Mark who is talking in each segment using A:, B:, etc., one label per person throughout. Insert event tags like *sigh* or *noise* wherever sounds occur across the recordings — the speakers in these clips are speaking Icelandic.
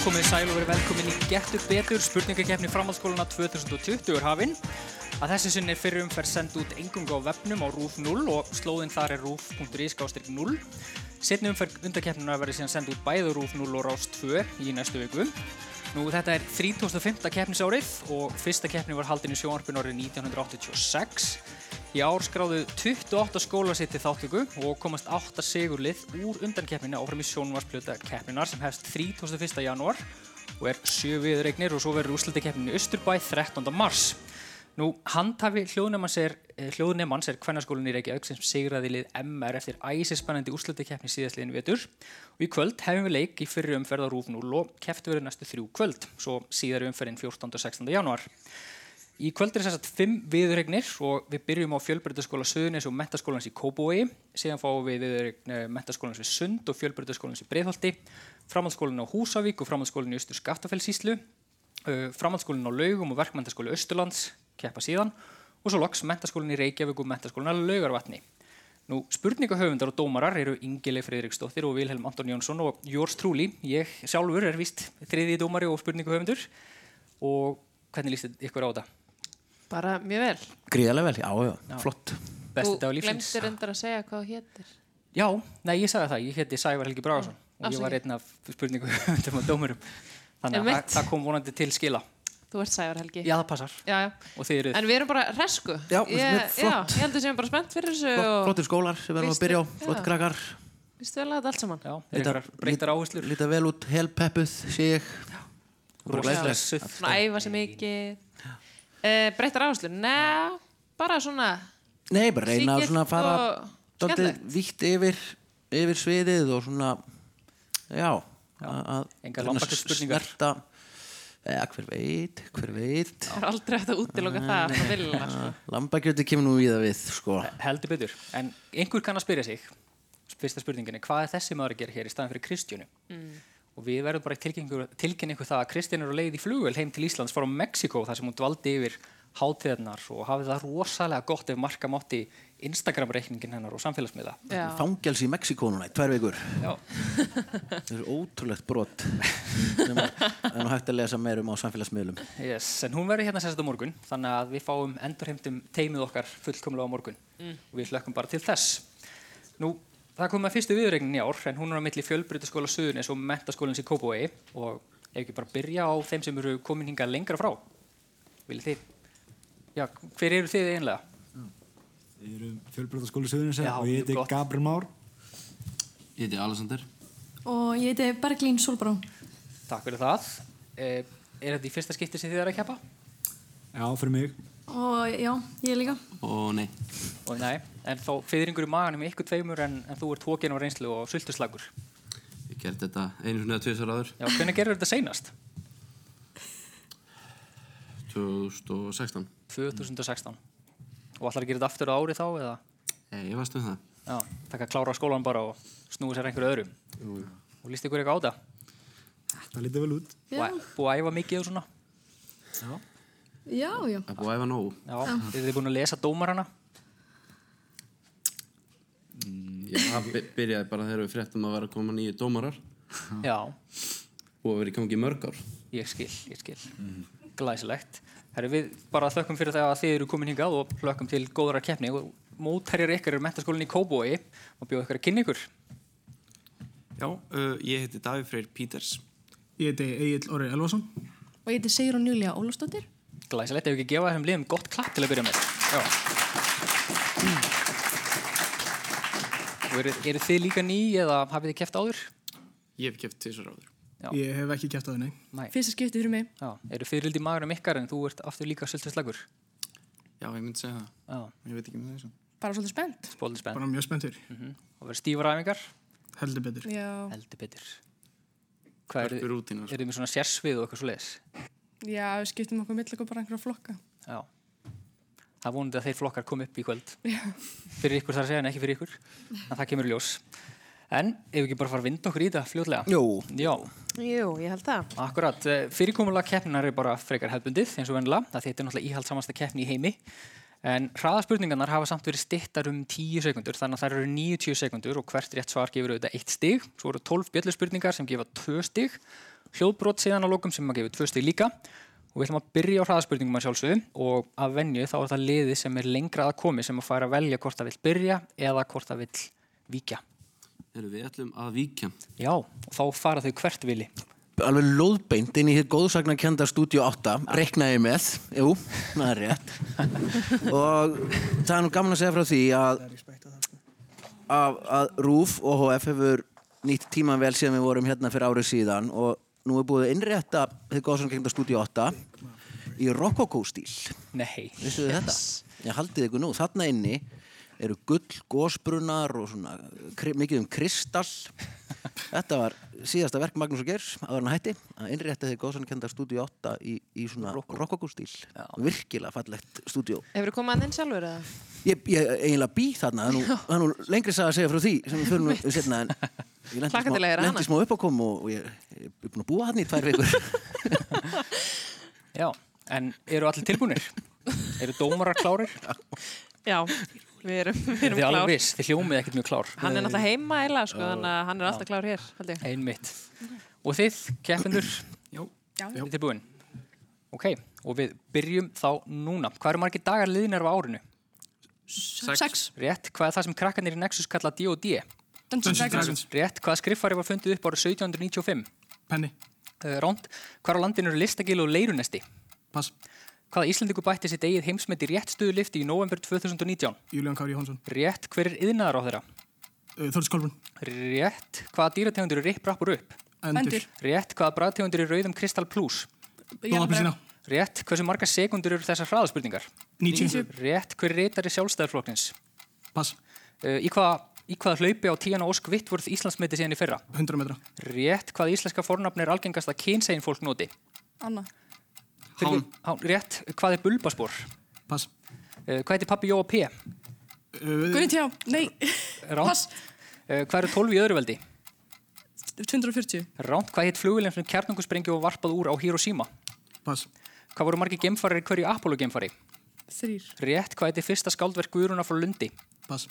A: Komið sæl og verið velkomin í Getur betur spurningakefni framhaldsskólana 2020 er hafinn. Að þessu sinni er fyrir umferð send út engunga á vefnum á RÚF 0 og slóðinn þar er rúf.is-0. Setni umferð undarkeppnuna verður síðan send út bæði á RÚF 0 og Rás 2 í næstu viku. Nú þetta er 35. keppnisárið og fyrsta keppni var haldin í sjónarpun árið 1986. Í ár skráðu 28 skólar sitt til þáttöku og komast 8 sigurlið úr undankeppninu áfram í sjónvarsplöta keppninar sem hefst 31. janúar og er 7 viðregnir og svo verður úrslitakeppninu í Östurbæ 13. mars. Nú, handhafi hljóðnemans er, eh, hljóðnemans er kvennarskólinn í Reykjavík sem sigraði lið MR eftir æsispennandi úrslitakeppni síðastliðin vetur og í kvöld hefum við leik í fyrri umferð á Rúf 0 og keftu verður næstu þrjú kvöld, svo síðar umferðin 14. og 16. janúar. Í kvöld er þess að fimm viðregnir og við byrjum á fjölbrytaskóla Suðunis og mentaskólans í Kóbói, síðan fáum við viðregn mentaskólans við Sund og fjölbrytaskólans í Breitholti, framhaldsskólinn á Húsavík og framhaldsskólinn í Östur Skaftafellsíslu, framhaldsskólinn á Laugum og verkmentaskóli Östurlands, keppa síðan, og svo loks mentaskólinn í Reykjavík og mentaskólinn að Laugarvatni. Nú, spurningahöfundar og dómarar eru Ingileg Friðriksdóttir og Vilhelm Anton Jónsson og Jórs Trúli, ég sjálfur er víst þriði dómari og spurningahöfundur og hvernig líst ykkur á þetta?
B: Bara mjög vel.
C: Gríðarlega vel, já, já, flott.
A: Besti dag
B: Þú
A: lífsins.
B: glemtir endur að segja hvað þú hétir.
A: Já, nei, ég sagði það, ég hétti Sævar Helgi Bragason og ég var einn af *laughs* spurningu höfundum og dómurum. Þannig að
B: Einmitt.
A: það- það kom vonandi til skila.
B: Þú ert Sævar Helgi.
A: Já, það passar.
B: já, já.
A: Og þið eruð,
B: En við erum bara resku.
C: Já,
B: ég,
C: mér finnst flott.
B: Já, ég held að séum bara spennt fyrir þessu
C: Flott-
B: og
C: Flottir skólar sem við erum að
B: Vístu-
C: byrja á,
B: já.
C: flott krakkar,
B: vistu vel að þetta allt saman.
A: já, einhverjar breytar áherslur.
C: líta vel út, helpeppuð, sé ég. Og bara
A: Rosalega
C: glæsileg.
A: suff.
B: Svona æfa sig mikið. Uh, breytar áherslu? Nei, bara svona.
C: Nei, bara reyna að
B: Sígilt
C: svona fara
B: og
C: dálítið
B: skemmtilegt.
C: vítt yfir, yfir sviðið og svona, já, að- að
A: Engar
C: reyna að
A: lambakjötsspurningar.
C: snerta, eða hver veit, hver veit.
B: Það er aldrei hægt að útiloka það frá vilja. sko.
C: Lambakjöti kemur nú í það við, sko.
A: Heldur betur. En einhver kann að spyrja sig, fyrsta spurningin er, hvað er þessi maður að gera hér í staðin fyrir Kristjánu? Og við verðum bara tilkynningu, tilkynningu það að Kristján er á leið í flugvel heim til Íslands frá Mexiko þar sem hún dvaldi yfir hátíðarnar og hafið það rosalega gott ef marka mátti Instagram-reikningin hennar og samfélagsmiða.
B: Já.
C: Fangjals í Mexiko núna í tvær vikur. *laughs*
A: Já.
C: Það er ótrúlegt brot sem að- það er nú hægt að lesa meirum á samfélagsmiðlum.
A: Yes, en hún verður hérna sérst á morgun þannig að við fáum endurheimtum teimið okkar fullkomlega á morgun og við hlökkum bara til þess. Nú, það kom að fyrstu viðregnin í ár en hún er á milli fjölbrytaskóla Suðunis og mentaskólins í Kópói og ef ekki bara byrja á þeim sem eru komin hingað lengra frá. Viljið þið? Já, hver eru þið einlega?
D: Mm. Við erum fjölbröðarskóli Suðunins
A: Já,
D: og ég heiti
A: gott.
D: Gabriel Már.
E: Ég heiti Alessander.
F: Og ég heiti Berglín Solbrá.
A: Takk fyrir það. Eh, er þetta í fyrsta skipti sem þið er að keppa?
D: Já, fyrir mig.
F: Og já, ég líka.
E: Og nei,
A: Og nei, en þá fyrringur í maganum ykkur tveimur en, en þú ert hókin á reynslu og sultuslagur.
E: ég gerði þetta einu svona eða tvisar áður,
A: Já, hvernig gerur þetta seinast?
E: 2016.
A: 2016 og ætlar að gera þetta aftur á ári þá eða
E: Eh, ég varst um það.
A: já, taka að klára skólan bara og snúi sér einhverju öðrum og líst ykkur eitthvað á það
D: Það lítið vel út.
F: Já,
A: Búið- búið að æfa mikið og svona
F: já, já.
E: Það er búið að æfa nógu.
A: já, eru þið búin að lesa dómarana
E: Ég það by- byrjaði bara þegar við fréttum að vera að koma nýju dómarar
A: já,
E: og að vera í gangi í mörg ár.
A: ég skil, ég skil glæsilegt Herri, við bara þökkum fyrir það að þið eru komin hingað og hlökkum til góðara keppni og mótherjar ykkar er mentaskólinni í Kóbói og bjóðu ykkur að kynna ykkur
G: Já, uh, ég heiti Davíð Freyr Píters.
H: Ég heiti Egil Orri Elvason.
I: Og ég heiti Sigrun Júlia Ólafsdóttir.
A: glæsilegt ef við ekki gefa þessum liðum gott klapp til að byrja með já Og eru, eru þið líka ný eða hafið þið keft áður?
G: Ég hef keft tvisar áður.
A: Já.
H: Ég hef ekki gert það, nei.
A: Nei,
I: Fyrsta skiptið fyrir mig.
A: já, eru fyrirldi magurum ykkar en þú ert aftur líka sultuslagur
G: Já, ég myndi segja það.
A: Já,
G: Ég veit ekki með þessu.
I: Bara svolítið spennt.
A: spólið spenn
H: Bara mjög spenntur.
A: og verður stífar æfingar,
H: Heldur betur.
I: Já,
A: heldur betur Hvað eru
G: Hörpu rútínu. sko.
A: er þið með svona sérsvið og eitthvað svo leiðis?
I: já, við skiptum okkur mittlega bara einhverja flokka.
A: Já Það er vonandi að þeir flokkar kom upp í kvöld fyrir ykkur þar að segja en ekki fyrir ykkur en það kemur í ljós En ef við ekki bara fara að vinda okkur í þetta fljótlega
C: Jú.
A: Já,
B: Jú, ég held það.
A: Akkurat, fyrirkomulega keppninar er bara frekar hefbundið eins og vennilega, það þetta er náttúrulega íhaldsamasta keppni í heimi en hraðaspurningarnar hafa samt verið stittar um 10 sekundur þannig að þær eru 90 sekundur og hvert rétt svar gefur auðvitað 1 stig svo eru 12 bjöllurspurningar sem gefa 2 stig hljóðbrot síðan á lokum sem maður gefur tvö stík líka og við ætlum að byrja á hraðaspurningum að sjálfsögðu og að venju þá er það liðið sem er lengra að komi sem að fara að velja hvort það vill byrja eða hvort það vill víkja.
E: Eru við ætlum að víkja?
A: Já, og þá fara þau hvert vili.
C: alveg lóðbeint inn í hér góðsagnarkenda stúdíu 8 reknaði ég með, jú, það er rétt og það er nú gaman að segja frá því að að, að RÚF og HF hefur nýtt tíman vel síðan við vorum hérna fyrir árið síðan og nú er búið að innrétta hér góðsagnarkenda stúdíu 8 í rokkokó stíl
A: Nei.
C: vissu þið þetta? Ég haldið ykkur nú, þarna inni eru gull, gósbrunnar og svona kri, mikið um kristall Þetta var síðasta verk Magnús og Geirs að hann hætti að innrétta þið góðsankenda stúdíu 8 í, í svona rokkokústíl virkilega fallegt stúdíu
B: Hefur þú komið að þinn sjálfur eða?
C: Ég, ég eiginlega bý þarna, það er nú, það er nú lengri saga að segja frá því sem við förum nú setna en ég lenti
B: Hlakka til að
C: smá,
B: heyra hana.
C: lenti smá upp á kom og, og ég, ég er búin að búa hann í tvær vikur
A: *laughs* Já, en eru allir tilbúinir? eru dómarar klárir?
B: Já, við erum, við
A: Þið
B: erum
A: er alveg
B: klár.
A: viss, þið hljómið ekkert mjög klár.
B: Hann er náttúrulega heima eila, sko, þannig að hann er alltaf klár hér, held ég.
A: Einmitt. Og þið, keppendur,
G: Já.
A: þið er tilbúin? Ok, og við byrjum þá núna. Hvað eru margir dagar liðnir af árinu?
F: Sex.
A: Rétt, hvað er það sem krakkanir í Nexus kalla D.O.D.?
I: Dungeons and Dragons.
H: Dragons.
A: Rétt, hvaða skriffari var fundið upp árið 1795?
H: Penny.
A: Uh, Ránd, hvar á landinu eru listagil og leirunesti?
H: Pass.
A: Hvaða Íslandingu bætti sitt eigið heimsmynd í rétt stöðu lifti í november 2019?
H: Julian Kári Jóhansson.
A: Rétt, hver er yðnaðar á þeirra?
H: Uh, Þórdis Kolbrun.
A: Rétt, hvaða dýrategundur eru ripp, rapp og rupp?
H: Endur.
I: Endur.
A: Rétt, hvaða bræðtegundur eru rauðum kristal plus?
H: Blóðapisina.
A: Rétt, hversu margar sekundur eru þessar hraðaspurningar?
H: 90.
A: Rétt, hver reytar í sjálfstæðarflokknins?
H: Pass.
A: Uh, í hvaða í hvaða hlaupi á tíana Ósk Vittvörð Íslandsmeti síðan í fyrra?
H: 100 metra.
A: Rétt, hvaða íslenska fornafni er algengast að kynsegin fólk noti?
I: Anna.
A: Hán. Hán. Rétt, hvað er bulbaspor?
H: Pass. Eh,
A: Uh, hvað heitir pappi Jóa P?
H: Uh,
I: Gunni Tjá. Nei.
A: Ránt. Uh, hvað eru 12 í öðruveldi?
I: 240.
A: Ránt, hvað heitt flugilinn sem kjarnungusprengju og varpað úr á Hiroshima?
H: Pass.
A: Hvað voru margir gemfarir í hverju Apollo-gemfari?
I: Þrýr.
A: Rétt, hvað heitir fyrsta skáldverk Guðruna frá Lundi?
H: Pass.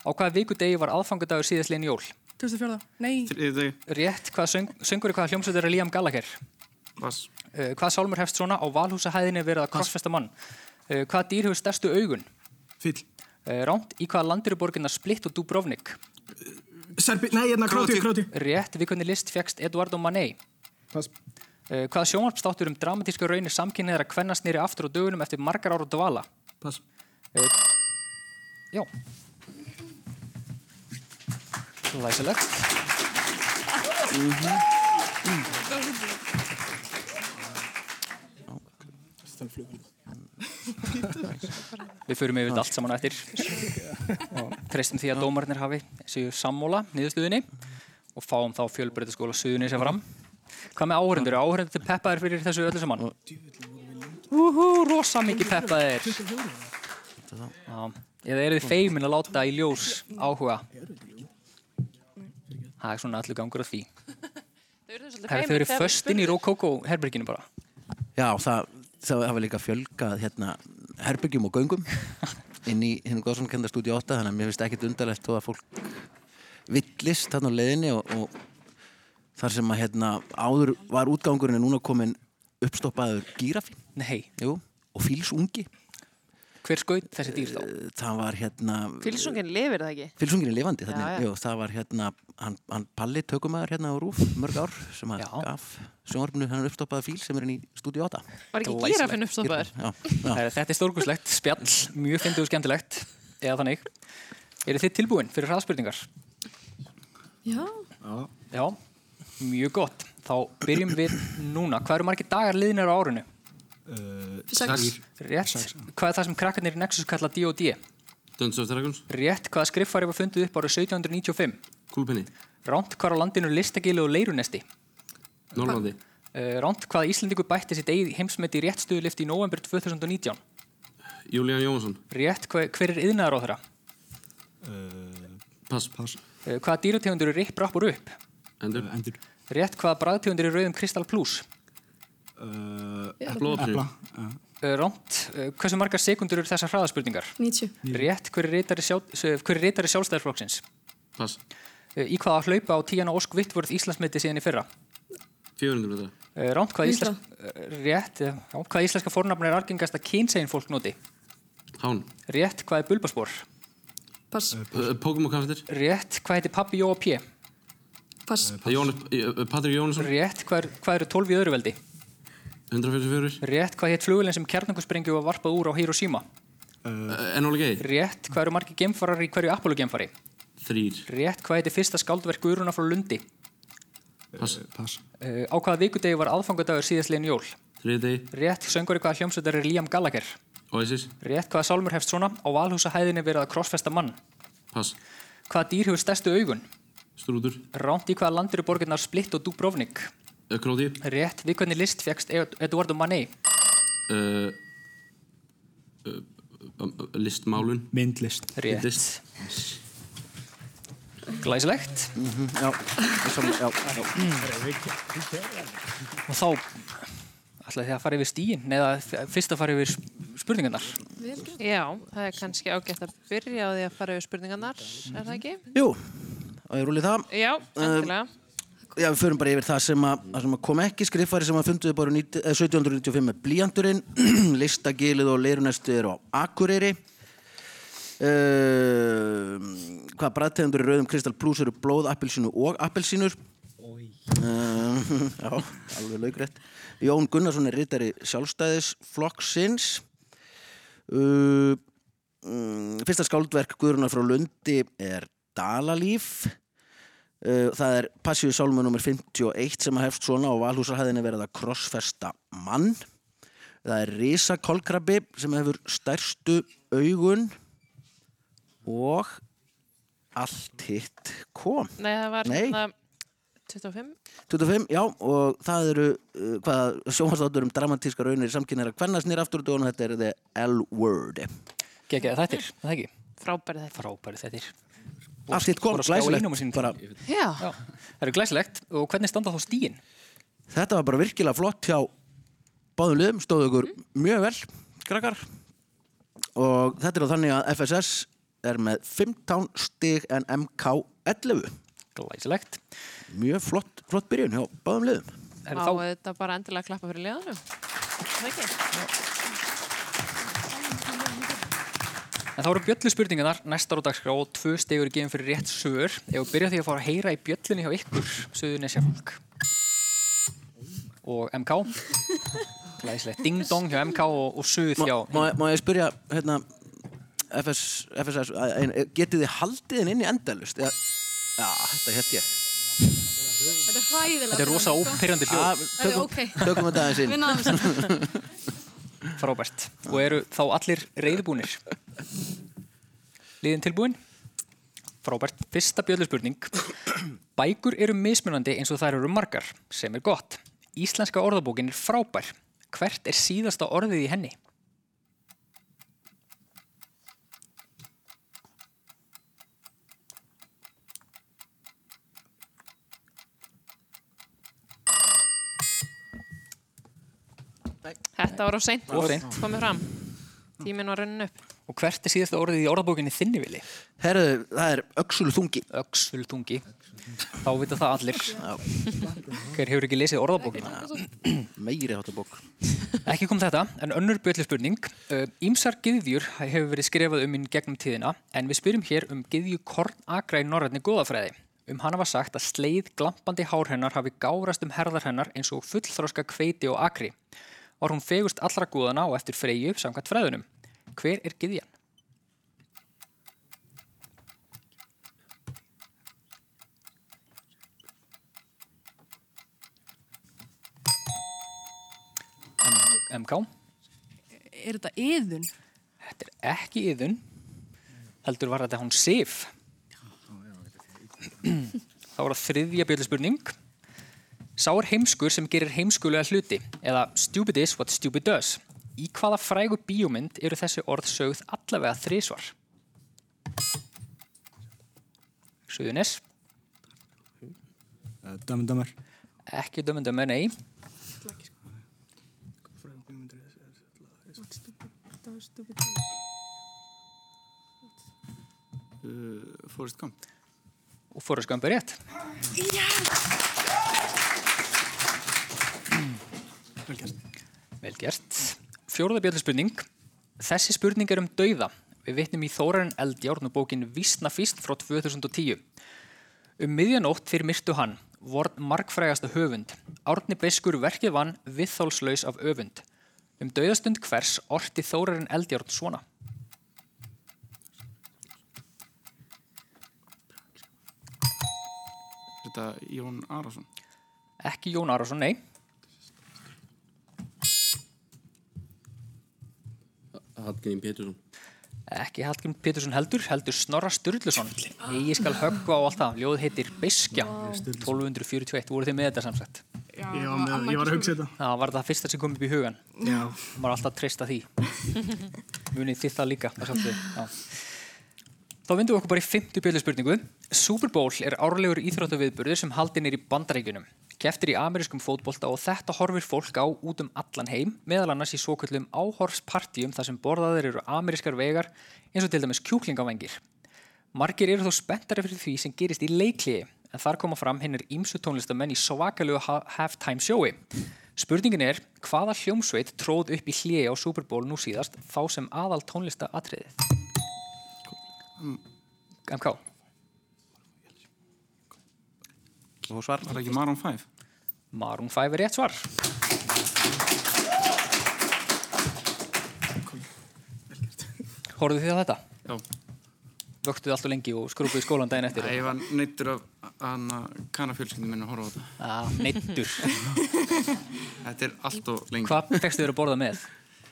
A: Á hvaða vikudegi var aðfangudagur síðastliðin jól?
I: 2004. Nei.
G: Þriðið
A: Rétt, hvaða söng, söngur í hvaða hljómsveit er Liam Gallagher?
G: Pass
A: Uh, hvaða sálmur hefst svona á valhúsahæðinni verið að krossfesta mann? Uh, hvaða dýr hefur stærstu augun?
H: Fyll.
A: Uh, Ránt, í hvaða landir er borginna Splitt og Dubrovnik?
H: Serbi. Eh, Nei, hérna. Króti. Króti.
A: Rétt, við hvernig list fegst Eduardo Manet?
H: Pass.
A: Uh, hvaða sjónvarpstáttur um dramatísku raunir samkynniðar að kvennast nýri aftur á dögunum eftir margar ára dvala?
H: Pass.
A: Já. Læsilegt. Mm. Við förum yfir þetta allt saman á eftir og treystum því að dómarnir hafi séu sammóla niðurstöðinni og fáum þá fjölbreytaskóla suðunni sem fram. Hvað með áhörendur? Eru Áhörendur peppaðir fyrir þessu öllu saman? Úhú, rosa mikið peppaðir. Já. Eða eru þið feimin að láta í ljós áhuga? Það er svona allur gangur á því.
B: Þau eru svolítið
A: Herra, Þau eru föstinn í Rococo herberginu bara.
C: Já, það, það hafa líka fjölgað hérna, herbyggjum og göngum inn í hennu góðsvonkenda stúdíu 8 þannig að mér finnst ekkit undarlegt þó að fólk villist þarna á leiðinni og, og þar sem að hérna, áður var útgangurinn en núna komin uppstoppaður gírafi
A: Nei,
C: jú, og fílsungi
A: hver skaut þessi dýr þá?
C: það var hérna
B: Fylsungin lifir það ekki.
C: fílsungin er lifandi
B: Já,
C: þannig,
B: já.
C: jú, það var hérna hann, hann Palli tökumæður hérna á Rúf mörg ár sem að
A: Já.
C: gaf sjónvarpinu hennar uppstoppaða fíl sem er inn í stúdíu 8
B: Var ekki
A: Glæsilegt.
B: gírafinn uppstoppaður?
C: já, já.
A: Herra, Þetta er stórkurslegt, spjall, mjög fyndið og skemmtilegt, eða þannig. Eru þið tilbúin fyrir hraðspurningar?
F: Já.
A: Já, mjög gott. Þá byrjum við núna. Hvað eru margir dagar liðnir á árinu?
D: Uh,
F: Sex.
A: Rétt. Hvað er það sem krakkarnir í Nexus kalla D.O.D.?
E: Dungeons of Dragons
A: Rétt. Hvaða skriffari var fundið upp árið 1795?
E: Kúlpenni
A: Ránt hvar á landinu listagilu og leirunesti?
E: Norrlandi
A: Uh, Ránt hvaða Íslendingu bætti sitt eigið heimsmeti í réttstöðulift í november 2019?
E: Julian Jóhansson
A: Rétt. Hver, hver er yðnaðar á þeirra?
D: uh,
E: Pass
D: pass.
A: Uh, hvaða dýrategundur eru ripp, rapp og upp?
E: Endur
D: Uh, endur.
A: Rétt. Hvaða bræðtegundur eru rauðum kristal pluss?
E: Eh,
D: Uh,
E: Blóðapinni
D: Epla. Uh,
A: Uh, Ránt. Uh, hversu margar sekundur eru þessar hraðaspurningar?
F: 90.
A: Rétt. Hver er reytari, sjál, hver er Eh, reytari sjálfstæðarflokksins?
E: Pass
A: Í hvaða hlaupa á tíana Ósk Vittvörð Íslandsmeti síðan í fyrra?
E: 400 metra.
A: Eh, Rámt hvað,
F: Vísla.
A: íslensk, eh, rétt, eh, já, hvað íslenska fornafn er algengasta kynsegin fólk noti?
E: Hán.
A: Rétt hvað er bulbaspor?
F: Pass.
E: Uh, Pokémon karakter.
A: Rétt hvað heitir pappi Jóa P?
F: Pass.
E: Jónas, uh, Patrik Jónasson.
A: Rétt hvað, er, hvað eru 12 í öðru veldi?
E: 144.
A: Rétt hvað heit flugulinn sem kjarnangusprengju var varpað úr á Hiroshima?
E: Uh, Enola Gay.
A: Rétt hvað eru margir gemfarar í hverju Apollo-gemfari?
E: Þrýr.
A: Rétt hvað heitir fyrsta skáldverk Guðruna frá Lundi?
E: Pass.
D: Eh, Pass.
A: Uh, á hvaða vikudegi var aðfangadagur síðastliðin jól?
E: Þriði degi.
A: Rétt söngvari hvaða hljómsveitar er Liam Gallagher?
E: Oasis.
A: Rétt hvaða sálmur hefst svona? Á valhúsahæðinni verið að krossfesta mann?
E: Pass.
A: Hvaða dýr hefur stærstu augun?
E: Strútur.
A: Rámt í hvaða landir er borginnar Splitt og Dubrovnik?
E: Uh, Króti.
A: Rétt við hvernig list fegst Eduardo Manet?
E: Uh, uh, um, listmálun.
D: Myndlist.
A: Rétt.
E: List.
A: Glæsilegt.
C: Mhm, Já, saman, já, já.
A: Og þá ætlaði þið að fara yfir stíin, neða f- fyrst að fara yfir sp- spurningarnar.
B: Já, það er kannski ágætt að byrja á því að fara yfir spurningarnar, er það ekki?
C: Jú, og ég rúli það
B: Já, endilega.
C: Já, við förum bara yfir það sem að, það sem að kom ekki skriffari sem að funduðu bara 90, eh, 1795 með blíjandurinn *clears throat* listagilið og leirunæstu eru á Akureyri uh, hvað bræðtegundur í rauðum kristal plús eru blóð, appelsínu og appelsínur uh, *laughs* Já, alveg laugrætt Jón Gunnarsson er rittari sjálfstæðisflokksins uh, mm, Fyrsta skáldverk Guðrunar frá Lundi er Dalalíf Uh, það er passíu sálmu nr. 51 sem að hefst svona á valhúsarhæðinni verið að krossfesta mann það er risa kolkrabi sem hefur stærstu augun og allt hitt kom
B: Nei, það var
C: Nei.
B: hérna 25.
C: 25, já, og það eru uh, hvað sjónvarsdáttur um dramatíska raunir samkynir að hvernast nýr aftur og þetta er the L-word
A: Gekkiða þættir, er það ekki?
B: Frábæri þetta.
A: Frábæri þættir.
C: allt hitt kom,
A: Bara skrá í númer
C: glæsilegt
A: sínum.
C: bara,
B: Já,
A: Já, það eru glæsilegt. Og hvernig standa þá stíin?
C: þetta var bara virkilega flott hjá báðum liðum, stóðu ykkur
A: Mhm.
C: mjög vel krakkar og þetta er þá þannig að FSS er með 15 stig en MK 11
A: Glæsilegt.
C: mjög flott, flott byrjun hjá báðum liðum
A: Er
B: á
A: þá,
B: þetta bara endilega að klappa fyrir liðanum. Það ekki?
A: en þá eru bjöllu spurningarnar næstar á dagskrá og tvö stegur er gefin fyrir rétt sögur. Ég vil byrja á því að fá að heyra í bjöllunni hjá ykkur, söðunesja fólk. Og MK. Glæsilegt. Ding dong hjá MK og, og söð hjá...
C: má, má ég spyrja hérna, FS, FSS að- ein- getið þið haldið þinn inn í endalust já, já, þetta held ég
F: Þetta er hræðilega.
A: Þetta er rosa óperjandi hljóð.
F: Það
C: að,
F: er
C: Ah,
F: Sko,
C: tökum,
F: ok.
C: tökum þetta aðeins
F: Við
C: inn
F: náðum þessu.
A: *laughs* Frábært. Og eru þá allir reyðbúnir? Liðin tilbúin? Frábært. Fyrsta bjöllspurning. Bækur eru mismunandi eins og þær eru margar, sem er gott. Íslenska orðabókin er frábær. Hvert er síðasta orðið í henni?
B: Þetta var á seint.
A: Of seint.
B: Komið fram. Tíminn var runnin upp.
A: Og hvert er síðasta orðið í orðabókinni þinni vili?
C: herðu, það er öxul þungi
A: Öxultungi. Þá vita það allir. Hver hefur ekki lesið orðabókina?
C: meiri hátabók
A: Ekki kom þetta, en önnur bjöllu spurning. Ímsar gyðjur hefur verið skrifað um inn gegnum tíðina, en við spyrjum hér um gyðju kornagra í norrætni góðafræði. Um hana var sagt að sleið glampandi hár hennar hafi gárast um herðar hennar eins og fullþroska kveiti og akri. Var hún fegust allra góðana og eftir freyju samkvæmt fræðunum. Hver er gyðjan? MK?
I: Er þetta yðun?
A: Þetta er ekki yðun heldur var þetta hún Sif þá var það þriðja bjöllspurning Sá er heimskur sem gerir heimskulega hluti eða stupid is what stupid does Í hvaða frægu bíómynd eru þessi orð sögð allavega þrísvar? Suðunis
D: Uh, Dömmen dömmer.
A: ekki dömendömi, nei
G: uh, Forrest Gump
A: og fóru skömbu rétt
H: Vel gert.
A: Vel gert. Fjórða bjöllspurning. Þessi spurning er um dauða. Við vitnum í Þórarinn Eldjárn og bókin Vísna fyrst frá 2010. Um miðjanótt fyrir myrtu hann, vorn markfrægasta höfund. Árni Beskur verkið vann viðþólslaus af öfund. Um dauðastund hvers orti Þórarinn Eldjárn svona.
G: Þetta Jón Arason
A: Ekki Jón Arason, nei.
E: Hallgrín Pétursson
A: Ekki Hallgrim Pétursson heldur, heldur Snorra Sturluson. Ég skal höggva á allt það. Ljóð heitir Beskja, 1241. Voru þið með þetta samsett?
I: Já,
H: Ég var, með, ég var að hugsa þetta.
A: Það var það fyrsta sem kom upp í hugan.
H: Já.
A: Maður er alltaf að treysta því. Munið þið það líka. Það sátti. Já. Þá vindum við okkur bara í fymtu bjöldspurningu. Super Bowl er árlegur íþróttaviðburður sem haldin er í bandaríkunum. Keftir í amerískum fótbolta og þetta horfir fólk á út um allan heim, meðal annars í svo kvöllum áhorfspartíum þar sem borðaðir eru amerískar vegar eins og til dæmis kjúklingavengir. Margir eru þó spenntari fyrir því sem gerist í leikliði en þar koma fram hinnir ímsu tónlistamenn í svakalegu ha- halftime sjói. Spurningin er hvaða hljómsveit tróð upp í hliði á Super Bowl nú síðast þá sem aðal tónlista atriðið? MK,
C: Og svar.
G: Var það ekki Maroon 5?
A: Maroon 5 er rétt svar. Horfðu þið á þetta?
G: Já
A: Vöktuðu allt og lengi og skrúpuðu skólan daginn eftir?
G: Nei, ég var neittur af hann að kanna fjölskyldum minn að horfa á þetta
A: Ah, neittur.
G: *laughs* Þetta er allt og lengi
A: Hvað fegstu þér að borða með?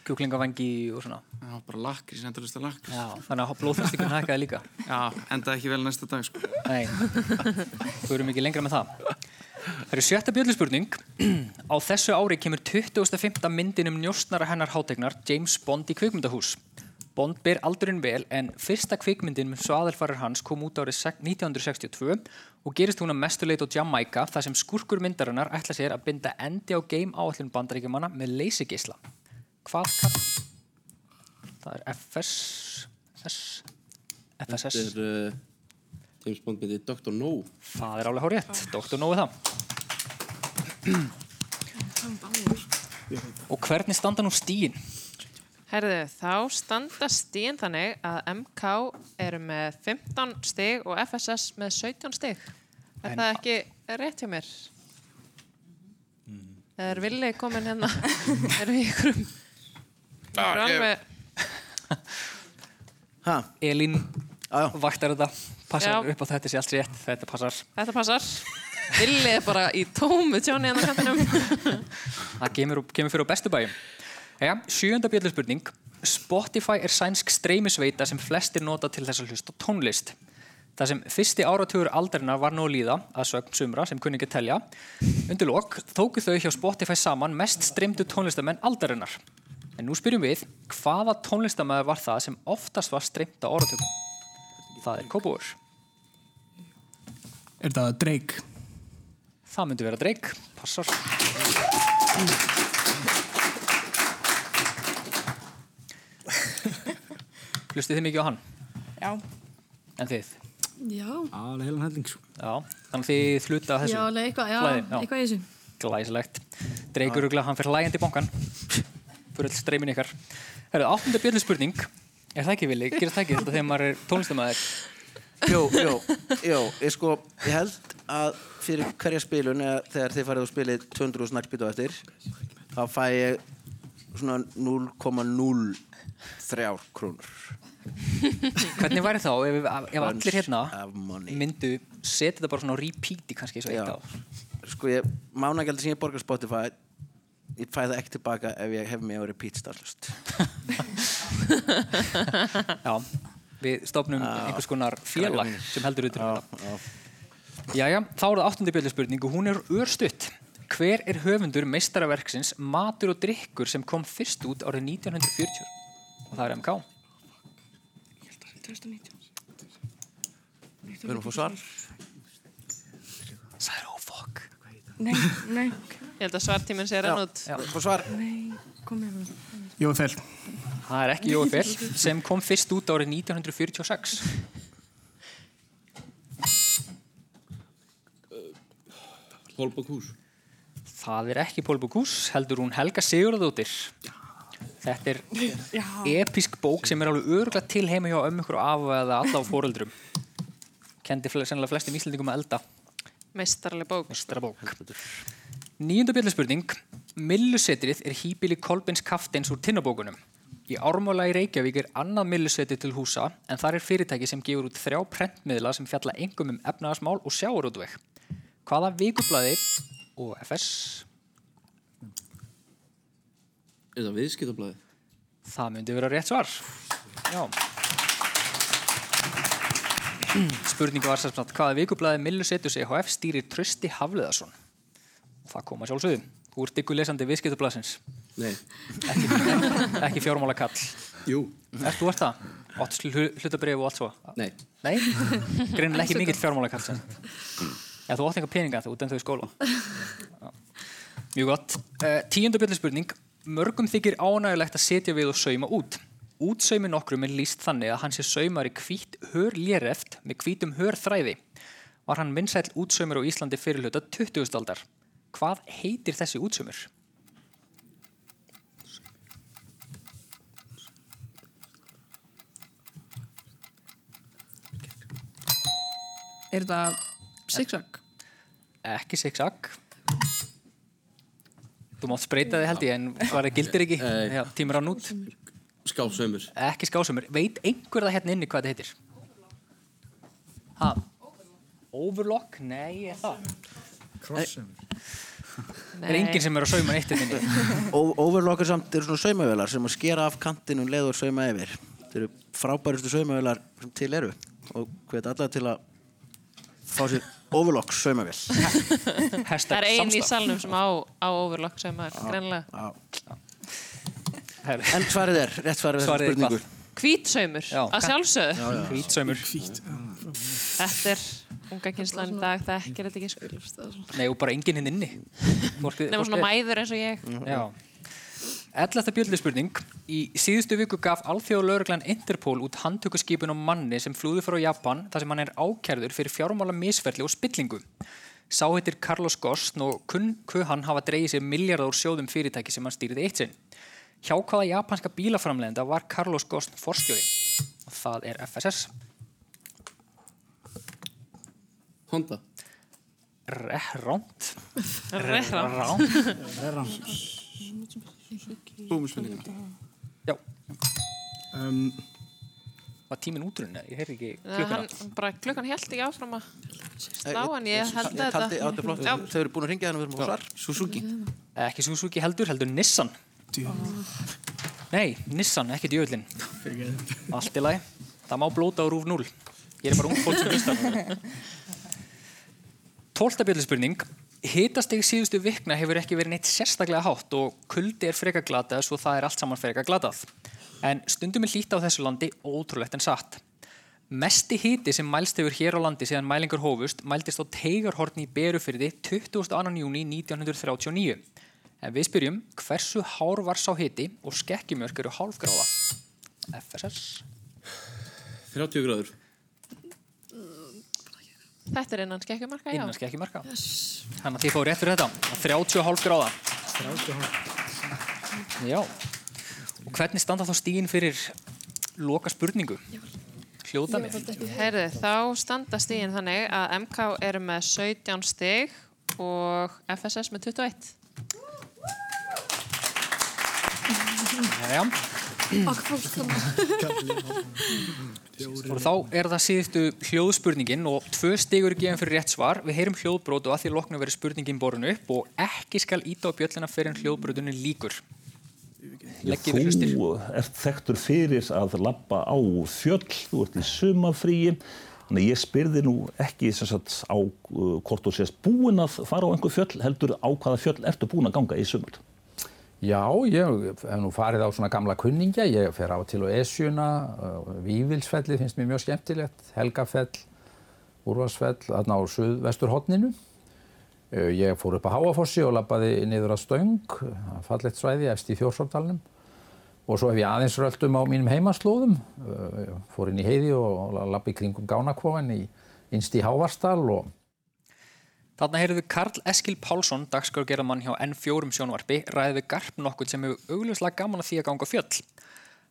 A: Kjúklingavangi og svona?
G: Það var bara lakrís, endalista lakrís
A: Já, þannig að blóðþrýstingurinn hækkaði líka.
G: Já, endaði ekki vel næsta dag sko.
A: Nei, við erum ekki lengra með það. Það eru sjötta bjöllspurning. Á þessu ári kemur 25. myndin um njóstnara hennar hátegnar James Bond í kvikmyndahús. Bond ber aldurinn vel en fyrsta kvikmyndin með svaðalfarir hans kom út árið sek- 1962 og gerist hún að mestuleit á Jamaica þar sem skurkur myndarinnar ætla sér að binda endi á game áallin bandaríkjumanna með leysigisla. Hvað kann... Það er FS... S... FSS...
E: Þetta er uh, James Bond myndið Dr. No
A: Það er alveg hár rétt, doktor nógu það. Og hvernig standa nú stíin?
B: Herðu, þá standa stíðin þannig að MK eru með 15 stig og FSS með 17 stig. Er
A: En-
B: það ekki rétt hjá mér? Það er villið komin hérna. Erum við ykkurum? Það er alveg...
C: Ha,
A: Elín
C: já, já.
A: vaktar þetta, passar
B: Já.
A: upp á þetta sé allt rétt, þetta passar.
B: Þetta passar. Villið er bara í tómu tjóni hérna á kantinum.
A: Það kemur, kemur fyrir á bestu bæjum. Jæja, sjöunda bjöllspurning. Spotify er sænsk streymisveita sem flestir nota til þess að hlusta á tónlist. Það sem fyrsti áratugur aldarinnar var nú að líða, að sögn sumra sem kunni ekki að telja, undir lok tóku þau hjá Spotify saman mest streymdu tónlistamenn aldarinnar. En nú spyrjum við, hvaða tónlistamæður var það sem oftast var streymt á áratugum? Það er Kópúur.
H: Er þetta Drake?
A: Það myndi vera Drake, passar. Hlustið þið mikið á hann,
I: Já,
A: en þið?
F: Já,
D: Alveg heilan helling sko.
A: Já, þannig að þið hluta
F: já,
A: að þessu.
F: alveg eitthvað, já,
A: Flæði, já.
F: eitthvað í þessu.
A: Glæsilegt. Drake öruglega, hann fyrir hlægjandi í bankan. Fyrir all streymin ykkar. Herðu, áttunda bjöllspurning. Er það ekki villi? Gerist það ekki þetta þegar maður er
F: *laughs*
A: tónlistamæður?
C: Jó, jó, jó, ég sko, ég held að fyrir hverja spilun eða þegar þið farið og spilið 200 snakkbít á eftir þá fæ ég svona 0,03 krónur
A: Hvernig væri þá ef, ef, ef allir hérna
C: Bunch of money.
A: myndu setja þetta bara svona á repeat í kannski eins og eitt
C: Já,
A: ár?
C: sko ég, mánagjaldi sem ég borga á Spotify ég fæ það ekki tilbaka ef ég hef mig á repeat
A: *laughs*
C: starlust
A: Já, við stofnum einhvers konar félag
C: mínir.
A: sem heldur út í þetta. Jæja, þá er það áttundi bjöldspurning og hún er örstutt. Hver er höfundur meistaraverksins Matur og drikkur sem kom fyrst út árið 1940? Og það er MK.
C: Við erum að fá svar
A: Það er ófokk.
I: nei, nei,
B: Ég held að svartíminn sé rann út.
C: Já, fá svar
I: kom ég með.
H: Jó, fel.
A: Það er ekki Jói Fell sem kom fyrst út árið 1946.
E: Holbach Hús
A: Það er ekki Pól Bukús, heldur hún Helga Sigurðardóttir. Þetta er episk bók sem er alveg öruglega til heima hjá ömmu ykkur og afa eða alla á fóreldrum. Kendi fle- sennilega flestum íslendingum að elda.
B: Meistarleg bók.
A: Meistara bók. Níunda bjöllspurning. Millusetrið er hýbili Kolbins Kaftins úr tinnabókunum. Í Ármála í Reykjavík er annað millusetrið til húsa en þar er fyrirtæki sem gefur út þrjá prentmiðla sem fjalla engum um efnaðasmál og sjáurútveg. Hvaða vikublaði og FS
E: Er það viðskiptablaði?
A: Það myndi vera rétt svar. Já. Spurningu var sem sagt hvaða vikublaði Millu Setus EHF stýrir Trösti Hafleðarsson? Og það kom að sjálfsögðu. Þú ert ykkur lesandi viðskiptablasins.
E: Nei.
A: Ekki fjármála kall.
E: Jú.
A: Ert þú ert það? Ótt hlutabrif og allt svo?
E: Nei.
A: Nei? Greinilega ekki mikill fjármála kall. Já, þú ótt einhver peninga þú út en þau í skóla. Já. Mjög gott. Uh, tíundu bjöllspurning. Mörgum þykir ánægulegt að setja við og sauma út. Útsaumi nokkrum er líst þannig að hann sé saumari hvít hörléreft með hvítum hörþræði. Var hann vinsæll útsaumur á Íslandi fyrir hluta 20. aldar. Hvað heitir þessi útsaumur?
I: Er þetta zigzag?
A: Ekki zigzag. Þú mátt spreita þig held ég en svarið gildir ekki.
E: Nei.
A: Já, tímur án út.
E: Skásömmur.
A: Ekki skásumur. Veit einhver það hérna inni hvað þetta heitir? Ha? Overlock? Nei, er það? Það er enginn sem er að sauma neitt hérna inni.
C: *laughs* O- Overlocker samt eru svona saumavélar sem að skera af kantinu um leður sauma yfir Þetta eru frábærustu saumavélar sem til eru og hvet alla til að fá sér overlock saumavél
A: *laughs* Hashtag
B: Það er ein í
A: samstaf.
B: salnum sem á, á overlock sem er greinlega.
C: Já.
A: Herru,
C: En svarið er, rétt svarið er
A: Svarið er
C: spurningu
B: Hvítsaumur,
A: Já.
B: að sjálfsögðu.
A: Hvítsaumur.
B: Þetta er unga kynslan í dag, það ekkert þetta ekki sko.
A: Nei, og bara enginn hérna
B: *laughs*
A: inni. Fólki- fólki-
B: Nefnum svona mæður eins og ég.
A: Já. 11. bjöllspurning. Í síðustu viku gaf alþjóðlauruglan Interpol út handtökuskipun á manni sem flúði frá Japan þar sem hann er ákærður fyrir fjármála misferli og spillingu. Sá heitir Carlos Gostn og kunn hvað hann hafa dreigið sér miljardar úr sjóðum fyrirtæki sem hann stýrði eitt sinn. Hjá hvaða japanska bílaframlegenda var Carlos Gostn forstjóri? Og það er FSS.
E: Honda.
A: Ránt.
B: Rehra.
A: Ránt.
G: Búum spurninguna.
A: Já,
H: Um,
A: var tíminn útrunna? Ég heyrði ekki klukkuna.
B: Hann, bara klukkan held ekki áfram að slá hann, ég held að
C: Ég taldi
B: þetta.
C: átti flott
B: Já.
C: Þau eru búin að ringja hann og við erum á svar
E: Suzuki.
A: Ekki Suzuki heldur, heldur Nissan. Nei, Nissan, ekki djöðlin. Allt í lagi. Það má blóta á rúf 0. Ég er bara ung fólk sem hlustar. Tólta bjöldspurning. Hitasteg síðustu vikna hefur ekki verið neitt sérstaklega hátt og kuldi er freka glatað svo það er allt saman freka glatað. En stundum er hlýtt á þessu landi ótrúlegt en satt. Mesti hiti sem mælst hefur hér á landi síðan mælingar hófust mæltist á teigarhorni í Berufyrði 22. júni 1939. En við spyrjum hversu hár var sá hiti og skekkjumörk eru hálfgráða? FSS.
E: 30 gráður.
B: Þetta er innan skekkjumarka, já.
A: innan skekkjumörka. Þannig að þið fáið rétt fyrir þetta. 30,5 gráða. 30,5. Já. Og hvernig standa þá stígin fyrir loka spurningu? Hljóta mér.
B: Herðu, þá standa stíðin þannig að MK eru með 17 stig og FSS með 21.
A: Jæja. Og þá er það síðustu hljóðspurningin og tvö stigur gefin fyrir rétt svar. Við heyrum hljóðbrót og að því loknu verið spurningin borun upp og ekki skal íta á bjöllina fyrir en hljóðbrótunni líkur. Leggið við hlustir.
J: Þú ert þekktur fyrir að labba á fjöll, þú ert í sumafríi. Þannig að ég spyrði nú ekki sem sagt, á uh, hvort þú sést búin að fara á einhver fjöll, heldur á hvaða fjöll ertu búin að ganga í sumar.
K: Já, ég hef nú farið á svona gamla kunningja, ég fer á til og Esjuna, uh, Vívilsfelli finnst mér mjög skemmtilegt, Helgafell, Úrvarsfell, þarna á suðvesturhotninu. Uh, Ég fór upp á Háafossi og labbaði niður að Stöng, það er fallegt svæði, efst í Fjórsóttalnum. Og svo hef ég aðeins röldum á mínum heimaslóðum, Uh, ég fór inn í heiði og labbaði kringum Gánakvóin í, innst í Hávarsdal og
A: Þarna heyrðu Karl Eskil Pálsson, dagskrárgerðamann hjá N4 sjónvarpi, ræði við garp nokkuð sem hefur augljóslega gaman að því að ganga á fjöll.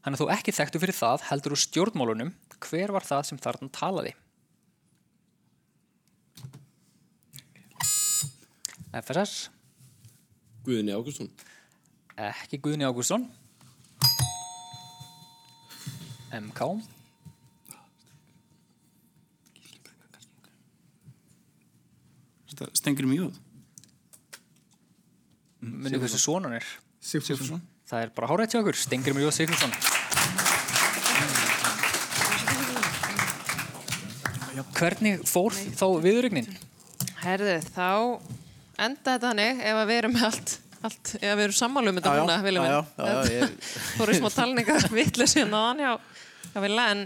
A: Hann er þó ekki þekktu fyrir það, heldur úr stjórnmálunum, hver var það sem þarna talaði? FSS?
E: Guðni Ágústsson.
A: Ekki Guðni Ágústsson. MK.
G: Þetta stengir mjög
A: Mm,
G: Mm,
A: Munið hversu svona hann er?
G: Sigfússon.
A: Það er bara hárætt hjá okkur, Stengrimur Jóð Sigfússon. Hvernig fór þá viðurugnin?
B: Herðu, þá enda þetta þannig ef að við erum með allt, allt ef við erum sammálu um þetta
C: Já, já,
B: núna, viljum
C: já,
B: við.
C: já, já, já, ég-
B: *laughs* Fóru
C: *laughs*
B: smá hérna talningar vitlu síðan á hann hjá, hjá Villa, en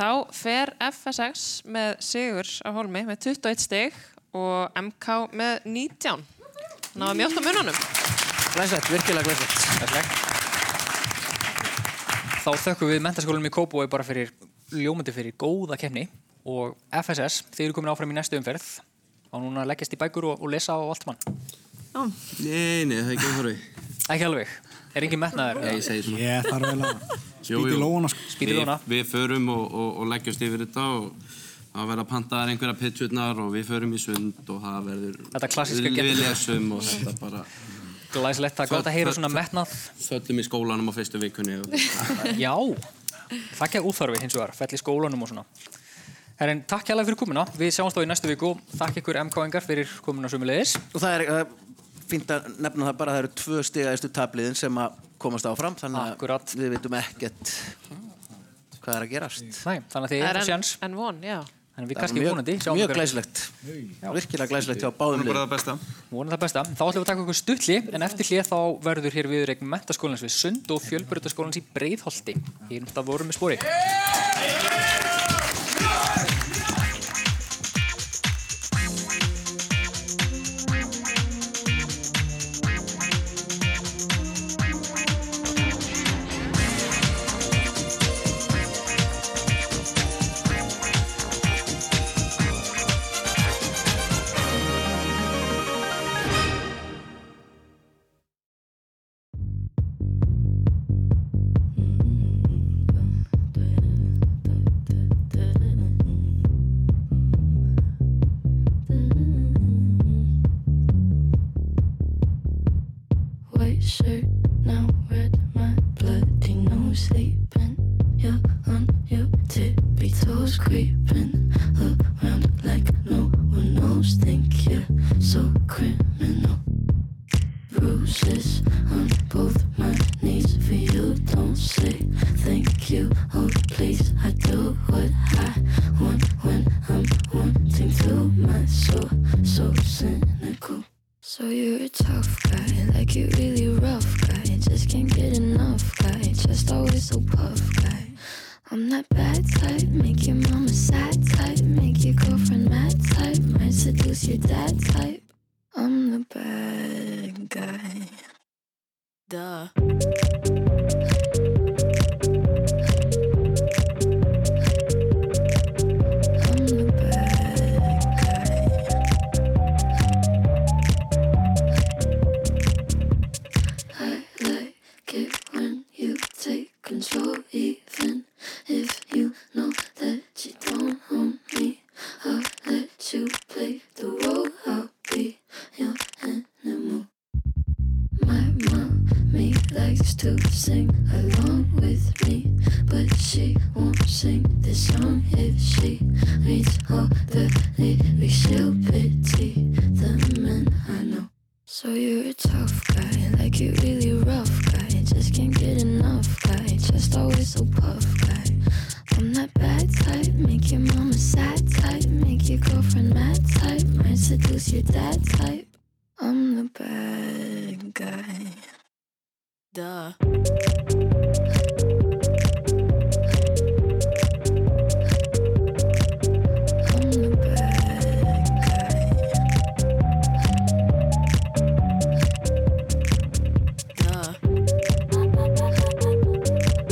B: þá fer FSX með Sigur á Holmi með 21 stig og MK með 19. Náða mjótt á mununum.
C: Glæsett, virkilega glæsett.
A: Þá þökkum við mentaskólanum í Kópói bara fyrir ljómandi fyrir góða kemni og FSS, þeir eru komin áfram í næstu umferð og núna að leggjast í bækur og, og lesa á allt mann.
E: Nei, nei, það er ekki alveg.
A: Ekki alveg. Er engin metnaður?
E: Nei, ég segi svona.
H: Ég þarf vel að
E: Jú,
H: spýta í
E: jú.
H: lóana, sko.
A: Spýta í lófana.
E: Við, við förum og, og, og leggjast yfir þetta og það verða pantaðar einhverja pitchurnar og við förum í sund og það verður...
A: Þetta klassíska
E: Við- Við
A: getur.
E: lesum og þetta bara...
A: Glæslegt, það er gott að heyra svona metnað.
E: Föllum í skólanum á fyrstu vikunni og...
A: Já, það ekki að úþarfi hins vegar, fell í skólanum og svona. Herrin, takk hérlega fyrir komuna. Við sjáumst þá í næstu viku. Takk ykkur MK-ingar fyrir komuna sömulegis.
C: Og það er uh, fínt að nefna það bara að það eru tvö stigaðistu tabliðin sem að komast áfram þannig að við veitum ekkert hvað er að gerast.
A: Nei, þannig að þið
B: Það er
A: er
B: enn-
A: sjans.
B: En von, já.
C: Það
A: Þannig að við
C: er
A: kannski
C: mjög-
A: vonandi sjáum
C: mjög
A: ykkur.
C: glæsilegt.
A: Já.
C: Virkilega glæsilegt hjá báðum
A: Vonum bara
C: liðum.
A: það
G: besta.
A: Vonum það besta. Þá ætlum við að taka okkur stutli en eftir hlið þá verður hér viður eign mentaskólans við Sund og fjölbyrjutaskólans í Breiðholti. Hér um það vorum við spori.
L: White shirt, now red, my bloody nose sleeping. You're on your tippy toes, creeping around like no one knows. Think you're so criminal. Bruises on both my knees for you. Don't say thank you. Oh, please, I do what I want when I'm wanting to. My soul, so cynical. So you're a tough guy, like you really rough guy. Just can't get enough guy, just always so puff guy. I'm that bad type, make your mama sad type, make your girlfriend mad type, might seduce your dad type. I'm the bad guy. Duh. Get when you take control, even if you know that you don't own me. I'll let you play the role. I'll be your animal. My mommy likes to sing along with me, but she won't sing this song if she reads all the lyrics. She'll pity the men I know. So you're a tough guy, like you really rough guy. Just can't get enough guy, just always so puff guy. I'm that bad type, make your mama sad type, make your girlfriend mad type, might seduce your dad type. I'm the bad guy. Duh.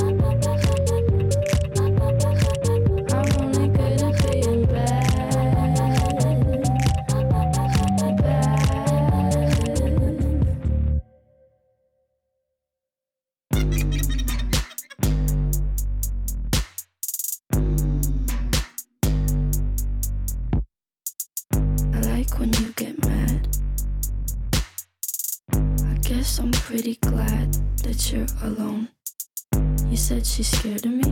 L: I'm only good at being bad. that you're alone. You said she's scared of me?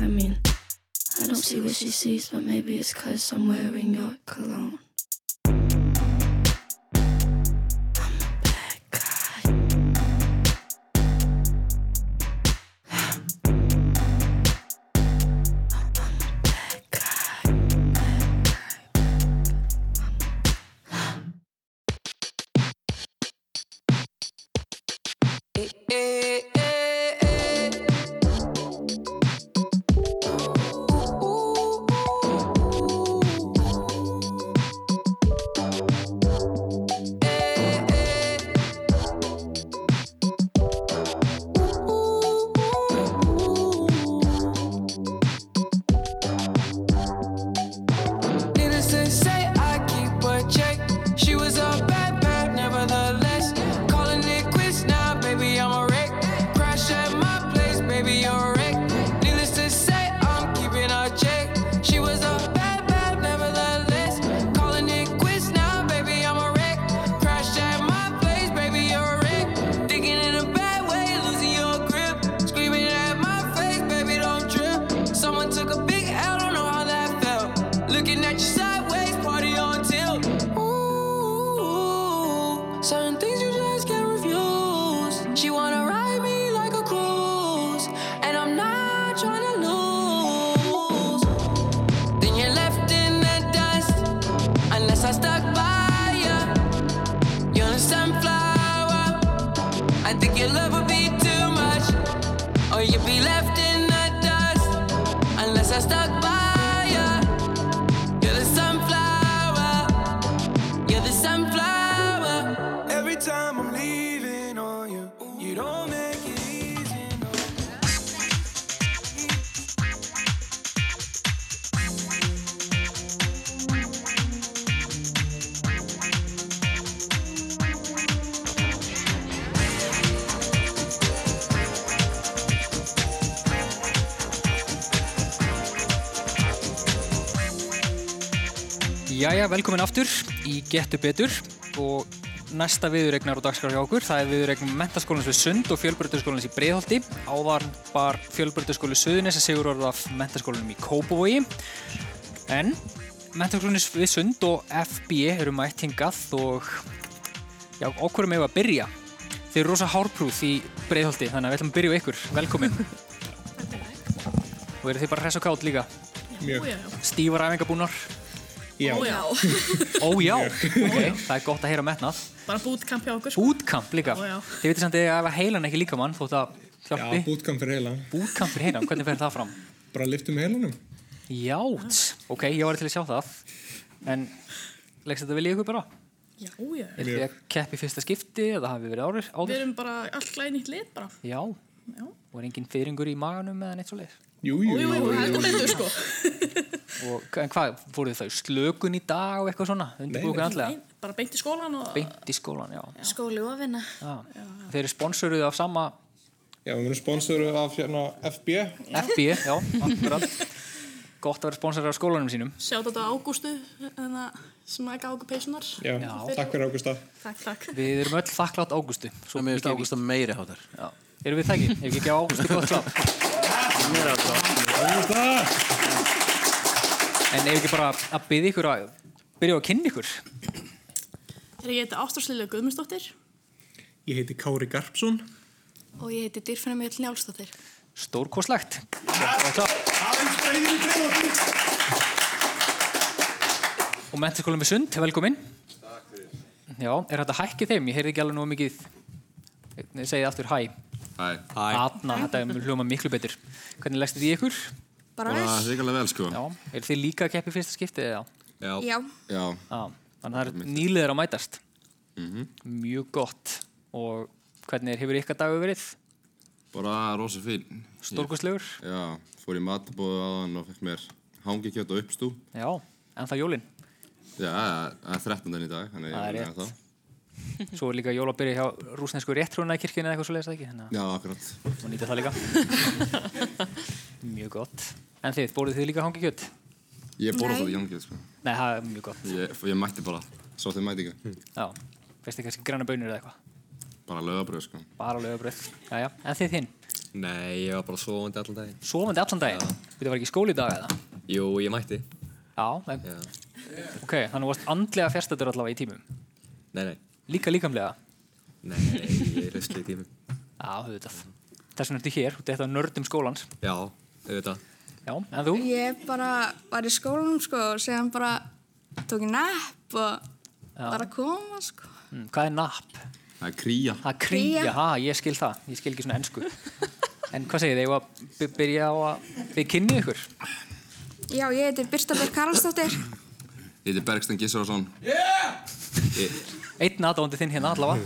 L: I mean, I don't see what she sees, but maybe it's cause I'm wearing your cologne.
M: Needless to say, I keep a check. She was a bad bad, nevertheless. Calling it quits now, baby, I'm a wreck. Crash at my place, baby, you're a wreck. Needless to say, I'm keeping a check. She was a bad bad, nevertheless. Calling it quits now, baby, I'm a wreck. Crash at my place, baby, you're a wreck. Thinking in a bad way, losing your grip. Screaming at my face, baby, don't trip. Someone took a big L, don't know how that felt. Looking at you sideways, party on tilt. Ooh, certain things you just can't refuse. She wanna ride me like a cruise, and I'm not trying to lose. Then you're left in the dust, unless I stuck by ya. You're a sunflower. I think your love would be too much, or you'd be left in the dust, unless I stuck by ya. You're the sunflower. You're the sunflower. Every time I'm leaving on you, you don't make it easy. no.
A: Jæja, velkomin aftur í Getu betur og næsta viðuregnar og dagskrá hjá okkur, það er viðuregnum mentaskólans við Sund og fjölbrytaskólans í Breiðholti. Áðan var fjölbrytaskóli Suðunis að sigur orða af mentaskólanum í Kópavogi. En mentaskólanis við Sund og FB eru mætt hingað og já, okkur með að byrja. Þið eru rosa hárprúð í Breiðholti, þannig að við ætlum að byrja á ykkur.
N: *laughs*
A: Velkomin. og eru þið bara hress og kátt líka?
N: Mjög. Já.
A: Stífar æfingabúnar?
N: Ó, já.
A: Ójá, ok, það er gott að heyra metnað
N: Bara bootcamp hjá okkur sko.
A: Bootcamp líka
N: Ó, já.
A: Þið veitir samt að ef að heilan ekki líka mann þótt að hjálpi
N: Já, bootcamp
A: fyrir heilan Bootcamp fyrir heilan, hvernig fer það fram? Bara liftum heilanum Já, ok, ég var til að sjá það En leggst þetta vel í ykkur bara?
N: Já, já.
A: Er þið að keppi fyrsta skipti eða hafið verið áður?
N: Við
A: áður?
N: erum bara alltaf í nýtt lið bara.
A: Já,
N: Já.
A: og er engin fyrringur í maganum eða neitt svo leið?
N: Jú, jú, jú, jú, jú, jú, jú, sko.
A: Og en hvað, fóruð þau slökun í dag og eitthvað svona? Undirbúið ykkur andlega?
N: Bara beint í skólan og
A: Beint í skólan, já
O: Skóli og vinna.
A: Já. Þeir eru sponsoruð af sama
N: Já, við erum sponsoruð af hérna FB
A: FB, já, akkurat Gott að vera sponsoruð af skólanum sínum
N: Sjátt þetta Ágústu hérna, sem ekki águr peysunar.
A: Já, takk fyrir Ágústa.
N: Takk, takk.
A: Við erum öll þakklátt Ágústu Svo mér finnst Ágústa meiri hátar Já, erum við það ekki? Ef ekki gefa Ágústu gott klap Meiri hátar Ágústa En ef ekki bara að byrja ykkur að byrja á að kynna ykkur
N: Þegar ég heiti Ástúrslilja Guðmundsdóttir
G: Ég heiti Kári Garpsson.
O: Og ég heiti Dyrfæna Mjöll Njálsdóttir.
A: Stórkoslegt Gott klap Og mentaskóla með sund, velkomin Já, er þetta hækki þeim? Ég heyrði ekki alveg nú mikið Segið aftur hæ
E: Hæ.
A: Þarna, þetta hljóma miklu betur Hvernig leggstu því ykkur?
O: Bara Bara vel.
E: hrikalega vel, sko.
A: Já, er þið líka að keppa í fyrsta skipti eða? Já.
O: Já.
E: Já.
A: Þannig að það eru nýliðir að mætast
E: Mhm.
A: Mjög gott Og hvernig er- hefur ykkar dagur verið?
E: Bara rosa fín.
A: Stórkostlegur?
E: Ég- Já, fór í matabóðu aðan og fekk mér hangi kjöt og uppstú.
A: Já, en það jólin
E: Já, það er 13. í dag, þannig
A: Það er
E: ég er
A: rétt. Svo er líka jól að byrja hjá rúsnesku réttrúna eða eitthvað svo leiðist ekki Þannig
E: Já, akkurat.
A: að og nýta það líka Mjög gott En þið, bóruð þið líka hangi kjött?
E: Ég borða
A: Nei.
E: það í hangi, sko.
A: Nei, það er mjög gott
P: Hmm.
E: Ég, ég mætti bara, svo þeir mæti ekki.
A: Já, veist þið kannski græna bönir eða eitthvað
P: Bara lögabröð, sko.
A: Bara lögabröð. Jæja, en þið þinn?
P: Nei, ég var bara sofandi allan daginn.
A: Sofandi allan daginn? Þetta var ekki í skóli í dag eða?
P: Jú, ég mætti.
A: Já, en... Ok, þannig að þú varst andlega fjárstættur allavega í tímum.
P: Nei, nei.
A: Líka líkamlega?
P: Nei, nei, ég er rusli í tímum.
A: Já, auðvitað. Þess vegna ertu hér, þú ert að nördum skólans.
P: Já, auðvitað.
A: Já, en þú?
O: Ég bara var í skólanum sko og séðan bara tók ég napp og
A: Já.
O: var að koma sko.
A: Mm, hvað er napp?
P: Það er kría.
A: Það er kría,
O: Kría.
A: ha, ég skil það. Ég skil ekki svona ennsku. en hvað segir þið, ég var að by- byrja á að við kynni ykkur.
O: Já, ég heiti Birta Björk Karlsdóttir.
P: Ég heiti Bergstein Gissurason. Ég,
A: Einn aðdáðandi þinn hérna allavega.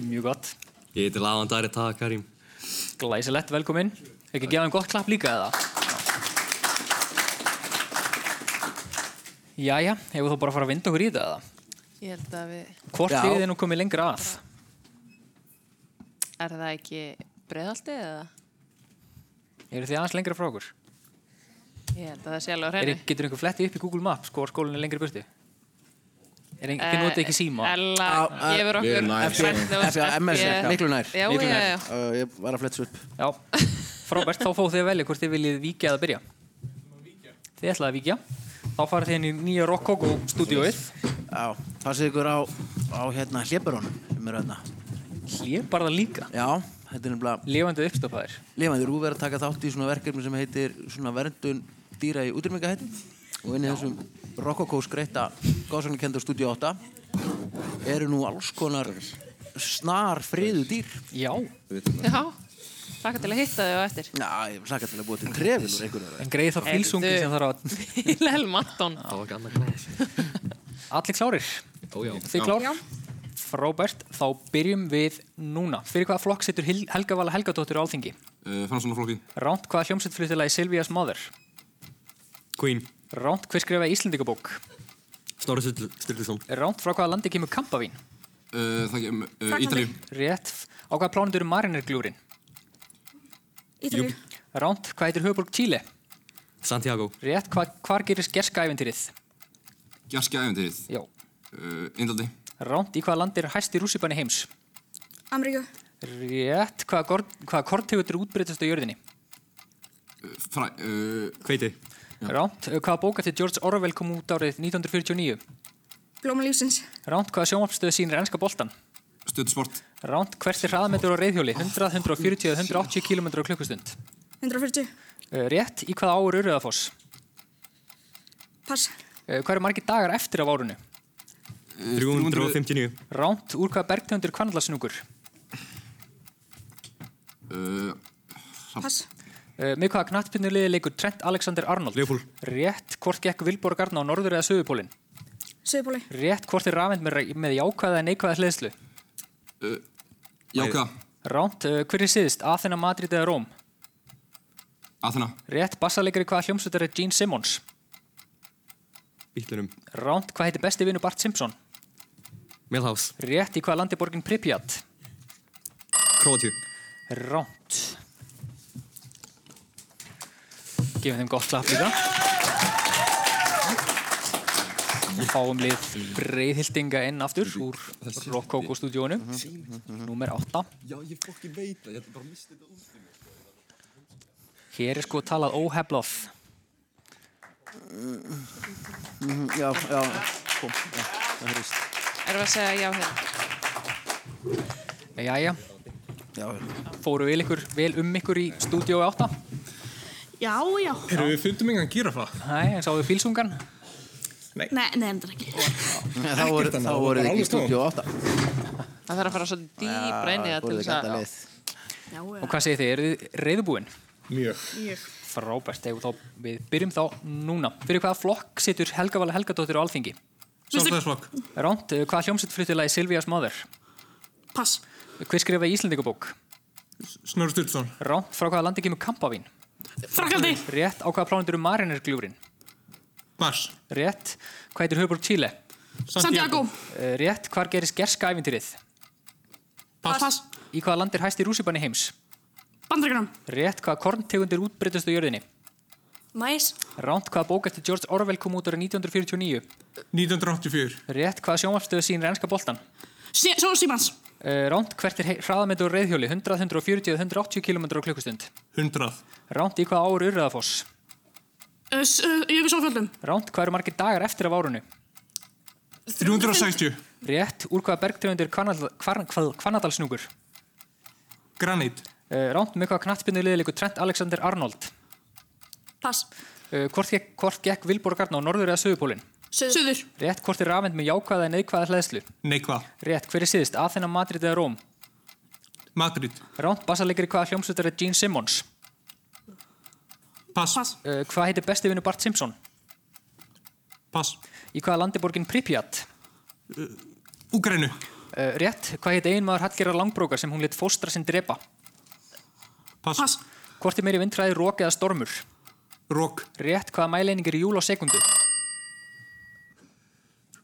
A: Mjög gott.
P: ég heiti Lavandari Taha Karim.
A: Glæsilegt, velkomin. Ekki að gefa þeim gott klapp líka eða? Jæja, hefur þú bara að fara að vinda okkur í þetta eða?
B: Ég held að við...
A: Hvort liðið er nú komið lengra að?
B: Er það ekki breiðaldið eða?
A: Eru þið aðeins lengra frá okkur?
B: Ég held að það sé alveg á
A: Er,
B: hreinu.
A: getur einhver flettið upp í Google Maps hvort skólinn er lengri burti? Er einhver,
B: Eh,
A: uh, notið ekki síma?
B: Ella gefur
A: við
B: okkur
A: erum nær,
B: hvernig
A: sko.
B: þú ert
A: FA, MS,
B: ekki-
A: já. Miklu nær.
B: Já,
A: Miklu
B: já,
A: nær.
B: já.
C: Uh, ég var að fletsa upp.
A: Já, frábært, þá fóðu þið að velja hvort þið viljið víkja eða byrja. Þið ætlaði að víkja. Þá farið þið inn í nýja Rokkókó stúdíóið.
C: Já, passið ykkur á, á hérna hlébarónum sem eru hérna.
A: Hlébarða líka?
C: Já, þetta er nefnilega...
A: Lifandi uppstofaðir?
C: Lifandi, Rúf er að taka þátt í svona verkefni sem heitir svona verndun dýra í útrýmingahættu og inn í þessum Rokkokó skreitta gásanlekendur stúdíu 8 eru nú alls konar snar friðu dýr.
A: Já.
B: Já, hlaka til að hitta þig á eftir.
C: Já, ég hlaka til að búa til trefil úr einhverju.
A: En greið þarf fílsungi sem þarf að...
B: Vilhelm Anton.
A: Það var ekki annað glæðis. *laughs* Allir klárir?
P: Ó, já.
A: Þið klár? Frábært, þá byrjum við núna. Fyrir hvaða flokk situr Hil- Helga Vala Helgadóttir á alþingi?
E: Uh, Framsóknarflokki.
A: Ránt hvaða hljómsett fluttilaði Silvías Mother?
E: Queen.
A: Ránt hver skrifaði Íslendingabók?
E: Snorri Sturluson.
A: Ránt frá hvaða landi kemur kampavín?
E: Uh, það kemur uh, Ítalíu.
A: Rétt. Á hvaða plánetu eru marinirglúrin?
E: Ítalíu.
A: Ránt, hvað heitir höfuborg Chile?
E: Santiago.
A: Rétt, hva, hvar gerir skerska æventýrið?
E: Gjarski æfintýrið.
A: Já.
E: Uh, Indaldi.
A: Ránt, í hvaða land er hæsti rússipanni heims?
O: Ameríku.
A: Rétt, hvaða, gor- hvaða kortegutur útbreytast á jörðinni?
E: Fræ... Uh, Hveiti.
A: Ránt, hvaða bóka til George Orwell kom út árið 1949?
O: Blóma lífsins.
A: Ránt, hvaða sjónvarpstöð sýnir ennska boltan?
E: Stöðsport.
A: Ránt, hvert er hraðametur á reyðhjóli? 100, 140 eða 180 km á klukkustund?
O: 140.
A: Uh, Rétt, í hvaða áur Urðafoss?
O: Pass.
A: Uh, Hvað eru margir dagar eftir af árunu?
G: 359.
A: Ránt, úr hvaða bergtegundur kvannlarsnúkur?
E: Uh,
O: Pass.
A: Uh, með hvaða knattbyrnuliði leikur Trent Alexander Arnold? Leifúl. Rétt, hvort gekk Vilborg Arna á norður eða söðupólinn?
O: Söðupóli.
A: Rétt, hvort er rafend með, með jákvæða eða neikvæða hliðslu?
E: Uh, Jáka.
A: Ránt, uh, hver er síðist? Athena, Madrid eða Róm?
E: Athena.
A: Rétt, bassalegur í hvaða hljómsveitar er Gene Simmons?
E: Bílunum.
A: Ránt, hvað heitir besti vinnu Bart Simpson?
E: Milhouse.
A: Rétt, í hvaða landi er borgin Pripyat?
E: Króatíu.
A: Ránt. Gefum þeim gott klapp líka. Við fáum lið breyðhildinga inn aftur úr Rokkókó stúdíónu. Númer 8.
E: Já, ég fokki veit það. Ég ætla bara að mista þetta út.
A: Hér er sko talað óheflað.
C: Mm, já, já, kom, já, það hérist.
B: Erum við að segja já hérna?
A: Jæja.
C: Já.
A: Fóru vel, ykkur, vel um ykkur í stúdíói 8.
N: Já, já.
A: Eru við fundum engan gírafa? Nei, en sáðu fílsungan?
N: Nei, nei, endur ekki.
C: Þá voru-
A: Ekkert annað,
C: þá
A: það var
C: voruð
A: bara
C: ekki í
A: alveg tóm.
C: stúdíu 8.
B: Það þarf að fara svo dýbra inn í
A: Já,
B: það til
A: fóruð
B: þess
A: ekki alla
B: að...
A: leið.
B: Já,
A: Og hvað segir þið? Eru þið reyðubúin? Mjög.
B: Mjög.
A: Frábært. Ef þá, við byrjum þá núna. Fyrir hvaða flokk situr Helga Vala Helgadóttir á Alþingi?
G: Sjálfstæðisflokk.
A: Ránt, eh, hvaða hljómsett flyttu lagi Silvías Mother?
N: Pass.
A: Hver skrifaði Íslandingabók?
G: Snorri Sturluson.
A: Ránt, frá hvaða landi kemur Kampavín?
N: Frakaldi.
A: Rétt, á hvaða plánundur eru Marinirgljúrin?
G: Mars.
A: Rétt, hvað heitir höfuborg Chile?
N: Santiago.
A: Eh, Rétt, hvar gerir skerska æfintýrið?
N: Pass. Pass.
A: Í hvaða land er hæsti rússipanni heims?
N: Bandaríkjunum.
A: Rétt, hvaða korntegundir útbreytast á jörðinni?
N: Mæs.
A: Ránt, hvaða bók eftir George Orwell kom út ára 1949?
G: 1984.
A: Rétt, hvaða sjónvarpstöðu sýnir ennska boltan?
N: Sjónu Símans.
A: Uh, Ránt, hvert er hraðamendur á reyðhjóli? 100, 140 eða 180 km á klukkustund? 100. Ránt, í hvað áur urriðafoss?
B: Eh,
N: Jökulsárfjöldum
A: Ránt, hvað eru margir dagar eftir af árunu? 360. Rétt, úr hvaða bergtegundir Kvarnadalsnúkur? Granit. Uh, Ránt, með hvaða knattbyrnu liði líku Trent Alexander Arnold?
N: Pass
A: Uh, hvort, gekk, hvort gekk Vilborgarn á norður eða söðupólinn?
N: Suður, Suður.
A: Rétt, hvort er rafend með jákvæða eða neðkvæða hlæðslu?
Q: Neikvað.
A: Rétt, hver er síðist? Athena, Madrid eða Róm?
Q: Madrid.
A: Ránt, bassalegur hvaða hljómsveitar er Gene Simmons? Pass. Uh, hvað heitir besti vinnu Bart Simpson? Pass. Eh, Í hvaða landi er borgin Pripyat? Úgrænu. Uh, rétt, hvað heitir einmaður Hallgerðar Langbrókar sem hún let fóstra sinn drepa? Pass. Pass. Hvort er meiri vindræði, rók eða stormur? Rók. Rétt, hvaða mæleining er í júl á sekundu?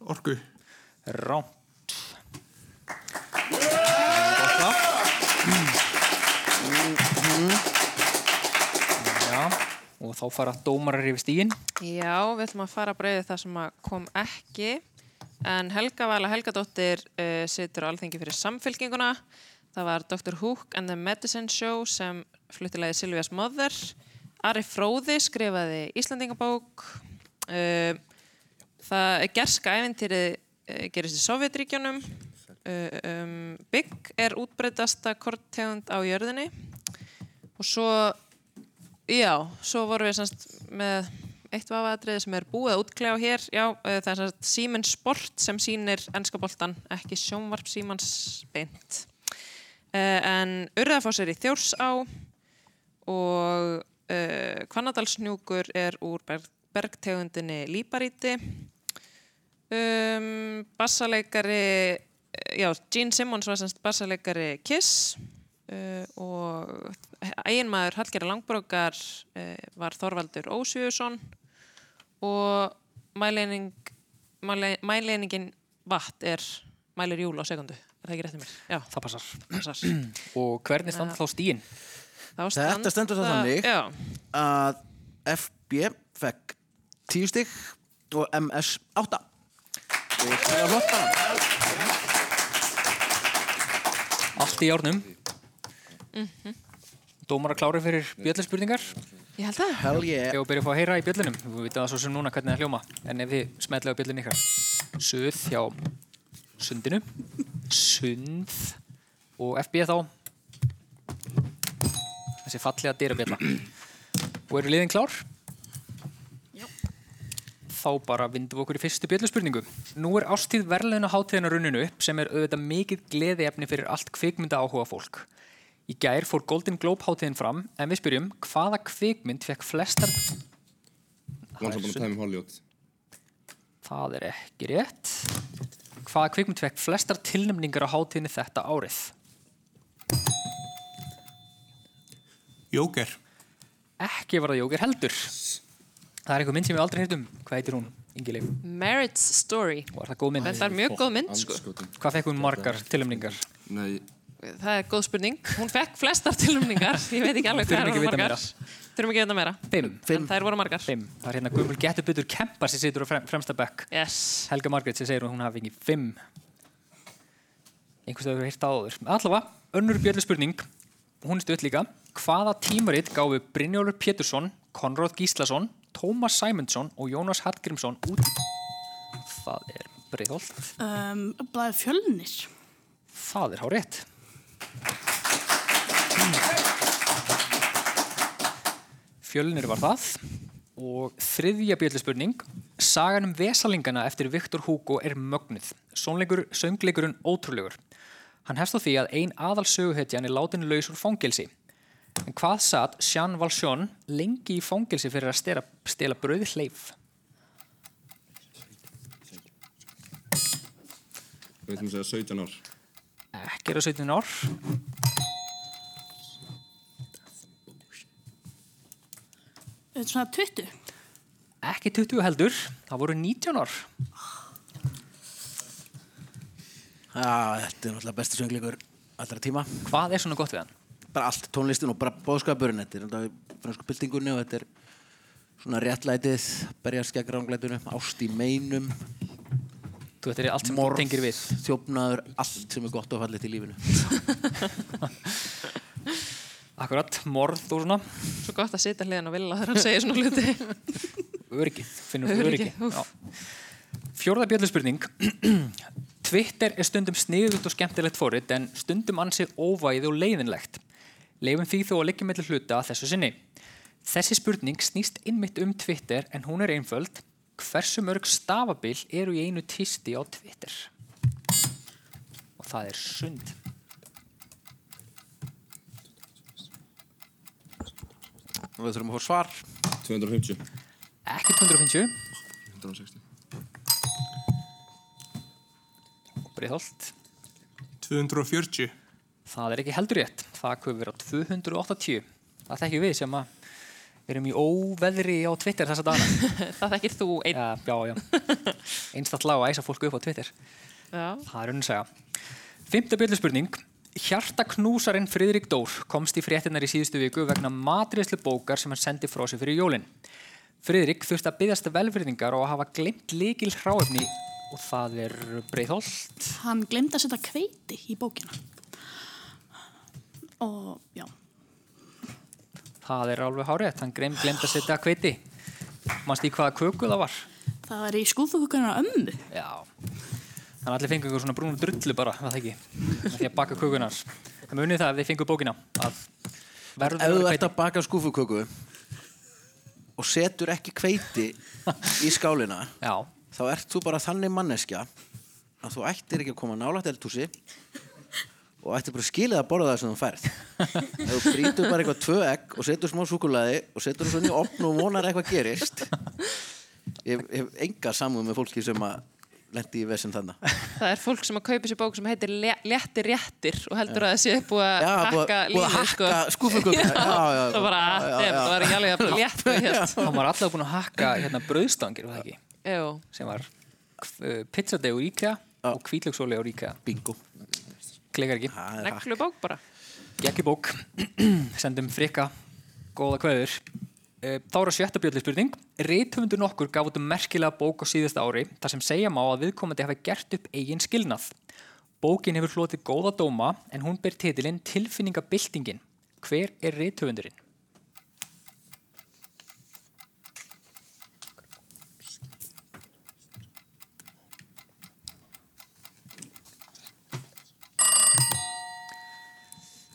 A: Orku. Ránt. Mm-hmm. Já, og þá fara dómarar yfir stígin.
B: Já, við ætlum að fara að breyði það sem að kom ekki en Helga Vala Helgadóttir uh, situr á alþingi fyrir samfylkinguna það var Dr. Hook and the Medicine Show sem fluttilegði Silvías Mother Ari Fróði skrifaði Íslandingabók uh, það gerska æfintýri uh, gerist í Sovjetríkjunum uh, um, Bygg er útbreytasta korttegund á jörðinni og svo Já, svo vorum við semst með eitt vafaðatriði sem er búið að útklega á hér. Já, eh, það er semst Siemens Sport sem sýnir ennska boltan, ekki sjónvarp Siemens beint. Eh, En Urðafoss er í Þjórsá og Kvannadalsnjúkur er úr berg, bergtegundinni Líparíti. Um, bassaleikari, eh, já, Gene Simmons var semst bassaleikari Kiss uh, og eiginmaður Hallgerða Langbrókar uh, var Þorvaldur Ósvíðusson og mæleining, mæle, mæleiningin vatt er mælir júl á sekundu, er það ekki rétt um mér? Já,
A: það passar.
B: passar.
A: *clears throat* og hvernig standa þá stígin?
C: Þetta stendur það þannig að FB fekk 10 stygg og MS 8 og það er flott bara.
A: Allt í járnum. Dómarar klári fyrir bjöllspurningar.
B: Mhm. Ég held það.
C: Hell yeah.
A: Ég var að byrja að fá að heyra í bjöllunum. Við veitum það svo sem núna hvernig það hljóma. En ef þið smetlaðu bjöllun ykkar. Suð hjá sundinu. Sund. Og FB þá. Þessi fallega dyrabjölla. Og eru liðin klár? þá bara vindum við okkur í fyrstu bjöllspurningu. Nú er ástíð verðleina hátíðina runninu upp sem er auðvitað mikið gleðiefni fyrir allt kvikmynda áhuga fólk. Í gær fór Golden Globe hátíðin fram en við spyrjum hvaða kvikmynd fekk flestar...
P: Once upon a time in Hollywood
A: Það er ekki rétt. Hvaða kvikmynd fekk flestar tilnæmningar á hátíðinni þetta árið?
Q: Jóker.
A: Ekki var það Jóker heldur. Það er einhver mynd sem við aldrei heyrðum. Hvað heitir hún, Ingileif?
B: Marriage Story.
A: Og er það góð mynd?
B: Þetta er mjög góð mynd, sko.
A: Hvað fekk hún margar tilnæmningar?
P: Nei,
B: Það er góð spurning. Hún fekk flestar tilumningar. Ég veit ekki alveg
A: Þurfum
B: hvað það
A: ekki
B: eru
A: vita
B: margar. Þurfum ekki að vita meira.
A: Fimm.
B: En þær voru margar.
A: Fimm. Það er hérna Guðmur Gettubutur Kempa sem situr á frem, fremsta bekk.
B: Yes.
A: Helga Margrét sem segir að hún hafi fengið fimm. Einhvers veginn heilt áður. Allavega, önnur björlu spurning. Hún er stöðt líka. Hvaða tímaritt gáfu Brynjólfur Pétursson, Konráð Gíslason, Tómas Sæmundsson og Jónas Hallgrímsson út? Það er breyðholt.
N: um, Blæði fjölnir
A: Það er hár rétt. Fjölnir var það. Og þriðja bjöllspurning. Sagan um Vesalingana eftir Viktor Hugo er mögnuð. Sónleikur, söngleikurinn ótrúlegur. Hann hefst á því að ein aðal söguhetjan er látin laus úr fangelsi. En hvað satt Jean Valjean lengi í fangelsi fyrir að stela, stela brauði hleyf?
P: við veitum að segja 17 ár
A: Ekki er á 17 ár.
N: Þetta er Eh, svona 20
A: Ekki 20 heldur. Það voru 19 ár.
C: Já, Ah, þetta er náttúrulega besti söngleikur allra tíma.
A: Hvað er svona gott við hann?
C: Bara allt, tónlistin og bara bóðskapurinn. Þetta er alltaf í fransku byltingunni og þetta er svona réttlætið, berjarskjagránglætunum, ást í meinum.
A: Þú þetta er allt sem
C: Morð,
A: tengir við.
C: Þjófnaður, allt sem er gott og fallið í
A: *laughs*
C: lífinu.
A: Akkurat, morð og svona.
B: Svo gott að sitja hliðan og vilja þegar hann segir svona hluti.
A: *laughs* Öryggið, finnur þú
B: Öryggi,
A: öryggið. Fjórða bjöllspurning. *clears throat* Twitter er stundum sniðugt og skemmtilegt forrið en stundum ansið óvæði og leiðinlegt. Leifum því þó að liggja mellu hluta að þessu sinni. Þessi spurning snýst innmitt um Twitter en hún er einföld. Hversu mörg stafabil eru í einu tvisti á Twitter? Og það er sund.
C: Og við þurfum að fá svar.
P: 250.
A: Ekki 250.
P: 160.
A: Breiðholt.
Q: 240
A: Það er ekki heldur rétt. Það köfur vera 280. Það þekkjum við sem að erum í óveðri á Twitter þessa dagana.
B: *laughs* það þekkir þú einn.
A: Já, já, já. Einstaklega að æsa fólku upp á Twitter.
B: Já.
A: Það er hún að segja. Fymta bjöllspurning. Hjartaknúsarinn Friðrik Dór komst í fréttinnar í síðustu viku vegna matrislu bókar sem hann sendi frá sér fyrir jólin. Friðrik þurfti að byggjast velfyrðingar og að hafa glemt líkil hráefni og það er Breiðholt.
N: Hann glemdi að setja hveiti í bókina. Og já,
A: Það er alveg hárétt, hann greim glemt að setja kveiti. Manst í hvaða köku það var?
N: það var í skúfukukunnar ömmu.
A: Já. Þannig að allir fengu einhver svona brúnu drullu bara, var það ekki? Með því að baka kökunar. Það munið það ef þið fengu bókina. Að verður
C: Ef
A: að
C: þú
A: vera
C: ert að baka skúfuköku og setur ekki kveiti í skálina,
A: *laughs* Já.
C: þá ert þú bara þannig manneskja að þú ættir ekki að koma nálægt eldhúsi og ættir bara að skila það að borða það sem þú
A: *laughs*
C: færð. Ef þú brýtur bara eitthvað tvö egg og setur smá súkulaði og setur það svona í opn og vonar að eitthvað gerist. Ég ég hef enga samúð með fólki sem að lendi í vesinn þannig.
B: Það er fólk sem að kaupa sér bók sem heitir Le- Léttir réttir og heldur
C: Já.
B: að það sé búið að
C: Já, búið- búið
B: hakka
C: að
B: lífið, sko.
C: hakka skúfukökuna. Já, já,
B: Það bara,
C: já, já,
B: þeim,
C: já.
B: það var ekki alveg hérna. að
C: *laughs*
B: létt og hér.
A: Hann var alltaf búinn að hakka hérna brauðstangir, var það ekki?
B: Jú.
A: Sem var uh, pizzadegur íkja og kvítlöksólegur íkja.
C: Bingo.
A: Klegar ekki.
B: Neglu bók bara.
A: Gekki bók, *clears throat* sendum frikka, góða kveður. Eh, Þá er að sjötta bjöllu spurning. Rithöfundur nokkur gaf út um merkilega bók á síðasta ári þar sem segja má að viðkomandi hafa gert upp eigin skilnað. Bókin hefur hlotið góða dóma en hún ber titilinn Tilfinningabildingin. Hver er rithöfundurinn?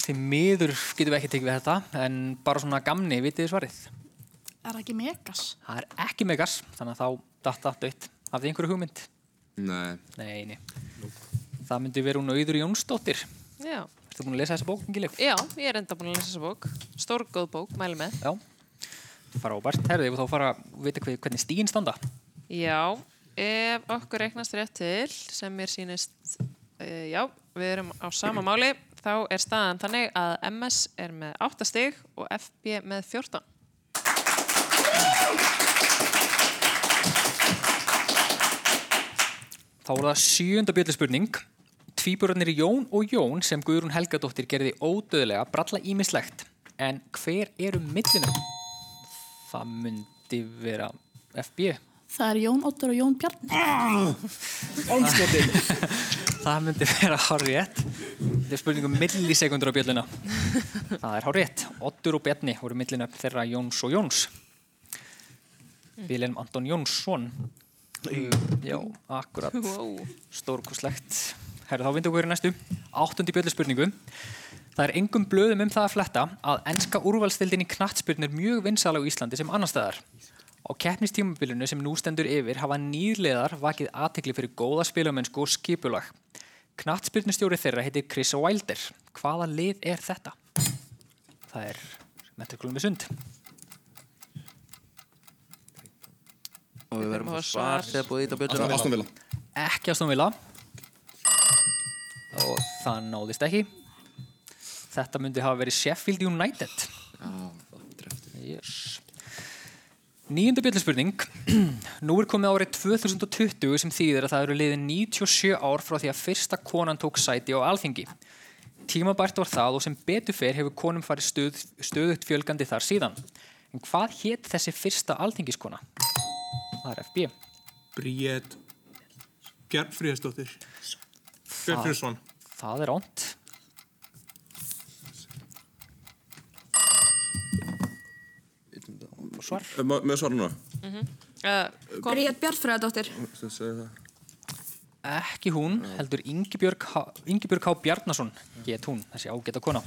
A: Þið miður getum við ekki tekið við þetta en bara svona gamni vitið þið svarið.
N: Er það ekki megas?
A: Það er ekki megas, þannig að þá datta dött. Hafið þið einhverju hugmynd?
P: Nei.
A: Nei, nei. Það myndi vera hún auður Jónsdóttir.
B: Já.
A: Ertu búin að lesa þessa bók, Ingilif?
B: Já, ég er enda búin að lesa þessa bók. Stórgóð bók, mæli með.
A: Já. Frábært. Herðið, við þá fara að vita hver- hvernig stígin standa.
B: Já, ef okkur reiknast rétt til sem mér sýnist e, já, við erum á sama máli þá er staðan þannig að MS er með 8 stig og FB með 14
A: Þá er það sjönda bjölluspurning. Tvíburarnir Jón og Jón sem Guðrún Helgadóttir gerði ódöðlega bralla ímislegt. En hver eru millinu? Það myndi vera FB.
N: Það er Jón Óttur og Jón Bjarni.
A: Ónskotin. *laughs* það myndi vera hárétt. Þetta er spurning um millisekundur á bjölluna. Það er hárétt. Oddur og Bjarni voru millinu þeirra Jóns og Jóns. Vilhelm Anton Jónsson. Já, akkurat.
B: Wow.
A: Stórkoslegt. Herra, þá vindu okkur í næstu. Áttundi bjölluspurningu. Það er engum blöðum um það að fletta að enska úrvalstildin í knattspyrn er mjög vinsal á Íslandi sem annar staðar. Á keppnistímabilinu sem nú stendur yfir hafa nýrleðar vakið aðtekli fyrir góða spilamennsku og skipulag. Knattspyrnustjóri þeirra heitir Chris Wilder. Hvaða lið er þetta? Það er Metrikulum við sund.
C: Og við verðum
A: Við þurfum að
C: að
A: fá
C: fá svar
A: svar.
C: þegar búið ít á bjölluna.
A: Aston- Aston Villa. Ekki Aston Villa. Og það náðist ekki. Þetta myndi hafa verið Sheffield United. Já, það drefti. Yes. Níunda bjöllspurning. *clears throat* Nú er komið árið 2020 sem þýðir að það eru liðin 97 ár frá því að fyrsta konan tók sæti á alþingi. Tímabært var það og sem betur fer hefur konum farið stöð, stöðugt fjölgandi þar síðan. En hvað hétt þessi fyrsta alþingiskona? Það er FB.
Q: Bríett Bjarnfríðarsdóttir Bjarnfríðarsson
A: Það er ónt
P: Svar Eh, Með svar núna
B: Mhm.
O: Gríðat Bjartfræðadóttir
P: Sem segir það
A: Ekki hún, heldur Ingibjörg, H- Ingibjörg K. Bjarnason get hún, þessi ágæta kona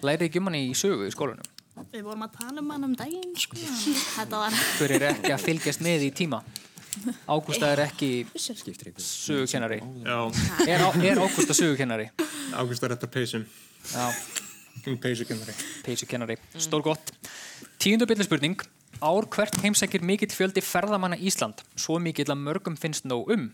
A: Lærið ekki um hann í sögu í skólanum
R: Við vorum að tala um hann um daginn,
N: *laughs*
R: sko. Þetta var...
A: Hver er ekki að fylgjast með í tíma Ágústa er ekki sögukennari Er, Á- er Ágústa sögukennari
Q: Ágústa er þetta peysum Peysukennari
A: Peysukennari, stór gott Tíundu byllispurning Ár hvert heimsækir mikill fjöldi ferðamanna Ísland Svo mikill að mörgum finnst nóg um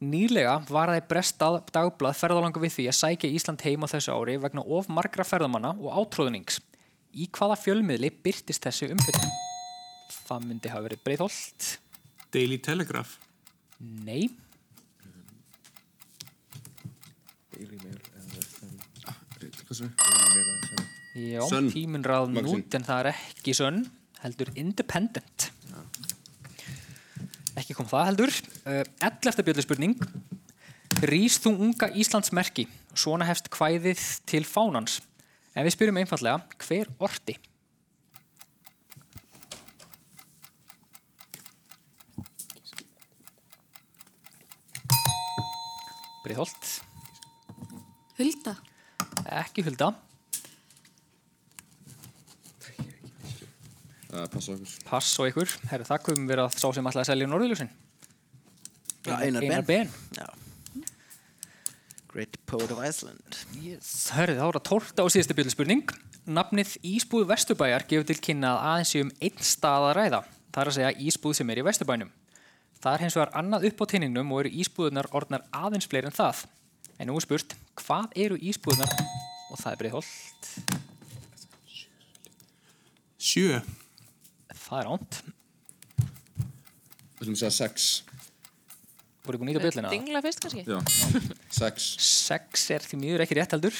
A: Nýlega varaði brest dagblað ferðalanga við því að sækja Ísland heim á þessu ári vegna of margra ferðamanna og átróðnings Í hvaða fjölmiðli byrtist þessi umfyrir? Það myndi hafa verið breyðholt
Q: Daily Telegraph
A: Nei,
E: Ah,
A: já,
P: Sönn.
A: tíminn ráðum
P: Magazine.
A: út en það er ekki sönn heldur independent ekki kom það heldur uh, 11. bjöldspurning Rís þú unga Íslands merki svona hefst kvæðið til fánans en við spyrjum einfallega hver orti? Breiðholt
R: Hulda.
A: ekki Hulda
P: Uh, passa okkur
A: Pass og ykkur, herru það komum verið að sá sem ætlaði að selja Norðurljósin
C: Já, Einar Ben.
A: Ben
C: Great Poet of Iceland
A: yes. Herru þá er það tólta og síðasta bjöldspurning Nafnið Ísbúð Vesturbæjar gefur til kynna að aðeins sé um einn stað að ræða Það er að segja Ísbúð sem er í Vesturbænum Það er hins vegar annað upp á tinningnum og eru Ísbúðunar orðnar aðeins fleiri en það En nú er spurt, hvað eru Ísbúðunar og það er breiðholt
Q: Sjö
A: Það er ánt,
P: Við viljum segja sex
A: voru ykkur nýta bjöldina
B: Dingla fyrst kannski?
P: Sex
A: Sex er því miður ekki rétt heldur.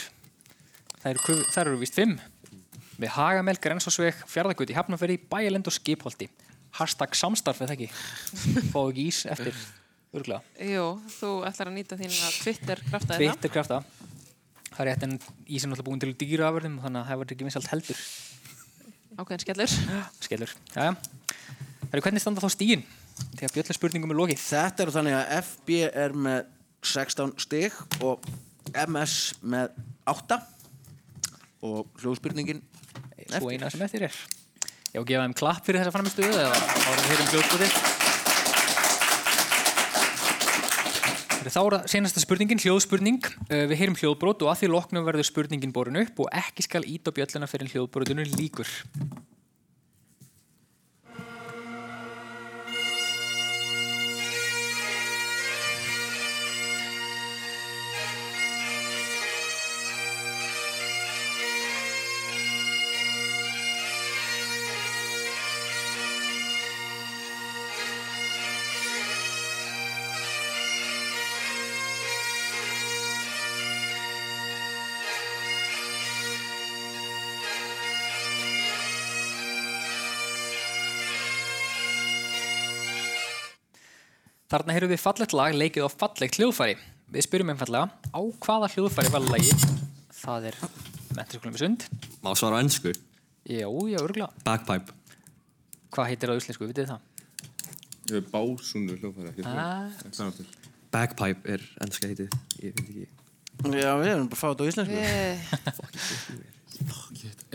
A: Það eru, kuf- það eru víst fimm. Við Hagamel, Grensásveg, Fjarðagötu í Hafnarferði, Bæjalend og Skipholti. Hashtag samstarf eða ekki. Fáðu ekki ís eftir. Örglega.
B: Jú, þú ætlar að nýta þín að Twitter krafta þérna.
A: Tveitt er krafta. Það er rétt en ísinn er alltaf búin til dýraafurðum þannig að það verður ekki vinsalt heldur.
B: Ákveðin skellur.
A: Skellur. Jæja. Það eru hvernig standa þá stígin? Þegar bjöllu spurningum er lokið.
C: Þetta eru þannig að FB er með 16 stig og MS með 8 og hljóðspurningin
A: Svo eina sem eftir er. Já, gefa þeim klapp fyrir þessa framstöðu eða ára hér um hljóðskotið. Þá er það senasta spurningin, hljóðspurning. Uh, Við heyrum hljóðbrot og að því loknum verður spurningin borin upp og ekki skal ít á bjölluna fyrir hljóðbrotinu líkur. Þarna heyrum við fallegt lag leikið á fallegt hljóðfæri. Við spyrjum einfallega á hvaða hljóðfæri var lagið? Það er menturskólum við sund.
E: Má svara á ennsku?
A: Já, já, örgla.
E: Bagpipe
A: Hvað heitir það á íslensku, vitið þið það?
P: Ég veit básundu hljóðfæra
A: Ah.
E: Bagpipe er ennska heitið Ég veit ekki
C: Já, við erum bara að fá þetta á
B: Við-
C: íslensku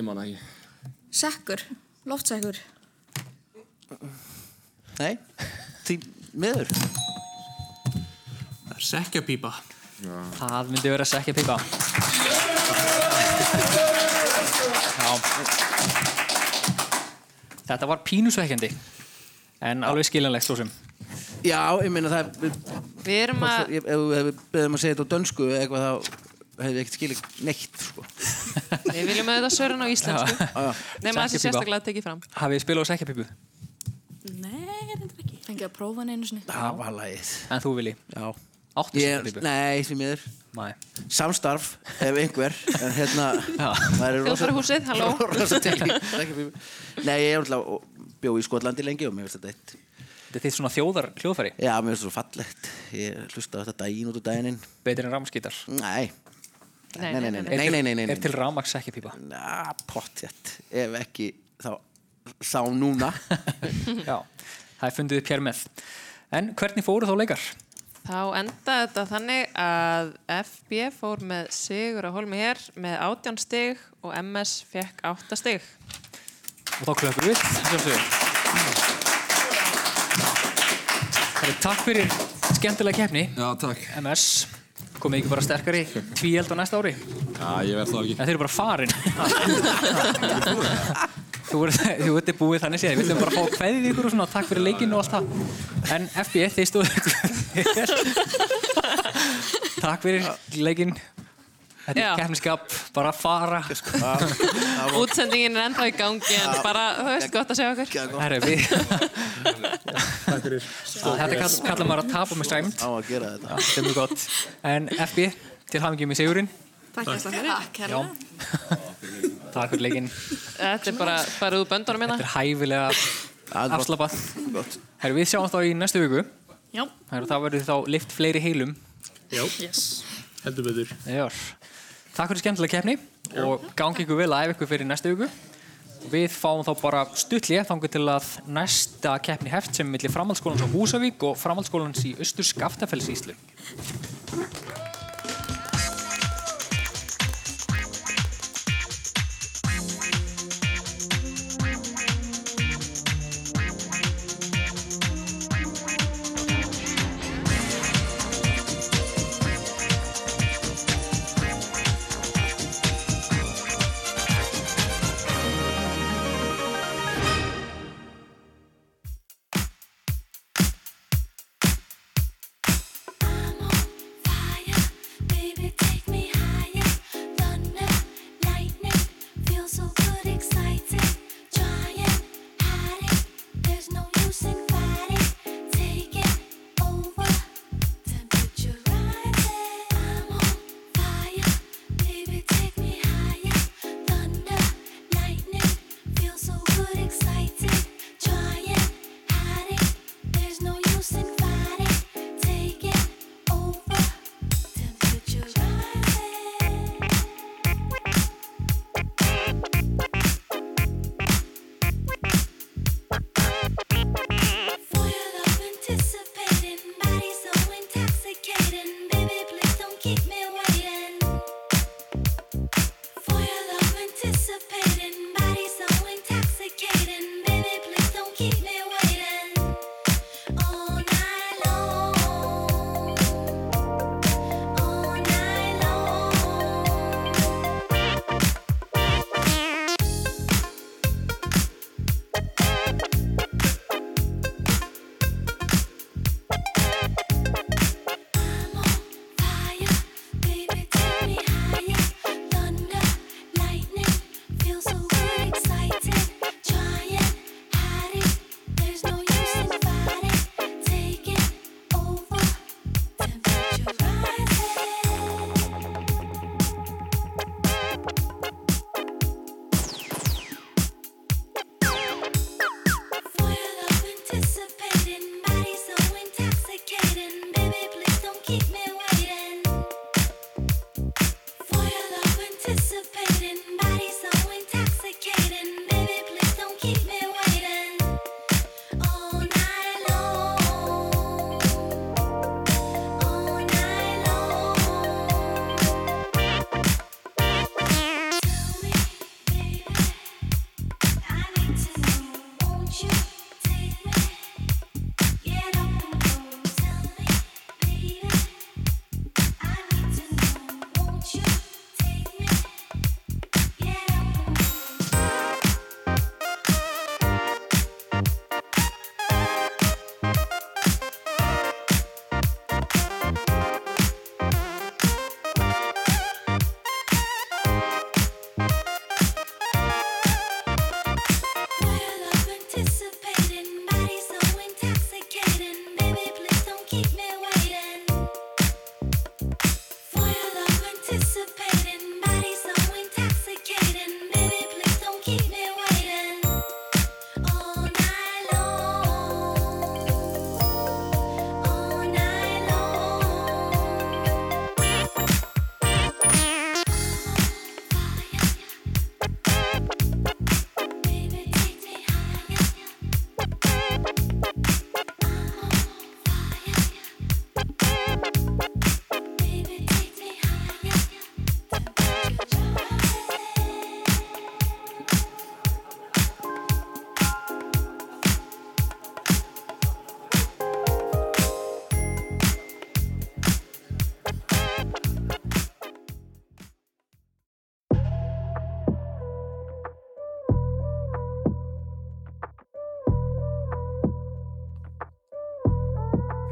P: Ég man það ekki
O: Sekkur,
A: *laughs*
O: loftsekkur
C: Nei, því miður
Q: Það er sekjapípa
A: Það myndi vera sekja pipa. Já. Þetta var pínusvekkjandi, en alveg skiljanlegt svo sem.
C: Já, ég meina það Við,
B: við erum að
C: Ef við hefum beðum um að segja þetta á dönsku eða eitthvað þá hefði ekkert skilið neitt sko.
B: Við viljum auðvitað svörin á íslensku.
A: Ah,
B: Nei, maður sé
A: Sekkjapípa.
B: sérstaklega að tekið fram.
A: Hafið þið spilað á sekjapipu?
O: Nei, þetta ekki Fengið að prófa hann einu sinni
C: Það var lagið
A: En þú vilji?
C: Já
A: Áttu
C: Ég-
A: sekjapipu?
C: Nei, því miður
A: Nei.
C: Samstarf, ef einhver En
A: *laughs*
C: hérna
B: Þjóðfærahúsið, halló.
C: *laughs* Rosa til í- sekjapípu. Nei, ég er alltaf bjó í Skotlandi lengi og mér finnst þetta eitt
A: Þetta er þitt svona þjóðar hljóðfæri
C: Já, mér finnst það svo fallegt Ég hlusta á þetta daginn út og daginninn
A: Betur en rafmagsgítar?
C: Nei
A: Nei,
C: Nei, nei, nei, nei, nei, nei, nei.
A: Er til rafmags ekki pípa?
C: Na, pottjætt Ef ekki, þá sá núna
A: *laughs* Já, það er fundið upp hér með En hvernig fóru þá leikar?
B: Þá endaði þetta þannig að FB fór með sigur á hólmi hér með 18 stig og MS fekk 8 stig.
A: Og þá klöpum við sjálfsögum. Það er takk fyrir skemmtilega keppni
P: Já, takk
A: MS Komið ekki bara sterkari tvíeld á næsta ári En
P: Já, ég verð það ekki
A: þeir eru bara farin Þú ert þú ert búið þannig séð Við ætlum bara að fá kveðið ykkur og svona Takk fyrir leikinn og allt það En FB, þið stóðu ykkur vel. Takk fyrir leikinn Þetta
B: Já.
A: er keppniskap, bara að fara
B: Útsendingin er ennþá í gangi en bara, þú veist, gott að sjá okkur.
A: Herra,
C: *laughs*
A: við
Q: Takk fyrir.
A: Þetta kall, kallar maður að tapa með sæmt
C: Á að gera þetta
A: Þetta er mjög gott En FB, til hafingjum í sigurinn
F: Takk fyrir. Hérna. Takk
A: Já Takk fyrir leikinn
B: Þetta er bara, bara úr böndunum hérna. minna.
A: Þetta er hæfilega afslapað Herru, við sjáumst þá í næstu viku
B: Já.
A: Herru, það verður þá lift fleiri heilum
Q: Já, heldur betur.
A: Já Takk fyrir skemmtilega keppni og gangi ykkur vel að ef ykkur fyrir næstu viku og við fáum þá bara stutlið þangu til að næsta keppni heft sem er milli framhaldsskólans á Húsavík og framhaldsskólans í Östur Skaftafellsíslu
L: fire.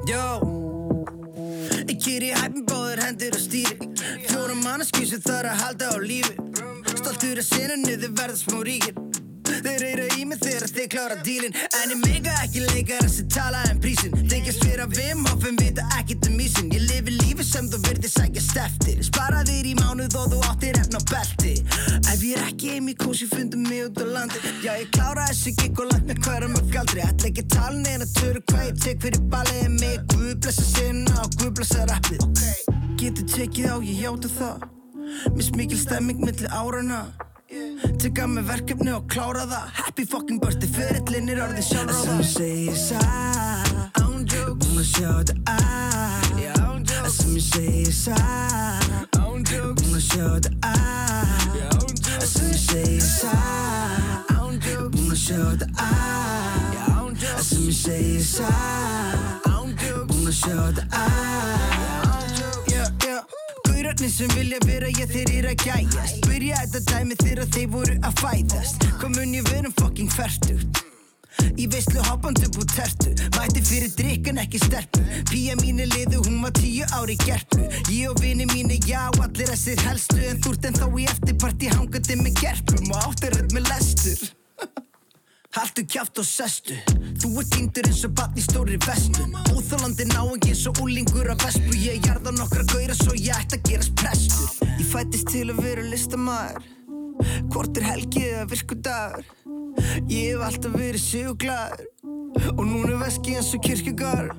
S: Jó Ég kýr í hæfn bóður hendur og stýri Fjóra manneskjur sem þarf að halda á lífi Stoltur að sinna niður verða smá ríkir Þeir reyra í mig þegar þeir klára dílin En ég meika ekki leikara sem tala um prísin Þykjast vera vim hof en vita ekkert um ísin Ég lifi lífi sem þú virðir sækjast eftir Spara þér í mánuð og þú áttir efn á belti Ef ég er ekki heim í kósi fundum mig út á landi Já ég klára þessu gikk og lagt með hverjum af galdri Ætla ekki að tala neina töru hvað ég tek fyrir balið mig Guð blessa sinna og guð blessa rappið Getur tekið á ég hjáta það Mist mikil stemming milli árana Tekka með verkefni og klára það Happy fucking birthday, fyrirlinn er orðið sjálfráða Það sem ég segi satt Án jokes Búin að sjá þetta að Já, án jokes Það sem ég segi satt Án jokes Búin að sjá þetta að Já, án jokes Það sem ég segi satt Án jokes Búin að sjá þetta að Já, án jokes Það sem ég segi satt Án jokes Búin að sjá þetta að Já, án jokes Já, já Gaurarnir sem vilja vera ég þeir eru að gæjast Byrja þetta dæmi þegar þeir voru að fæðast Hvað mun ég vera um fucking færtugt? Í veislu hoppandi búið tertu Mætti fyrir drikkan ekki stertu Pía mín er liðu, hún var tíu ári gertu Ég og vini mínu, já, allir þessir helstu En þú ert en þá í eftirparti hangandi með gerpum Og áttiröð með lestur Haltu kjátt og sestu Þú ert týndur eins og batn í stóri vestun Óþólandi náingi eins og úlingur af vespu Ég jarða nokkra gauðra svo ég ætti að gerast prestur Ég fættist til að vera listamæður Hvort er helgið eða virkudagur Ég hef alltaf verið siguglæður Og núna veski eins og kirkjugar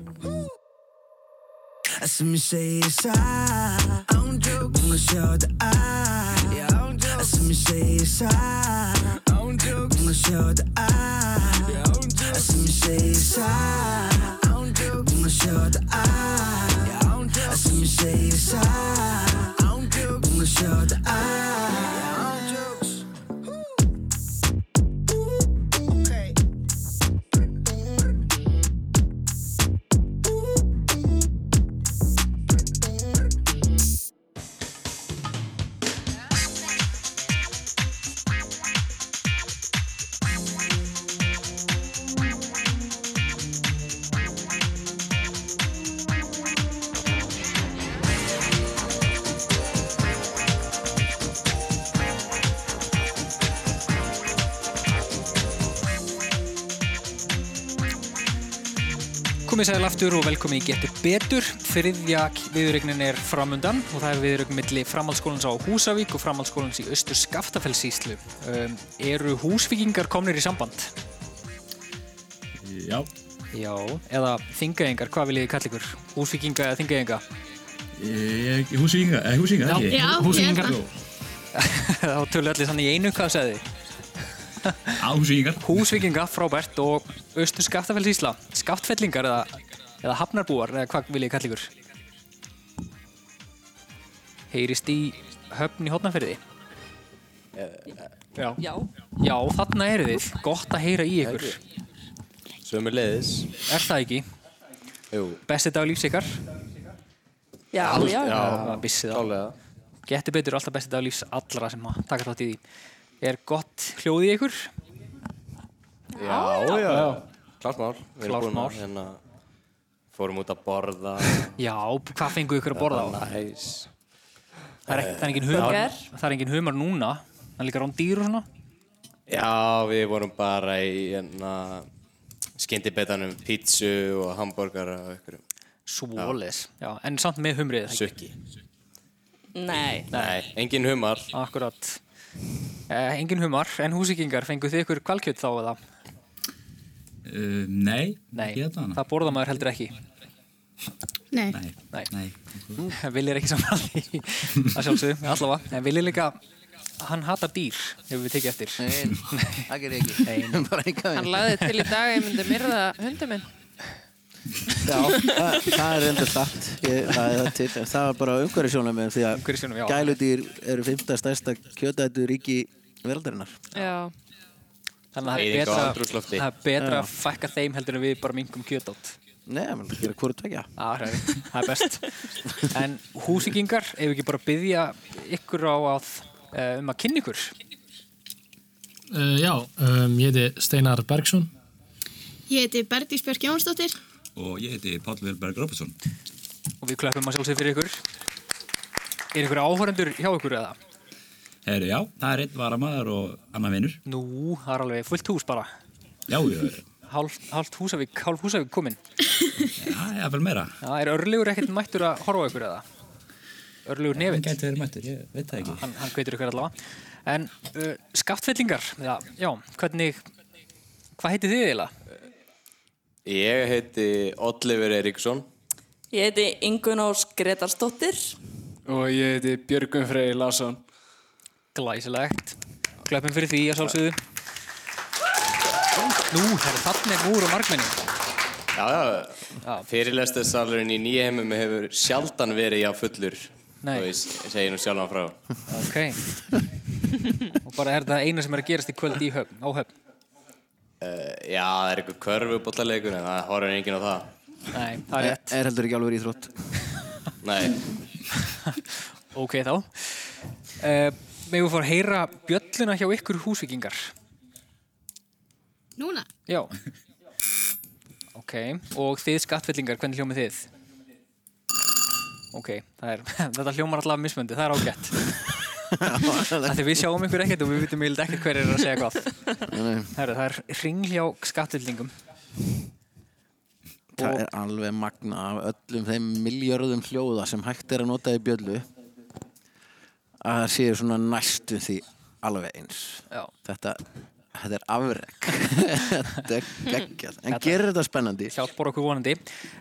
S: Það sem ég segi er satt Án jokes Búin að sjá þetta að Já, án jokes Það sem ég segi er satt Án jokes Búin að sjá þetta að Já, án jokes Það sem ég segi er satt Án jokes Búin að sjá þetta að Já, án jokes Það sem ég segi er satt Án jokes Búin að sjá þetta að Já, án jokes
A: Komið sæl aftur og velkomin í Getur Betur. Þriðja viðurregnin er framundan og það er viðurregn milli framhaldsskólans á Húsavík og framhaldsskólans í Östur Skaftafellsíslu. Um, eru húsvíkingar komnir í samband?
T: Já.
A: Já, eða þingaðingar, hvað viljið þið kalla ykkur? Húsvíkinga eða þingaðinga?
D: Eh,
T: Húsvíkinga, eða húsvíkinga,
A: Já.
T: ekki?
A: Já, Húsvíkingar.
T: Jú.
A: *laughs* Þá tölu allir þannig í einu, hvað segði þið? Húsvíkingar. Húsvíkinga, frábært og Östur Skaftafellsísla. Skaftfellingar eða, eða hafnarbúar, eða hvað viljið þið kalla ykkur? heyrist í höfn í hotnaferði Eh, Já. Já Já, þarna eru þið, gott að heyra í ykkur
U: Svömmur leiðis
A: Er það ekki?
U: Jú
A: Besti dag lífs ykkar?
I: Já, já, já.
A: Það vissið það Getur betur alltaf besti dag lífs allra sem að taka þátt í því Er gott hljóð í ykkur?
U: Já, já, já. Klart mál Við
A: Klárt
U: erum búin
A: mál.
U: að hérna Fórum út að borða
A: Já, hvað fengu ykkur að borða á?
U: Næs
A: Það er, ekki, það er engin humar
U: Burger.
A: Það er engin humar núna Það er líka rán dýr og svona
U: Já, við vorum bara í hérna Skyndibetanum, pítsu og hambúrgara og ykkur
A: Svoleiðis, já, en samt með humrið
U: Sukki
I: Nei.
U: Nei, engin humar
A: Akkurat eh, Engin humar, en húsíkingar fengu þið ykkur kvalkjöt þá eða?
D: Uh, nei,
A: Nei,
D: ekki hérna. þetta hana.
A: það borða maður heldur ekki
I: Nei.
A: Nei, Nei. *laughs* Viljir ekki saman að því að
D: *laughs*
A: sjálfsögum, allavega En Viljir líka, hann hatar dýr hefur við tekið eftir Nei, það gerir ekki Nei, *laughs* bara ekki
B: Hann laði til í dag að ég myndi myrða hundum minn.
A: *laughs*
C: Já, það, það er enda satt. Ég lagði það til. En Það var bara umhverfisjónum því að
A: Umhverfissjónarmið, já.
C: gæludýr eru fymta stærsta kjötætu ríki veraldarinnar.
B: Já.
A: Þannig að það er
C: Eyðing á
A: betra,
C: andrúmslofti.
A: það er betra
C: Já.
A: að fækka þeim heldur en við bara mingum kjötátt
C: Nei, menn, það gera hvort vekja.
A: Já, hræði, það er best En húsíkingar, ef ekki bara byggja ykkur á að eh, um að kynna ykkur
J: Eh,
T: Uh, já, um, ég heiti Steinar Bergsson
R: Ég heiti Berdís Björk Jónsdóttir
D: og ég heiti Páll Vilberg Róbesson.
A: Og við klöppum að sjálfsög fyrir ykkur. Er ykkur áhórandur hjá ykkur eða?
D: Herri, já, það er einn varamæður og annar vinnur.
A: Nú, það er alveg fullt hús bara.
D: Já, já,
A: Hálf, hálf húsavík, hálf húsavík komin.
D: það er vel meira.
A: Já, er örlegur ekkert mættur að horfa á ykkur eða? Örlegur nefitt.
D: Hann gæti verið mættur, ég veit það ekki.
A: hann, hann kveitur ykkur allavega. En uh, skattfellingar, já, já, hvernig, hvað heiti þið eiginlega?
U: Ég heiti Oliver Eriksson.
I: Ég heiti Ingun Ós Gretarsdóttir.
J: Og ég heiti Björgum Frey Larsson.
A: Glæsilegt. Klöppum fyrir því að sjálfsögðu. Nú, það er þannig múr og margmenni.
U: Já, já, fyrirlestarsalurinn í nýjaheimum hefur sjaldan verið já fullur.
A: Nei.
U: Og ég s- segi nú sjálfan frá.
A: Ok. og bara er það eina sem er að gerast í kvöld í höfn, á höfn.
U: Uh, já, það er eitthvað körfubollaleikur en það horfir enginn á það.
A: Nei, það
U: Eh,
A: er
C: Er,
A: rétt.
C: er heldur ekki alveg íþrótt.
U: Nei.
A: *laughs* Ok, þá. Uh, Megum við fór að heyra bjölluna hjá ykkur húsvikingar.
V: Núna?
A: Já. Ok, og þið skattfellingar, hvernig hljómið þið? Ok, það er, *laughs* þetta hljómar allavega mismöndi, það er ágætt.
C: *laughs*
A: Þegar við sjáum ykkur ekkert og við vitum yfirleitt ekkert hver er að segja hvað. Herru, það er ringljá skattfellingum.
C: Það er alveg magna af öllum þeim miljörðum hljóða sem hægt er að nota í bjöllu að það séu svona næstu því alveg eins.
A: Já.
C: Þetta, þetta er afreg. *laughs* þetta er geggjað. En gerir þetta spennandi?
A: Mhm. Hjálpar okkur vonandi.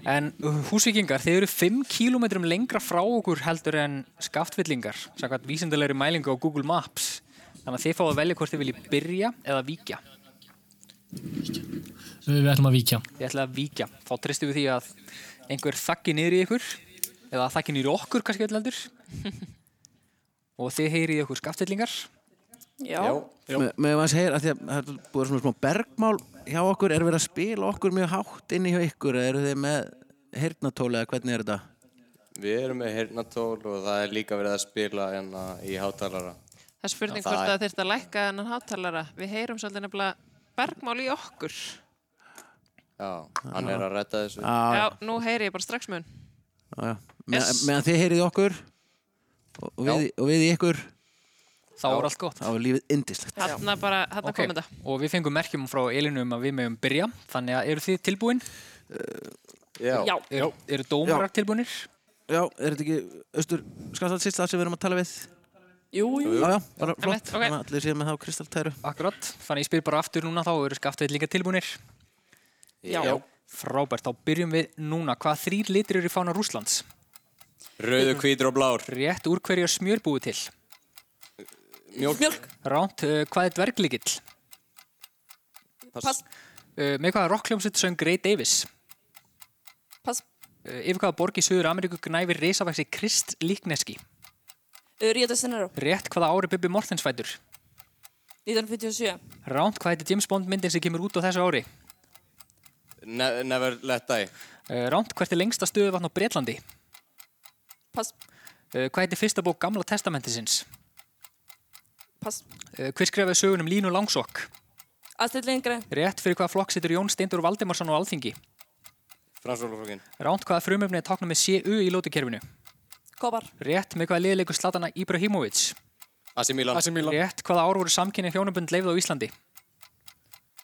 A: En uh, húsvíkingar, þið eru 5 km lengra frá okkur heldur en skaftvillingar, samkvæmt vísindalegri mælingu á Google Maps. Þannig að þið fáið að velja hvort þið viljið byrja eða víkja.
J: Eh, Við ætlum að víkja.
A: Þið ætlaði að víkja. Þá tristum við því að einhver þakki niður í ykkur, eða þakki niður í okkur kannski öll
C: *laughs*
A: heldur. Og þið heyrið í okkur skaftvillingar.
I: Já.
C: Með að segja að því að það er búið svona smá bergmál hjá okkur, er verið að spila okkur mjög hátt inni hjá ykkur eða eru þið með heyrnatóli eða hvernig er þetta?
U: Við erum með hirnatól og það er líka verið að spila hérna í hátalara.
B: Það er spurning
U: Já, það
B: hvort
U: er-
B: það þurft að lækka þennan hátalara. Við heyrum svolítið nefnilega bergmál í okkur.
U: Já, hann er að rætta þessu.
C: Já,
B: Já, nú heyri ég bara strax mun.
C: Já, já. Með, meðan þið heyrið í okkur og, og, við, og við í ykkur
A: Þá er allt gott.
C: Þá er lífið indislegt
B: Hanna bara, hanna
A: Ok,
B: okay. komið það.
A: Og við fengum merkjum frá Elinu um að við mögum byrja. Þannig að eru þið tilbúin?
U: Já.
C: Eh, Já.
A: Eru, eru dómarar tilbúinir?
C: Já, er þetta ekki Östur Skansalt sýst það sem við erum að tala við?
I: Jú,
A: jú.
C: Já, já, bara
A: Einmitt,
C: flott
A: ok.
C: Þannig að allir séu með þá kristaltæru
A: Akkurat, þannig ég spyr bara aftur núna þá eru skaftveitlingar tilbúinir.
U: Já. Já.
A: Frábært, þá byrjum við núna. Hvaða þrýr litir eru í fána Rúslands?
U: Rauður, hvítur og blár.
A: Rétt úr hverju er smjör búið til?
U: Mjólk.
I: Mjólk.
A: Ránt, uh, hvað er dverglikill?
I: Pass.
A: Uh, með hvaða rockljómsveit söng Ray Davis?
I: Pass.
A: Uh, yfir hvaða borg í Suður Ameríku gnæfir reisavaxi Krist Líkneski?
I: Ríða Dessinero.
A: Rétt hvaða ári Bubi Mortens fætur?
I: 1957.
A: Ránt, hvað heitir James Bond myndin sem kemur út á þessu ári?
U: Ne never let die.
A: Uh, Ránt, hvert er lengsta stöðuvatn á Bretlandi?
I: Pass.
A: Uh, hvað heitir fyrsta bók Gamla testamentisins?
I: Pass.
A: Uh, hver skrifaði sögunum Línu Langsokk?
I: Astrid Lindgren.
A: Rétt fyrir hvaða flokk situr Jón Steindur Valdimarsson á Alþingi?
U: Fransólaflokkin.
A: Ránt, hvaða frumöfni er táknað með CU í lótukerfinu?
I: Kopar.
A: Rétt með hvaða liðleikur Slatana Ibrahimovic?
U: AC Milan.
A: Rétt hvaða ár voru samkynni hjónabund leifð á Íslandi?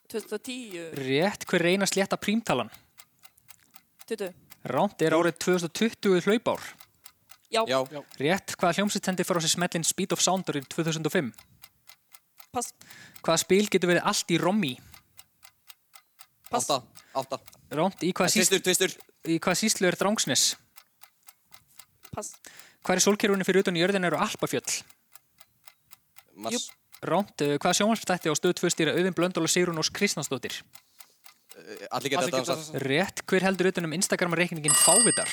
I: 2010.
A: Rétt hver reyna slétta prímtalan?
I: 20.
A: Ránt er árið 2020 hlaupár.
I: Já. Já.
A: Rétt hvaða hljómsveitsendi fór á sig smellin Speed of Sound árið 2005?
I: Pass.
A: Hvaða spil getur verið allt í rommi?
U: Átta. Átta.
A: Ránt í hvaða
U: Tvistur,
A: síslu...
U: tvistur.
A: Í hvaða síslu er Drangsnes?
I: Pass.
A: Hvað er sólkerfunni fyrir utan jörðin eru Alpafjöll?
U: Mars.
A: Ránt, uh, hvaða sjónvarpstætti á stöð 2 stýra Auðin Blöndal og Sigrun Ós Kristnansdóttir?
U: Eh, Allir geta dansað.
A: Rétt, hver heldur utan um Instagram-reikningin Fávitar?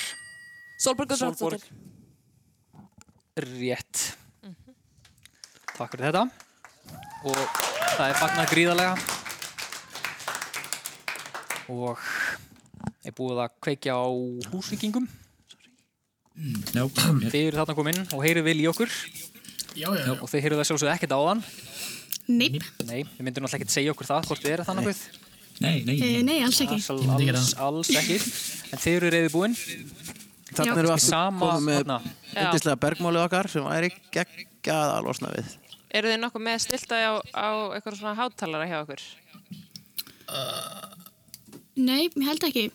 I: Solborg
U: Sólborg.
I: Guðbrandsdóttir.
A: Rétt.
U: Mhm.
A: Takk fyrir þetta. Og það er fagnað gríðarlega. Og er búið að kveikja á húsvíkingum.
P: Hmm.
D: Já,
A: Þið eru þarna komin og heyrið vel í okkur.
V: Já, já, já.
A: Og þið heyrið það sjálfsögðu ekkert áðan.
V: Neip.
A: Nei, þið myndir náttúrulega ekkert segja okkur það hvort þið eru þannig að
D: Nei, nei,
N: Eh, nei, alls ekki.
A: Alls,
N: Ég myndi gera
A: alls,
N: það.
A: alls ekki. En þið eru reyði búin.
C: Þarna erum við aftur
A: sama,
C: komið með
A: þarna.
C: yndislega bergmálið okkar sem væri geggjað að losna við.
B: Eru þið nokkuð með stiltaði á, á eitthvað svona hátalara hjá okkur?
A: Uh,
N: Nei, ég held ekki.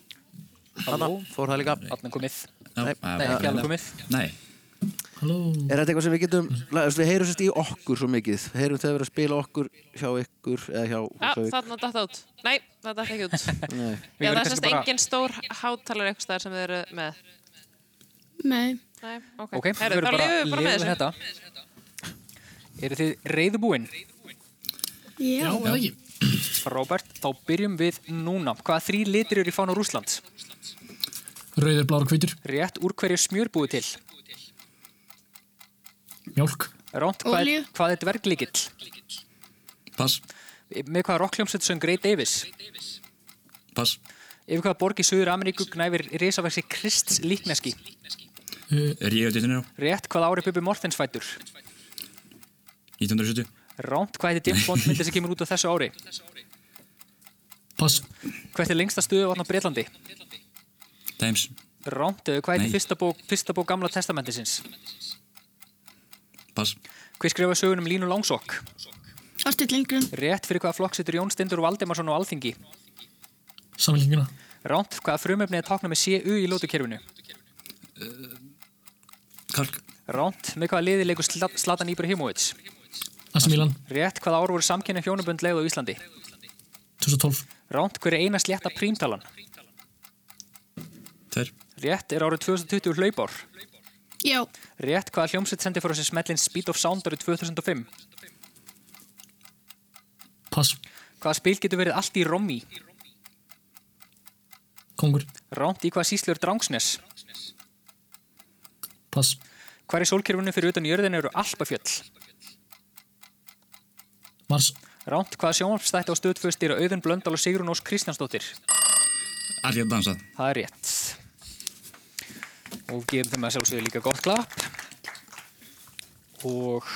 C: Þarna fór það líka.
A: Þarna komið.
C: Nei,
A: Nei, ekki alveg komið.
D: Nei.
C: Halló. Er þetta eitthvað sem við getum, la- við heyrum sérst í okkur svo mikið. Við heyrum þau verið að spila okkur hjá ykkur eða hjá
B: Já,
C: Húsavík.
B: þarna datt það út. Nei, það datt
A: *laughs*
B: ekki út.
C: Nei.
B: Já, það er semst engin stór hátalara eitthvað staðar sem þið eru með.
N: Nei.
B: Nei, ok.
A: Ok, við
B: Herru,
A: verðum
B: þá
A: bara
B: lifum
A: að
B: við bara með
A: lifa
B: þessu.
A: þetta. Eru þið reyði búin?
N: Já,
A: það ekki. Robert, þá byrjum við núna. Hvaða þrý litir eru í fána Rúsland?
J: Rauður, blár og hvítur.
A: Rétt úr hverju er smjör búið til?
J: Mjólk.
A: Ránt, hvað,
J: Olíu.
A: er- hvað er dverglikill?
D: Pass.
A: Með hvaða rockljómsveit söng Grey Davis?
D: Pass.
A: Yfir hvaða borg í Suður Ameríku gnæfir risaversi Krists líkneski?
W: Eh,
D: Er ég auðvitað hérna?
A: Rétt, hvaða ári Bubi Mortens fættur?
D: 1970.
A: Ránt, hvað heitir James Bond myndið sem kemur út á þessu ári?
J: Pass.
A: Hvert er lengsta stuðu vatn á Breitlandi?
D: Times.
A: Rámt, eða hvað heitir
D: Nei.
A: fyrsta bók, fyrsta bók gamla testamentisins?
D: Pass.
A: Hver skrifa sögunum Línu Langsokk?
N: Astrid Lindgren.
A: Rétt fyrir hvaða flokk situr Jón Stindur Valdimarsson á Alþingi?
J: Samlingina.
A: Ránt, hvaða frumöfni er tákna með CU í lótukerfinu?
D: Eh, Kalk.
A: Ránt, með hvaða liði leikur Sla- Zlatan Ibrahimovic?
J: AC Milan.
A: Rétt, hvaða ár voru samkynna hjónabönd leið á Íslandi?
J: 2012.
A: Ránt, hver er eina slétta prímtalan?
D: Tver.
A: Rétt, er árið 2020 hlaupár?
N: Já.
A: Rétt, hvaða hljómsveit sendi fyrir þessi smellin Speed of Sound árið 2005?
J: Pass.
A: Hvaða spil getur verið allt í rommi?
J: Kongur.
A: Ránt, í hvaða síslur Drangsnes?
J: Pass.
A: Hvar í sólkerfinu fyrir utan jörðin eru Alpafjöll?
J: Mars.
A: Ránt, hvaða sjónvarpstætti á stöðfust eru Auðun Blöndal og Sigrun Ós Kristjánsdóttir?
D: Allir að dansa.
V: Hérna,
A: Það er rétt. Og gefum þeim að sjálfsögðu líka gott klapp. Og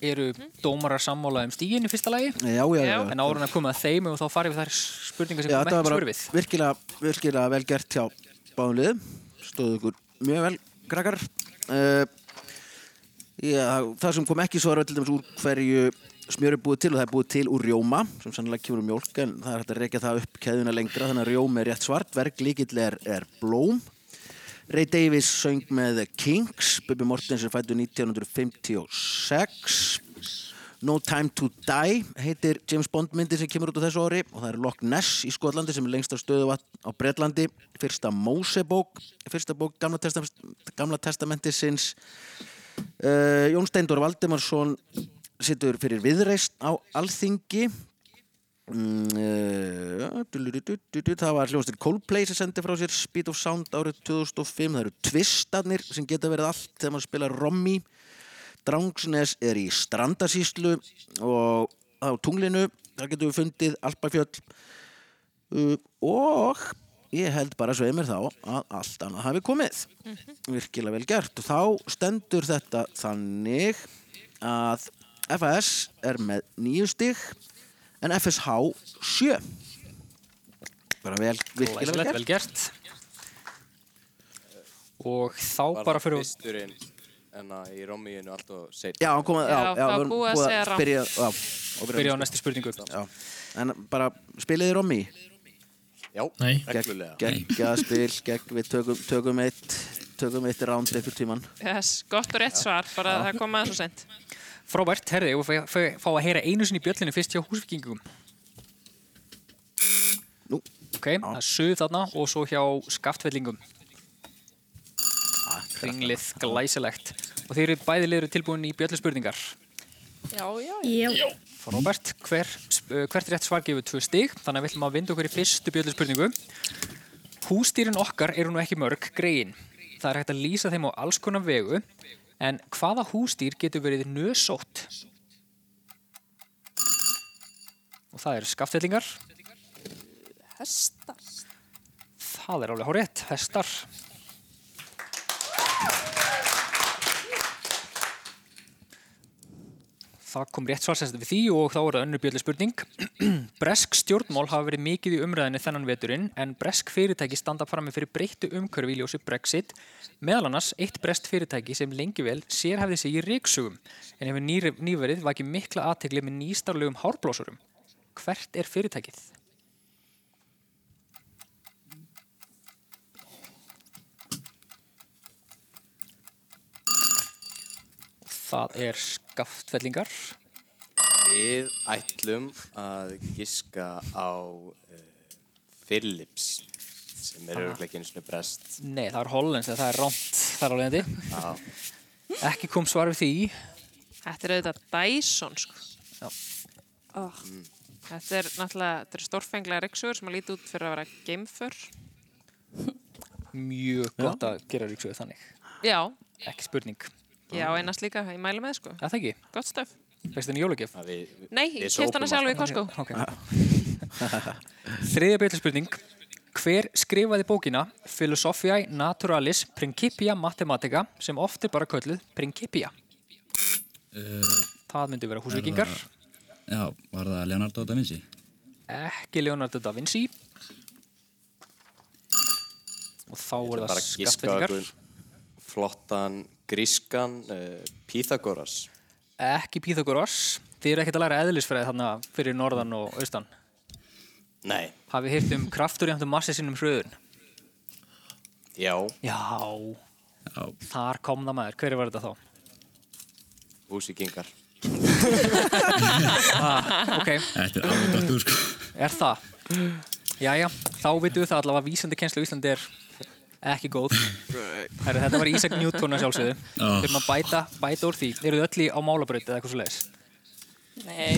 A: eru dómarar sammála um stígin í fyrsta lagi?
C: Já, já, já.
A: En árun að koma að þeim og þá farið við þær spurningar sem
C: Já,
A: kom
C: þetta var
A: ekki
C: bara
A: svör við.
C: virkilega, virkilega vel gert hjá báðum liðum. Stóðu ykkur mjög vel, krakkar. Uh, já, það sem kom ekki svo er til dæmis úr hverju smjör er búið til og það er búið til úr rjóma sem sannlega kemur úr mjólk en það er hægt að rekja það upp keðuna lengra þannig að rjóma er rétt svart, verklíkill er, er blóm. Ray Davies söng með The Kings, Bubi Mortens er fættu 1956. No Time to Die heitir James Bond myndi sem kemur út á þessu ári og það er Loch Ness í Skotlandi sem er lengsta stöðuvatn á Bretlandi fyrsta Mosebók fyrsta bók Gamla, testament, gamla testamenti sinns uh, Jón Steindor Valdimarsson situr fyrir viðreist á Alþingi Mm, eh, du-du-du-du-du-du. það var hljómsveit Coldplay sem sendi frá sér Speed of Sound árið 2005 það eru tvistarnir sem geta verið allt þegar maður spila rommi Drangsnes er í Strandasíslu og á tunglinu þar getum við fundið Alpafjöll Uh, og ég held bara svo einmér þá að allt annað hafi komið
R: Mm-hmm.
C: virkilega vel gert og þá stendur þetta þannig að FAS er með nýju stig en FSH sjö bara vel, virkilega
A: Glæsilegt,
C: vel
A: vel
C: gert
A: gert. Og þá bara fyrir við...
U: Fyrsturinn, en að í romíinu allt og seitt.
C: já, hann kom að, já, já,
B: það var
C: við erum
B: búið að segja rangt.
C: byrja, já, og
A: Byrja á næstu spurningu
C: já. en bara spiliði Romi
U: Já,
C: Nei.
U: reglulega.
C: geggja spil, gegg við tökum, tökum eitt tökum eitt ránd eitthvað tíman
B: Yes, gott og rétt svar, bara það kom aðeins og sent.
A: Frábært, herði, og fæ, fæ, fá að heyra einu sinni í bjöllinu fyrst hjá húsvikingum.
C: Nú.
A: Ok, það er suð þarna og svo hjá skaftfellingum. Kringlið, glæsilegt. Og þeir eru bæði liður tilbúin í bjöllu spurningar.
I: Já, já,
N: já. Já.
A: Frábært, hver, uh, hvert rétt svar gefur tvö stig, þannig að við ætlum að vinda okkur í fyrstu bjöllu spurningu. Hústýrin okkar eru nú ekki mörg, greiðin. Það er hægt að lýsa þeim á alls konar vegu, en hvaða hústýr getur verið nösótt? Og það eru skaftfellingar.
I: Hestar.
A: Það er alveg hárétt, hestar. Það kom rétt svar sem sagt við því og þá er það önnur bjöllu spurning. *clears throat* bresk stjórnmál hafa verið mikið í umræðinni þennan veturinn en bresk fyrirtæki standa frammi fyrir breyttu umhverfi í ljósi Brexit meðal annars eitt brest fyrirtæki sem lengi vel sérhæfði sig í ríksugum en hefur nýr- nýverið vakið mikla aðtegli með nýstarlegum hárblósurum. Hvert er fyrirtækið? Það er skaftfellingar.
U: Við ætlum að giska á uh, Philips sem er
A: Ah.
U: auðvitað ekki eins og brest.
A: Nei, það er hollens, það er rámt þar á leiðandi.
U: Já.
A: Ekki kom svar við því.
B: Þetta er auðvitað Dyson sko.
A: Já.
B: Oh. Þetta er náttúrulega þetta er stórfenglega ryksugur sem að líti út fyrir að vera geimför.
A: Mjög gott að gera ríksuðu þannig.
B: Já,
A: Ekki spurning.
B: já,
A: Ah.
B: einast líka, ég mælu með sko.
A: Er það ekki?
B: Gott stöf.
A: Veist þenni jólugjöf?
B: Nei, ég við keypti hana sópum sjálf í alltaf. Costco.
A: Þriðja byrjarspurning. Hver skrifaði bókina Philosophiae Naturalis Principia Mathematica sem oft er bara kölluð Principia?
B: Eh,
A: Það myndi vera húsvikingar.
D: Já, var það Leonardo da Vinci?
A: Ekki Leonardo da Vinci. Og þá
U: ætlum
A: voru
U: bara
A: það
U: að giska á
A: skattfellingar.
U: einhvern flottan grískan uh, Pythagoras.
A: Ekki Pythagoras. Þið eru ekkert að læra eðlisfræði þarna fyrir norðan og austan.
U: Nei,
A: Hafið hýrt um kraftur í hættum massi sínum hröðun?
U: já,
A: Já.
D: Já.
A: Þar kom það maður. Hver var þetta þá?
U: húsíkingar.
A: ah, *laughs* ok.
D: Þetta er alveg dottur sko.
A: Er það? Jæja, þá vitum við það allavega að vísandi kennslu í Íslandi er ekki góð. Herri, þetta var Ísak Newton að sjálfsögðu.
D: Já.
A: Við erum að bæta, bæta úr því. Eru þið öll í á málabraut eða eitthvað svo leiðis?
I: Nei.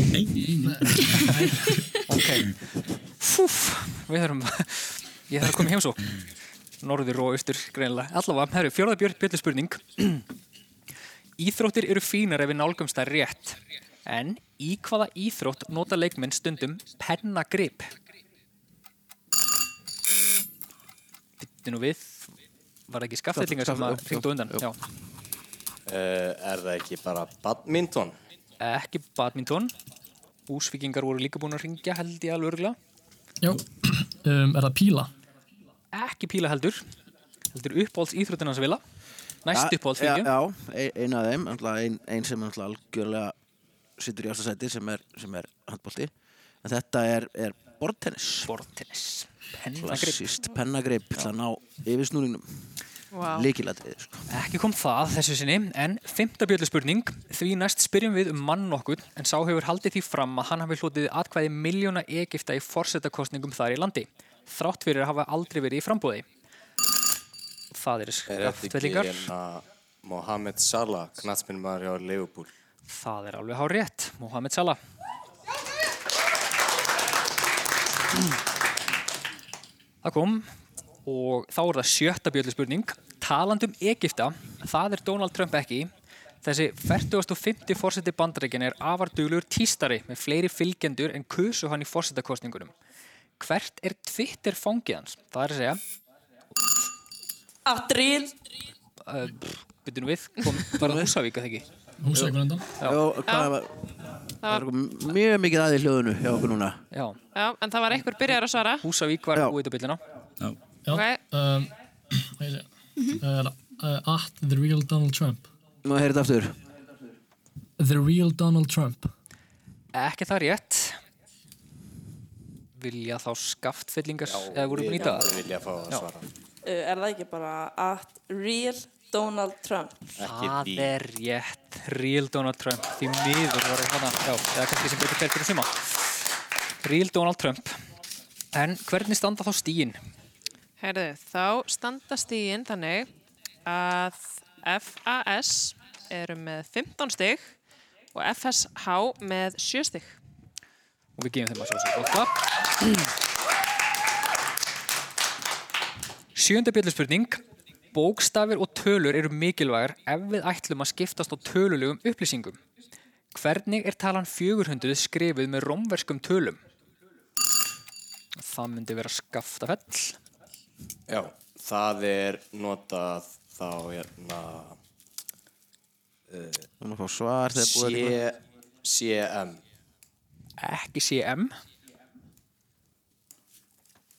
A: Ok. Fúf, við þurfum, ég þarf að koma í heimsó. Norður og austur, greinilega. Allavega, herri, fjörða björn björn spurning. Íþróttir eru fínar ef við nálgumst það rétt. En í hvaða íþrótt nota leikmenn stundum pennagrip? Bittu nú við, var það ekki skaffetlingar sem að hringdu á undan? Já.
U: Uh, er það ekki bara badminton?
A: Ekki badminton. Úsvíkingar voru líka búin að ringja, held ég alveg örgulega.
J: Já, um, er það píla?
A: Ekki píla heldur. Heldur uppáhalds íþróttin hans vila. Næst
C: Ja,
A: uppáhalds
C: já,
A: fylgju.
C: Já, ein- ein af þeim, náttúrulega ein, ein sem náttúrulega algjörlega situr í ástasæti sem er, sem er handbólti en þetta er, er bortennis
A: Bortennis, pennagrip.
C: Klassist, pennagrip, það ná yfirsnúringnum
A: Vá.
C: Líkilatriði, sko
A: Ekki kom það þessu sinni, en fymta bjöllu spurning, því næst spyrjum við um mann nokkur, en sá hefur haldið því fram að hann hafi hlotið atkvæði miljóna Egipta í forsetakostningum þar í landi, þrátt fyrir að hafa aldrei verið í frambúði. Það eru
U: Er þetta ekki
A: skaftvellingar,
U: hérna Mohamed Salah, knatsminnmaður hjá Leopold?
A: það er alveg hár rétt, Mohamed Salah. Það kom og þá er það sjötta bjöllu spurning. Talandum Egipta, það er Donald Trump ekki. Þessi 40.50 fórseti bandaríkjan er afarduglugur tístari með fleiri fylgjendur en kusu hann í fórsetakostningunum. Hvert er Twitter fangið hans? Það er að segja,
I: Adril.
A: uh, byrjunum við, kom, var það Húsavík að það ekki?
J: Húsavík var undan.
A: Já,
C: og hvað var, það
B: Það
C: er
B: var,
C: mjög mikið aðið hljóðinu hjá okkur núna
A: Já,
B: já, en það var einhver byrjar að svara.
A: Húsavík var út á byllina.
J: Já,
B: Ok.
J: um, hvað ég segja? Er það uh, at the real Donald Trump?
C: Nú heyrðu þetta aftur
J: The real Donald Trump.
A: Ekki það rétt. Vilja þá skaftfyllingar, eða voru búin í dag?
U: Við vilja fá að
A: Já.
U: svara.
I: Eh, Er það ekki bara Adril Donald Trump?
A: Það er rétt, real Donald Trump, því miður var hérna, já, eða kannski sem betur fyrir suma. Real Donald Trump. En hvernig standa þá stíin?
B: Herðu, þá standa stígin þannig að FAS eru með 15 stig og FSH með 7 stig.
A: Og við gefum þeim að sjálfsögum gott klapp. Sjönda bjöllspurning. Bókstafir og tölur eru mikilvægar ef við ætlum að skiptast á tölulegum upplýsingum. Hvernig er talan 400 skrifuð með rómverskum tölum? Það myndi vera skaftafell.
U: Já, það er notað þá hérna uh,
C: Þú maður fá svar þegar búið er
U: sé
C: líka.
U: CM
A: Ekki CM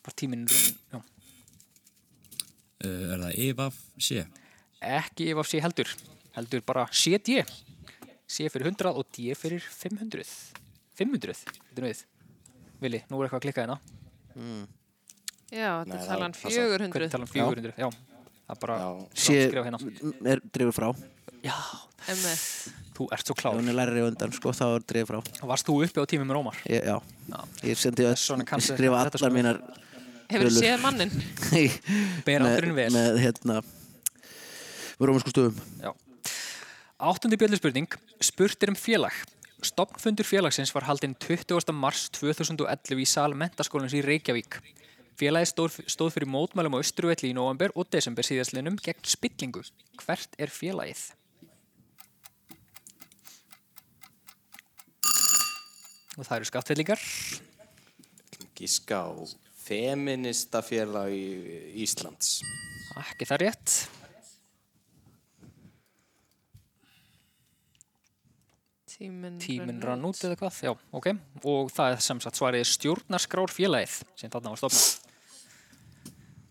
A: Bara tíminn runnin Já
D: Uh, er það Evaf C?
A: ekki E ef af sé heldur heldur bara CD C fyrir 100 og D fyrir 500 500, þetta er við Vili, nú er eitthvað að klikka hérna mm.
B: Já, þetta um er talan 400.
A: Hvernig um talan 400, já, Það er bara
C: Sé,
A: skrifa hérna
C: m- er drifur frá
A: Já,
B: Emmett.
A: þú ert svo klár
C: Hún er lærri á undan, sko, þá er drifur frá
A: Varst þú uppi á tímum með Rómar?
C: ég, Já, ég sendi öll,
A: Svona
C: ég
A: kannski-
C: skrifa
A: þetta
C: allar
A: sko-
C: mínar
B: Hefurðu
C: tölur.
B: séð manninn?
C: Nei *laughs*
A: Ber
C: með-
A: aldurinn vel.
C: Með, hérna, með rómansku stöfum
A: Já. Áttundi bjöllspurning. Spurt er um félag. Stopnfundur félagsins var haldinn 20. mars 2011 í sal mentaskólans í Reykjavík. Félagi stóð, stóð fyrir mótmælum á Östruvelli í november og desember síðastlinum gegn spillingu. Hvert er félagið? Og það eru skattfellingar.
U: Gíska á Feministafélag í- Íslands
A: Ekki það rétt.
B: Tíminn
A: Tíminn rann út eða hvað, já, ok. Og það er sem sagt svarið stjórnarskrárfélagið sem þarna var stofnað.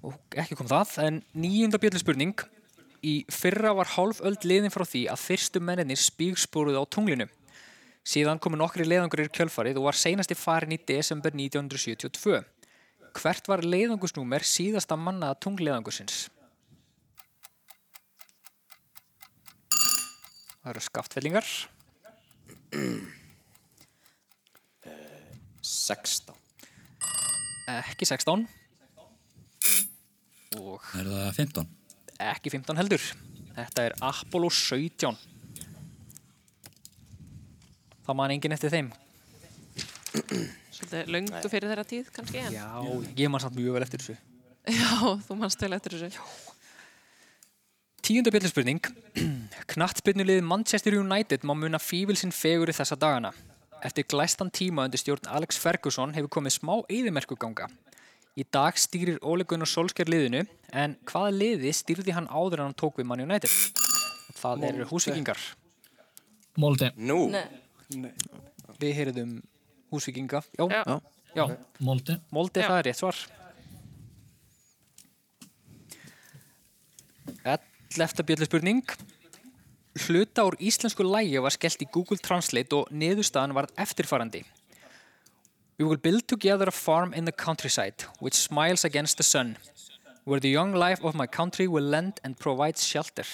A: Og ekki kom það, en nýjunda bjöllspurning. Í fyrra var hálf öld liðin frá því að fyrstu menninir spígsporuð á tunglinu. Síðan komu nokkri leiðangurir kjölfarið og var seinasti farin í desember 1972. Hvert var leiðangusnúmer síðasta mannaða tungleiðangursins? Það eru skaftfellingar. eh,
U: 16
A: Ekki 16 Og
D: Er það 15?
A: ekki 15 heldur Þetta er Apollo 17 Það man enginn eftir þeim
B: Svolítið löngu fyrir þeirra tíð kannski en
A: Já, ég man samt mjög vel eftir þessu
B: *laughs* Já, þú manst til eftir þessu
A: Tíunda *clears throat* bjöllspurning Knattbyrnuliðið Manchester United má muna fífil sinn fegur í þessa dagana Eftir glæstan tíma undir stjórn Alex Ferguson hefur komið smá eyðimerkuganga Í dag stýrir Ole Gunnar Solskjær liðinu en hvaða liði stýrði hann áður en hann tók við Man United? Það eru húsvikingar
J: Molde.
U: Nú?
A: Nei. Við heyrðum húsvikinga. Já.
J: Já.
A: Já. Já.
J: Molde.
A: Molde, það er rétt svar. 11. bjöllspurning. Hluta úr íslensku lægi var skellt í Google Translate og niðurstaðan varð eftirfarandi. We will build together a farm in the countryside which smiles against the sun where the young life of my country will lend and provide shelter.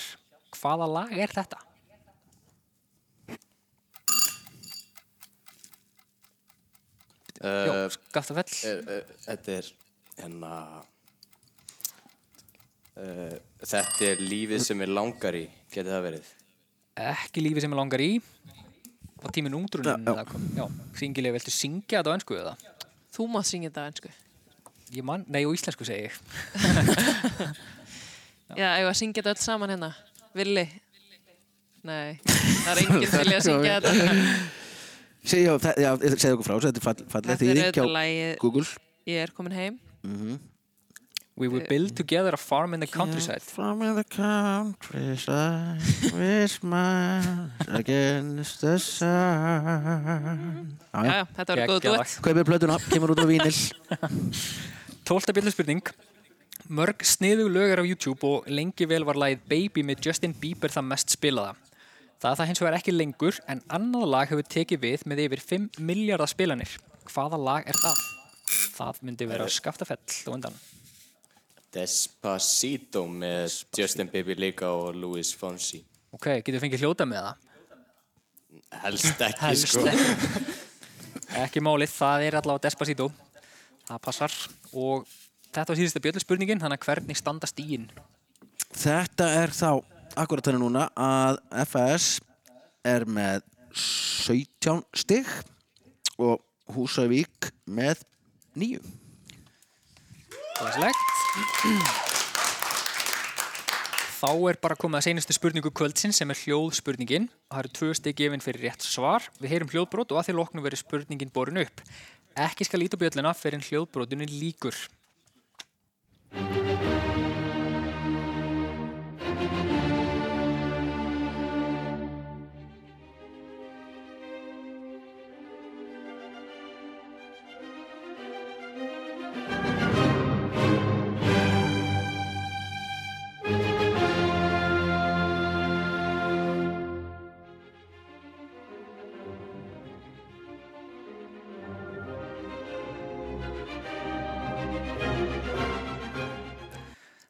A: Hvaða lag er þetta?
U: Jó,
A: Skaftafell
U: uh, Þetta er hérna uh, Þetta er lífið sem er langar í Geti það verið
A: ekki lífi sem ég langar í og tíminn ungdrunin
U: Já, já.
A: eða hvað? já, syngilega, viltu syngja þetta á ennsku eða?
B: Þú mátt syngja þetta á ensku
A: Ég man, nei, á íslensku segi ég
B: Já, ef að syngja þetta öll saman hérna Villi
A: *laughs*
B: Nei, það er enginn til að
C: *laughs*
B: syngja þetta
C: Segja, það- já, segðu okkur frá, þessu, þetta er fall- falleg
B: Þetta er
C: þýðing
B: auðvitað
C: hjá
B: lagið-
C: Google
B: Ég er komin heim
U: Mhm.
A: We
B: Eh,
A: will build together a farm in the countryside
C: Farm in the countryside With my against the sun
A: Já, já, þetta var góð Geggjað duett. lag.
C: Kaupir plötuna, kemur út á vínil
A: 12. bjöllspurning Mörg sniðug lög er á YouTube og lengi vel var lagið Baby með Justin Bieber það mest spilaða. Það er það hins vegar ekki lengur en annað lag hefur tekið við með yfir 5 miljardar spilanir. Hvaða lag er það? Það myndi vera Skaftafell og undan.
U: Despacito með Justin Bieber líka og Luis Fonsi
A: Ok, getur við fengið hljóta með það?
U: Helst ekki
A: Helst *laughs*
U: sko
A: ekki. ekki málið, það er allavega Despacito. Það passar og þetta var síðustu bjöllspurningin, þannig að hvernig standa stíin?
C: *laughs* Þetta er þá akkurat þannig núna að FS er með 17 stig og Húsavík með 9
A: Glæslegt. Þá er bara komið að seinustu spurningu kvöldsin sem er hljóðspurningin. Það eru tvö stygg gefin fyrir rétt svar. Við heyrum hljóðbrot og að því loknum verið spurningin borin upp. Ekki skal líta á bjöllina fyrir hljóðbrotunni líkur.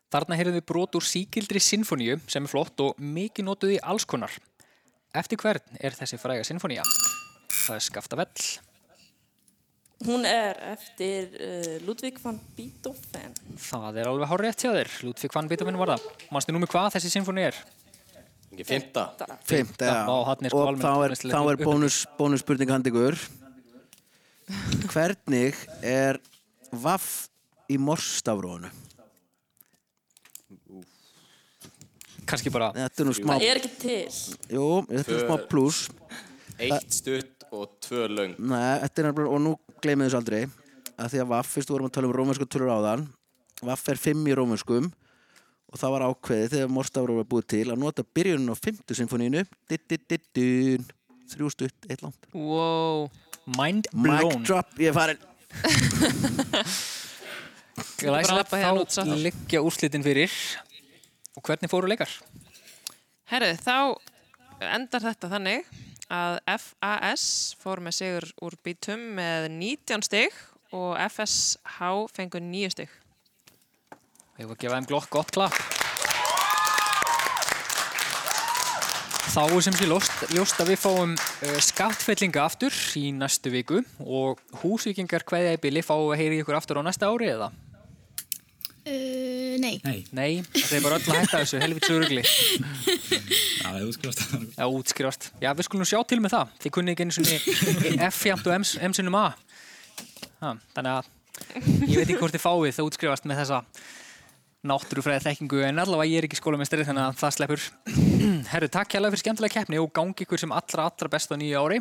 A: Þarna heyrðum við brot úr síkildri sinfoníu sem er flott og mikið notuð í alls konar. Eftir hvern er þessi fræga sinfonía? Það er Skaftafell.
I: Hún er eftir uh, Ludwig van Beethoven.
A: Það er alveg hárið eftir þér. Ludvig van Beethoven var það. Manstu nú með hvað þessi sinfoni er?
U: Ekki fymta.
C: Fimmt, já.
A: Vá, þarna er sko
C: og
A: almenn
C: þá er,
A: tónlistarleg
C: þá er
A: upp-
C: bónus, bónusspurning handi
A: *laughs*
C: ykkur. Hvernig er vaff í morstafrónu?
A: Kanski bara...
C: Þetta er nú smá...
I: Það er ekki til.
C: Jú, þetta er smá pluss.
U: Eitt stutt og tvö löng.
C: Nei, þetta er nefnilega, og nú gleymið þessu aldrei að því að vaff, fyrst vorum að tala um rómversku tölur áðan vaff er fimm í rómverskum og það var ákveðið þegar Morstafur var búið til að nota byrjunin á fymtu sinfonínu Dittittittun. þrjú stutt, eitt langt
A: Wow. Mind blown.
C: Mic drop, ég er farin
A: Glæsilegt, þá liggja úrslitin fyrir. Og hvernig fóru leikar?
B: Herru, þá endar þetta þannig að FAS fór með sigur úr bítum með 19 stygg og FSH fengur 9 stygg.
A: Við erum að gefa þeim glokk gott klapp. Þá er sem sé ljóst, ljóst að við fáum uh, skattfellinga aftur í næstu viku og húsvíkingar hverja í bili fá að heyri ykkur aftur á næsta ári eða?
R: Uh, nei.
A: Nei. Nei, það er bara öll að hætta þessu, helvits örugli.
D: Já, það er útskrifast.
A: Já, útskrifast. Já, við skulum sjá til með það. Þið kunnið ekki einu sinni F jæmt og M, M sinnum A. Ha, þannig að ég veit ekki hvort þið fáið það útskrifast með þessa náttúrufræði þekkingu en allavega ég er ekki skólamestari þannig að það sleppur. Herru, takk hérlega fyrir skemmtilega keppni og gangi ykkur sem allra, allra best á nýju ári.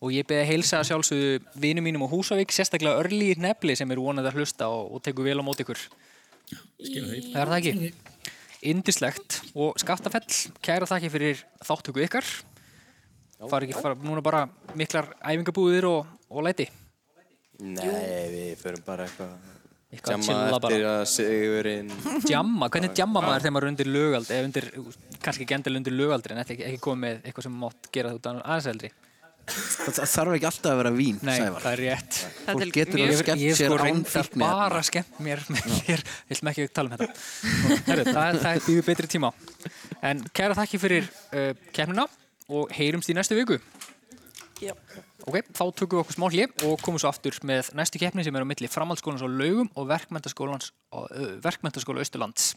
A: Og ég beði að heilsa sjálfsögðu vinum mínum á Húsavík, sérstaklega Örli Nefli sem er vonandi að hlusta og, og tekur vel á móti ykkur. Það er það ekki. Indislegt og skaftafell, kæra þakki fyrir þáttöku ykkar. Far ekki fara núna bara miklar æfingabúðir og, og
C: *laughs*
A: læti.
U: Nei, við förum bara eitthvað.
A: Eitthvað að
U: Jamma
A: chilla bara.
U: eftir að sigurinn.
A: Djamma, hvernig djamma maður þegar maður er undir lögald, eða undir, kannski ekki endilega undir lögaldri, en ekki, ekki komið með eitthvað sem mátt gera þú utan aðeins eldri.
C: Það það þarf ekki alltaf að vera vín,
A: Nei,
C: Sævar
A: það er rétt.
C: Fólk Þetta er getur mjög- alveg skemmt
A: Ég
C: sér
A: sko
C: án
A: reyndar
C: fíkniefna.
A: bara skemmt mér með þér. Við ætlum ekki að tala um þetta.
C: *laughs*
A: Heru, það það býður betri tíma. En kæra þakki fyrir uh, kemnina og heyrumst í næstu viku.
I: Já.
A: Ok, þá tökum við okkur smá hlið og komum svo aftur með næstu keppni sem er á milli framhaldsskólans á Laugum og verkmentaskólans á uh, verkmentaskóla Austurlands.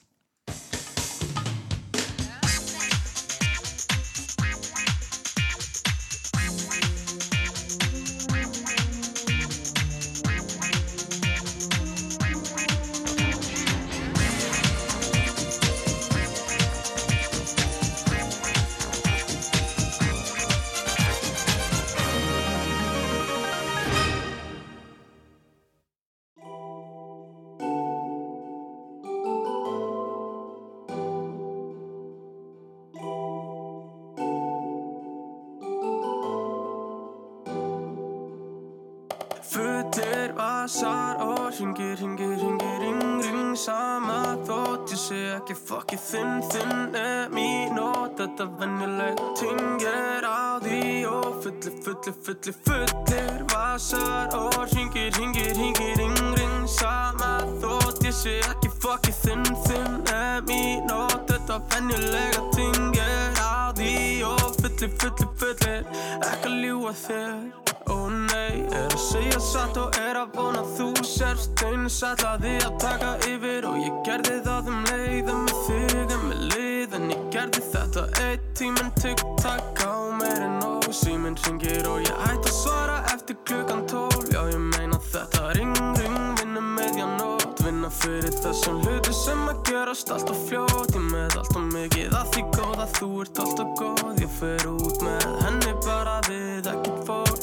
K: Fullir vasar og ringir, ringir, ringir, ring, ring Sama þótt ég sé ekki fokkið þinn, þinn er mín og þetta venjuleg Ting er á því og fullir, fullir, fullir, fullir vasar og ringir, ringir, ringir, ring, ring Sama þótt ég sé ekki fokkið þinn, þinn er mín og þetta venjulega Ting er á því og fullir, fullir, fullir, ekki að ljúa þér Ó nei, er að segja satt og er að vona að þú sérst eins ætlaði að taka yfir og ég gerði það um leiðum með þig en með lið en ég gerði þetta eitt tíminn tiktak á meir en nóg síminn ringir og ég hætti að svara eftir klukkan tól já ég meina þetta ring ring vinna meðjanótt vinna fyrir þessum hluti sem að gerast allt og fljót ég með allt og mikið að því góða þú ert allt og góð ég fer út með henni bara við ekkert fólk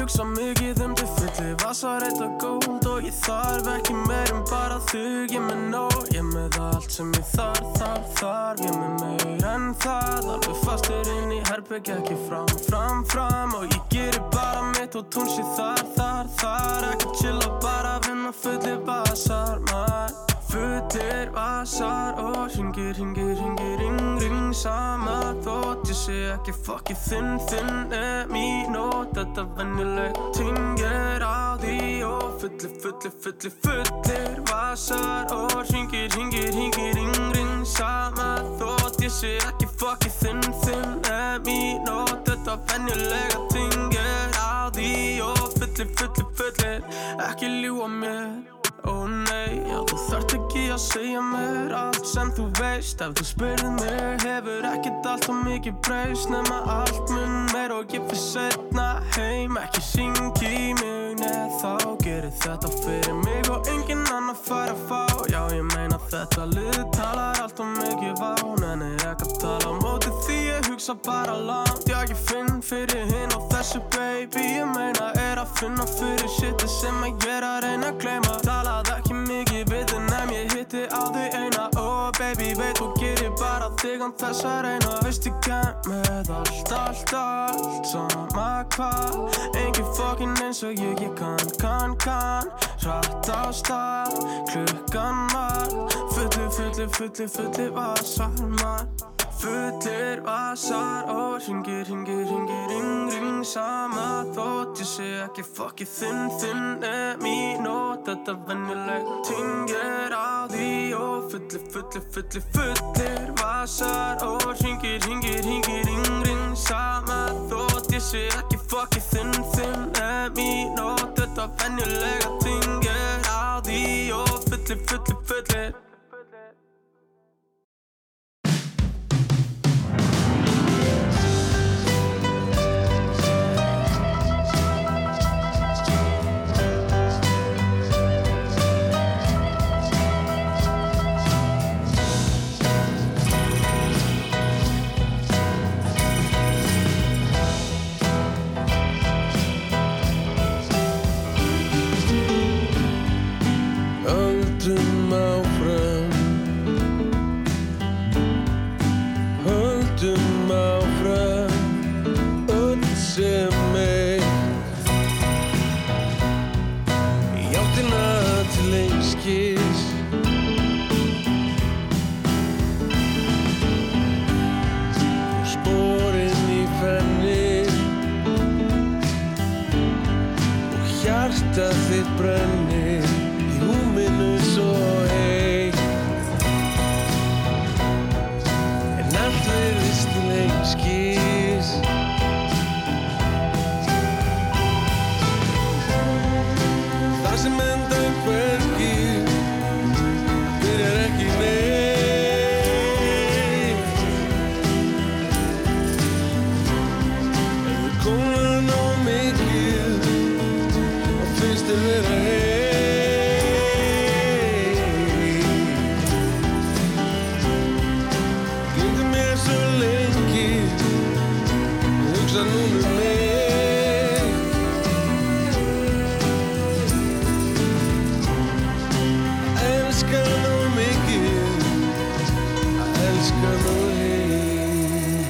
K: Hugsa mikið um þau fulli vasar eitt og góld og ég þarf ekki meir en bara þig Ég er með nóg, ég er með allt sem ég þarf, þarf, þarf Ég er með meir en það, alveg fastur inn í herbyggja ekki fram, fram, fram Og ég gerir bara mitt og tún sé þar, þar, þar Ekki chilla bara vinna fulli vasar, maður Fullir vasar og ringir, ringir, ringir, ring, ring Sama þótt ég sé ekki fokkið þinn, þinn er mín Og þetta venjuleg ting er á því og fullir, fullir, fullir, fullir Vasar og ringir, ringir, ringir, ring, ring Sama þótt ég sé ekki fokkið þinn, þinn En mín og þetta venjulega tingir Á því og fullir, fullir, fullir Ekki ljúa mér, ó nei Já, þú þarft ekki að segja mér allt sem þú veist Ef þú spurðir mér hefur ekkert allt og mikið breyst Nefna allt mun meir og ég fyrir setna heim Ekki syngi í mig neð þá gerir þetta fyrir mig Og enginn annar fær að fá Já, ég meina þetta lið talar allt og mikið ván En er ekki að tala á móti því ég hugsa bara langt Já, ég finn fyrir hinn og þessu baby Ég meina er að finna fyrir shiti sem að ég er að reyna að gleyma Talað ekki mikið við þinn en ég hitti á því eina Oh baby, veit þú gerir bara þig án þess að reyna Veist ég kem með allt, allt, allt Sama hvað Engin fokkin eins og ég, ég kann, kann, kann Rætt á stað, klukkan var Fulli, fulli, fulli, fulli vasar mann Fullir vasar og ringir, ringir, ringir, ring, ring Sama þótt ég sé ekki fokkið þinn, þinn er mín Og þetta venjuleg tingir á því Og fullir, fullir, fullir, fullir vasar og ringir, ringir, ringir, ring, ring Sama þótt ég sé ekki fokkið þinn, þinn er mín Og þetta venjulega tingir á því Og fullir, fullir, fullir
H: Höldum áfram Höldum áfram Öll sem er Í áttina til einskis Sporin í fennir Og hjarta þitt brennir Í húminu svo heik En allt verðist til einskis Það sem enda hvergi Byrjar ekki neitt En við komum á mikið og finnst þér vera heim Glimtu mér svo lengi og hugsa núna um mig Elska nú mikið að elska nú heim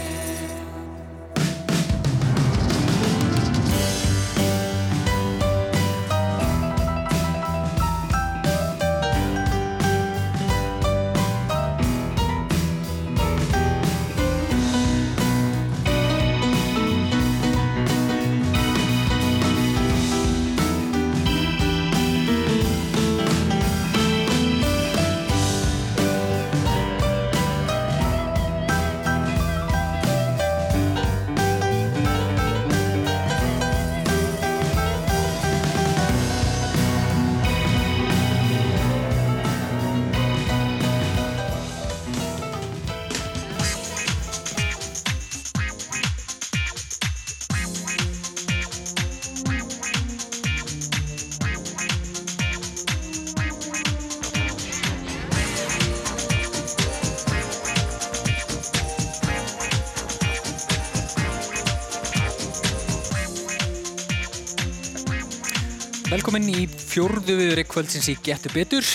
A: Velkomin í fjórðu viðureik kvöldsins í Getur Betur.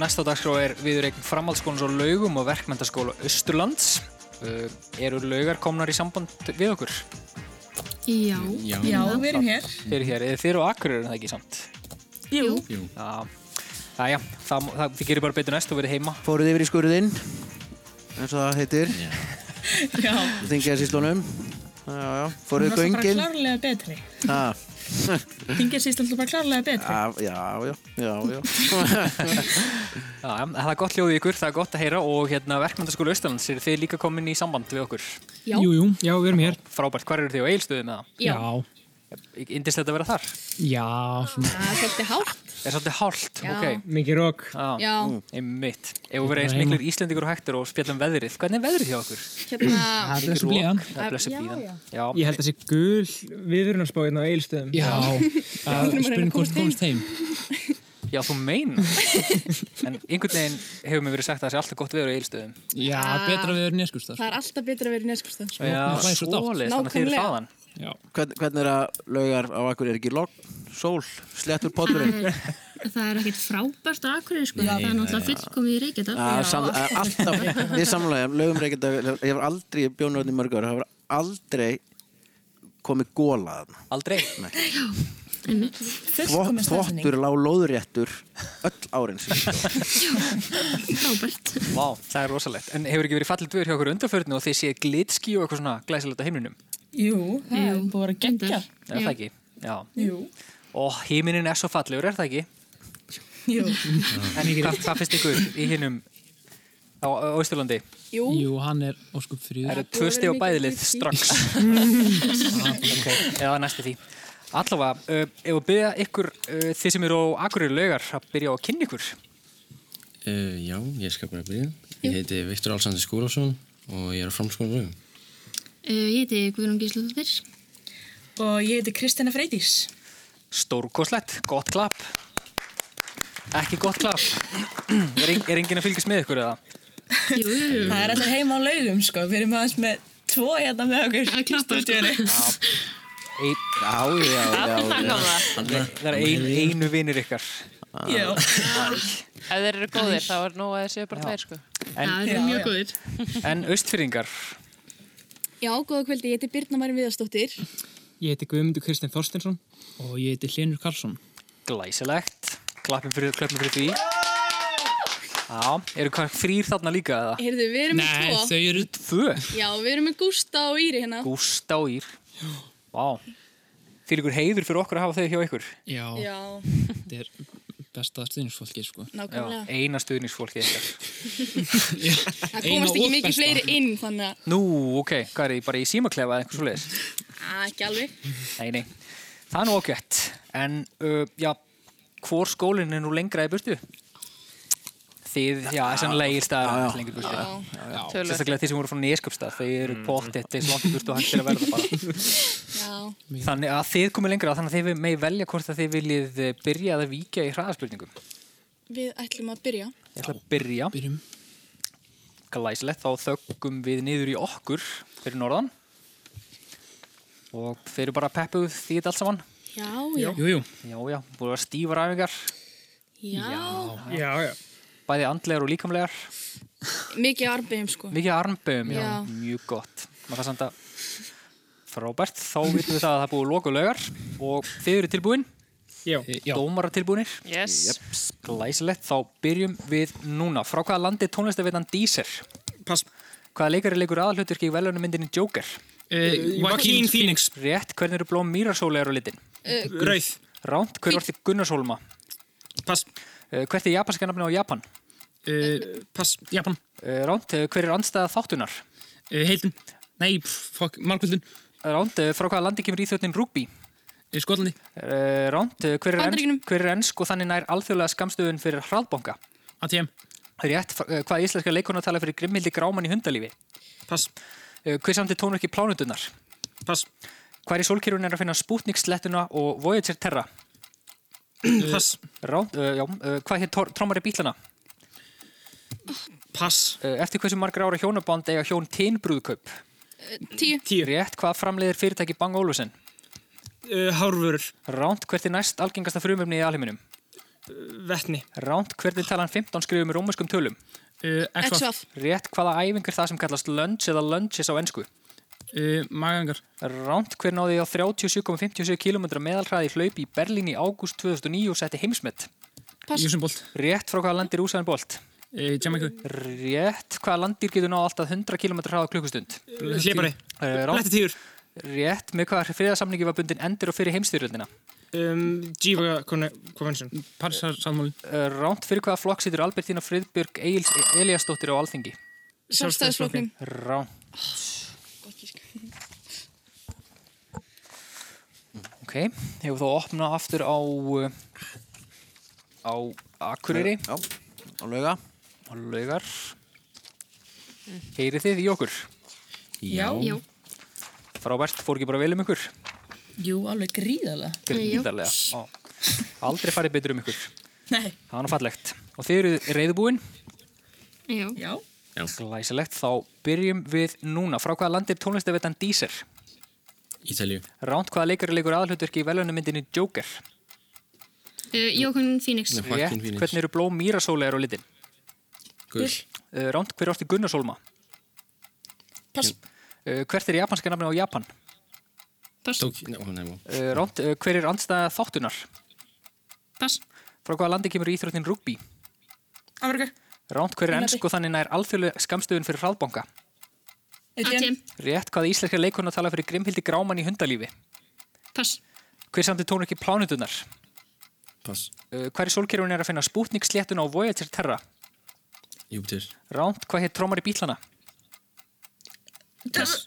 A: Næsta dagskrá er viðureik framhaldsskólans á laugum og verkmyndaskóla Östurlands. Uh, eru laugar komnar í samband við okkur?
F: Já,
A: Já.
V: Já, við erum hér.
A: Þið eru hér, eða þið eru á Akureyri er það ekki samt?
V: Jú.
A: Jú. Já, já, það, það, þið gerir bara betur næst og verið heima.
C: Fóruð yfir í skurðinn eins og það heitir
V: Já.
C: Þingjaðsíslunum Já, já, fóruð
V: Hún var alltaf bara
C: göngin
V: klárlega betri.
C: Ha,
M: Þingir síst alltaf bara klárlega betri.
C: Já, já, já, já, já.
A: *laughs* Já, en það er gott hljóð í ykkur, það er gott að heyra og hérna verkmyndaskóla Austalands, eru þið líka komin í samband við okkur?
M: Já.
J: Jú, jú, já, við erum hér.
A: Frábært, hvar eru þið á eigilstöðu með það?
M: Já.
A: Indist þetta að vera þar?
J: Já, svona.
M: Það er svolítið hátt.
A: Er svolítið hált,
M: Já.
A: ok.
J: Mikið rók.
M: Já.
A: mm, Einmitt. Ef við verðum eins
J: Heima.
A: miklir Íslendingur og hægtur og spjallum veðrið, hvernig er veðrið hjá okkur?
M: Hérna...
J: Það er
A: Mikið
J: blessuð
A: rok,
J: blíðan.
A: Það er blessa
M: Já,
A: blíðan.
M: já.
A: Já.
V: Ég held að það sé gul viðvörunarspáinn á eilstöðum.
J: Já.
V: Að
A: Við þurfum að reyna að
V: spurning hvort
A: komast
V: þú komst heim.
A: Já, þú meina. en einhvern veginn hefur mér verið sagt að það sé alltaf gott veður á eigilstöðum.
V: Já, betra við erum neskustast.
M: Það er alltaf betra að vera í sko. neskustans.
A: Já, svoleiðis, þannig að þið eru þaðan.
C: Hvern, hvernig er að laugar á akkur er ekki logg, sól, slettur poturinn?
M: Það er ekkert frábært á Akureyri sko, það er náttúrulega fullkomið í Reykjavík.
C: Já, sam, að- eh,
M: *laughs*
C: alltaf, við samlægum, lögum Reykjavík, ég hef aldrei bjónurinn í mörg ára, það hefur aldrei komið góla þarna.
A: Aldrei?
C: Nei.
M: Fullkomið
C: Þvottur lág lóðréttur öll árin sín.
M: Frábært.
A: Vá, það er rosalegt. En hefur ekki verið fallið veður hjá okkur undanförðinu og þið séð glitski og eitthvað svona glæsilegt á heiminum?
M: Jú,
L: það er
M: búið að vera geggja.
A: Er það ekki? Já.
M: Jú.
A: Og heiminin er svo fallegur, er það ekki?
M: Jú.
A: En hvað, hvað finnst ykkur í hinnum á á Austurlandi?
M: Jú.
V: Jú, hann er óskup
A: Það
V: fríður.
A: eru tvö steg á bæðilið strax.
V: *laughs*
A: ok, eða næstu því. Allavega, uh, ef að byrja ykkur, uh, þið sem eru á Akureyri laugar, að byrja á að kynna ykkur.
W: Uh, já, ég skal bara byrja. Ég heiti Viktor Alsandi Skúrásson og ég er á framskóla lögum.
M: Eh, Ég heiti Guðrún Gísladóttir. Og ég heiti Kristina Freydís.
A: Stórkoslegt, gott klapp. Ekki gott klapp. er, ein- er enginn að fylgjast með ykkur eða?
M: *laughs* Jú.
X: Það er allir heima á laugum sko, við erum aðeins með tvo hérna með okkur í
M: sko.
X: stúdíunni.
M: *laughs*
A: Ein, já, já,
X: Allar góða.
A: Það er ein, einu vinnir ykkar.
X: Já.
B: Ef þeir eru góðir, þá er nóg að þeir séu bara tveir, sko.
A: En-
M: Það eru mjög góðir.
A: En austfyrringar,
M: Já, góða kvöldi, ég heiti Birna Marín Viðarsdóttir.
V: Ég heiti Guðmundur Kristinn Þorstinsson. Og ég heiti Hlinur Karlsson.
A: glæsilegt. Klappum fyrir, klappum fyrir því. Já, eru hvað þrýr þarna líka eða?
M: Heyrðu, við erum með tvo.
A: eru tvö.
M: Já, við erum með Gústa og Íri hérna.
A: Gústa og Ír. Vá. Fyrir ykkur heiður fyrir okkur að hafa þau hjá ykkur.
V: Já,
M: Já.
V: þetta er besta stuðningsfólki, sko.
M: Nákvæmlega.
A: Já, eina stuðningsfólki ykkar.
V: *laughs* Eina
M: Það komast ekki
V: og
M: mikið
V: besta.
M: fleiri inn, þannig að,
A: Nú, ok, hvað er ég bara í símaklefa eða einhvers svo leiðis?
M: að ekki alveg.
A: Nei, nei, það er nú ágætt En, uh, já, hvor skólinn er nú lengra í burtu? Þið, já, þessan leigilstaðar lengur burtu
B: Já, já. Töluvert.
A: Sérstaklega þeir sem voru frá Neskjöpstað Þeir eru mm. pottitt, þeir slant burtu og hægt er að verða bara
V: *laughs*
M: Já.
A: Þannig að þið komið lengra Þannig að þið megi velja hvort að þið viljið eh, byrja að víkja í hraðaspurningum
M: Við ætlum að byrja.
A: Ég ætla að byrja Byrjum Glæsilegt, þá þökkum við niður í okkur fyrir norðan og þeir eru bara peppuð því þetta allt saman
M: Já, já.
A: jú. Já, já, búið að vera stífar æfingar.
M: Já.
A: Já, já. Bæði andlegar og líkamlegar.
M: Mikið armbegjum, sko.
A: Mikið armböðum, já.
M: Já.
A: Mjög gott. Maður það samt að frábært, þá vitum við það að það er búið lokulaugar og þið eru tilbúin. Eh, Já. Dómara tilbúinir.
B: Yes.
A: Jeps. Glæsilegt, þá byrjum við núna. Frá hvaða landi tónlistavitan Deezer? Pass. Hvaða leikari leikur aðalhutverki í velunumyndinni Joker?
V: Eh, Joaquin Phoenix.
A: Rétt, hvernig eru blóm mýrasólegar á litin?
V: Eh, Rauð.
A: Ránt, hver orði Gunnarsólma? Pass. Hvert er japanska nafni á Japan? Eh,
V: Uh, pass, Japan.
A: Ránt, hver er andstæða þáttunar?
V: Uh, heildin. Nei, pff, fokk, margvöldin.
A: Eh, Ránt, frá hvaða landi kemur íþjóttin rúbí?
V: Í Eh, Skotlandi.
A: Ránt, eh, hver er,
V: Bandaríkjunum.
A: ensk, hver er ensk og þannig nær alþjóðlega skamstöðun fyrir hraðbonga?
V: ATM.
A: Rétt, fr- eh, hvaða íslenska leikona tala fyrir grimmildi gráman í hundalífi? Pass. Eh, Hver samt er tónverki plánutunar? Pass. Hvar í sólkýrun er að finna Sputnik slettuna og Voyager Terra? *clears throat* Pass. Ránt, já, eh, hvað hér trómari bílana? Pass. Eftir hversu margar ára hjónaband eiga hjón tínbrúðkaup?
M: Tíu.
A: Tíu. Rétt, hvað framleiðir fyrirtæki Bang Olufsen?
V: Uh, Hárvörur.
A: Ránt, hvert er næst algengasta frumöfni í alheiminum?
V: Eh, Vetni.
A: Ránt, hvert er talan 15 skrifum í rómuskum tölum?
V: Uh, XVAF.
A: Rétt, hvaða æfingur það sem kallast lunge eða lunges á ennsku?
V: Uh, Magangar.
A: Ránt, hver náði á 37,57 km meðalhraði í hlaup í Berlín í ágúst 2009 og setti heimsmet?
V: Pass. Usainbolt.
A: Rétt, frá hvaða landir Úsain Bolt?
V: Uh, Jamaica.
A: Rétt, hvaða landir getur náð alltaf 100 km hraða á klukkustund?
V: Hlépari.
A: Eh, ránt.
V: Blettatígur.
A: Eh, Rétt, með hvað friðarsamningi var bundin endur og fyrir heimstyrjöldina?
V: Um, Geneva Conne- Convention, Parísarsalmúlin.
A: Uh, Ránt fyrir hvaða flokk situr Albertína Friðbjörg Egils Eliasdóttir á Alþingi?
V: Sjálfstæðisflokknum.
A: Ránt. Ok, hefur þú opnað aftur á uh, á Akureyri
C: Já, á lauga
A: á laugar Heyrið þið í okkur?
X: Já. Já.
A: Frábært, fór ekki bara vel um ykkur?
X: Jú, alveg gríðarlega.
A: Gríðarlega Já. Aldrei farið betur um ykkur
X: Nei.
A: Það var nú fallegt Og þið eru reyðubúin?
X: Já. Já.
A: Glæsilegt, þá byrjum við núna Frá hvaða landi er tónlistavitan Deezer?
W: Ítalíu.
A: Ránt hvaða leikari leikur aðalhutverki í velunumyndinni Joker?
M: Uh, Jókun Fínix.
A: Rétt, hvernig eru blóm mýrasólegar á litin?
M: Gul.
A: Uh, Ránt, hver orti Gunnarsólma?
W: Pass.
A: Uh, hvert er japanska nafni á Japan?
W: Pass. Tók, njá, nei, má.
A: Uh, Ránt, uh, hver er andstæða þáttunar?
M: Pass.
A: Frá hvaða landi kemur íþróttin rugby?
X: Afrika.
A: Ránt, hver er
X: Englandi.
A: ensk og þannig nær alþjóðlega skamstöðun fyrir hraðbanka?
X: ATM.
A: Rétt, hvaða íslenska leikona tala fyrir Grimhildi Gráman í hundalífi?
M: Pass.
A: Hver samt er tónleiki plánutunar?
W: Pass.
A: Uh, hver í sólkerfinu er að finna Sputnik sléttuna og Voyager Terra?
W: Júpiter.
A: Ránt, hvað hétt trómar í bílana?
X: Pass.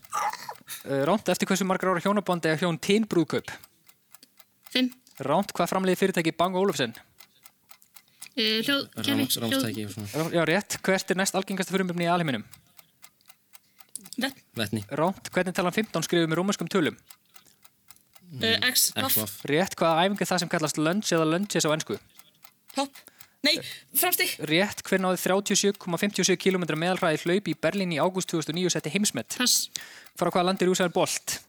A: Uh, Ránt, eftir hversu margar ára hjónabandi eða hjón tín brúðkaup?
M: Fimm.
A: Ránt, hvað framleiði fyrirtæki Bang Olufsen?
M: Uh, hljóð, kerfi.
W: Rámstæki og svona.
A: Já, rétt, hvert er næst algengasta frumöfni í alheiminum?
W: Vetni.
A: Ránt, hvernig talan 15 skrifum í rómuskum tölum?
C: Mm.
M: Eh,
X: Uh, X. Vaff.
A: Rétt, hvaða æfing er það sem kallast lunge eða lunges á ennsku?
X: Hopp. Nei, framstík.
A: Rétt, hver náði 37,57 km meðalræði hlaup í Berlín í ágúst 2009 og setti heimsmet?
M: Pass.
A: Fara hvaða landir úsæðar bolt?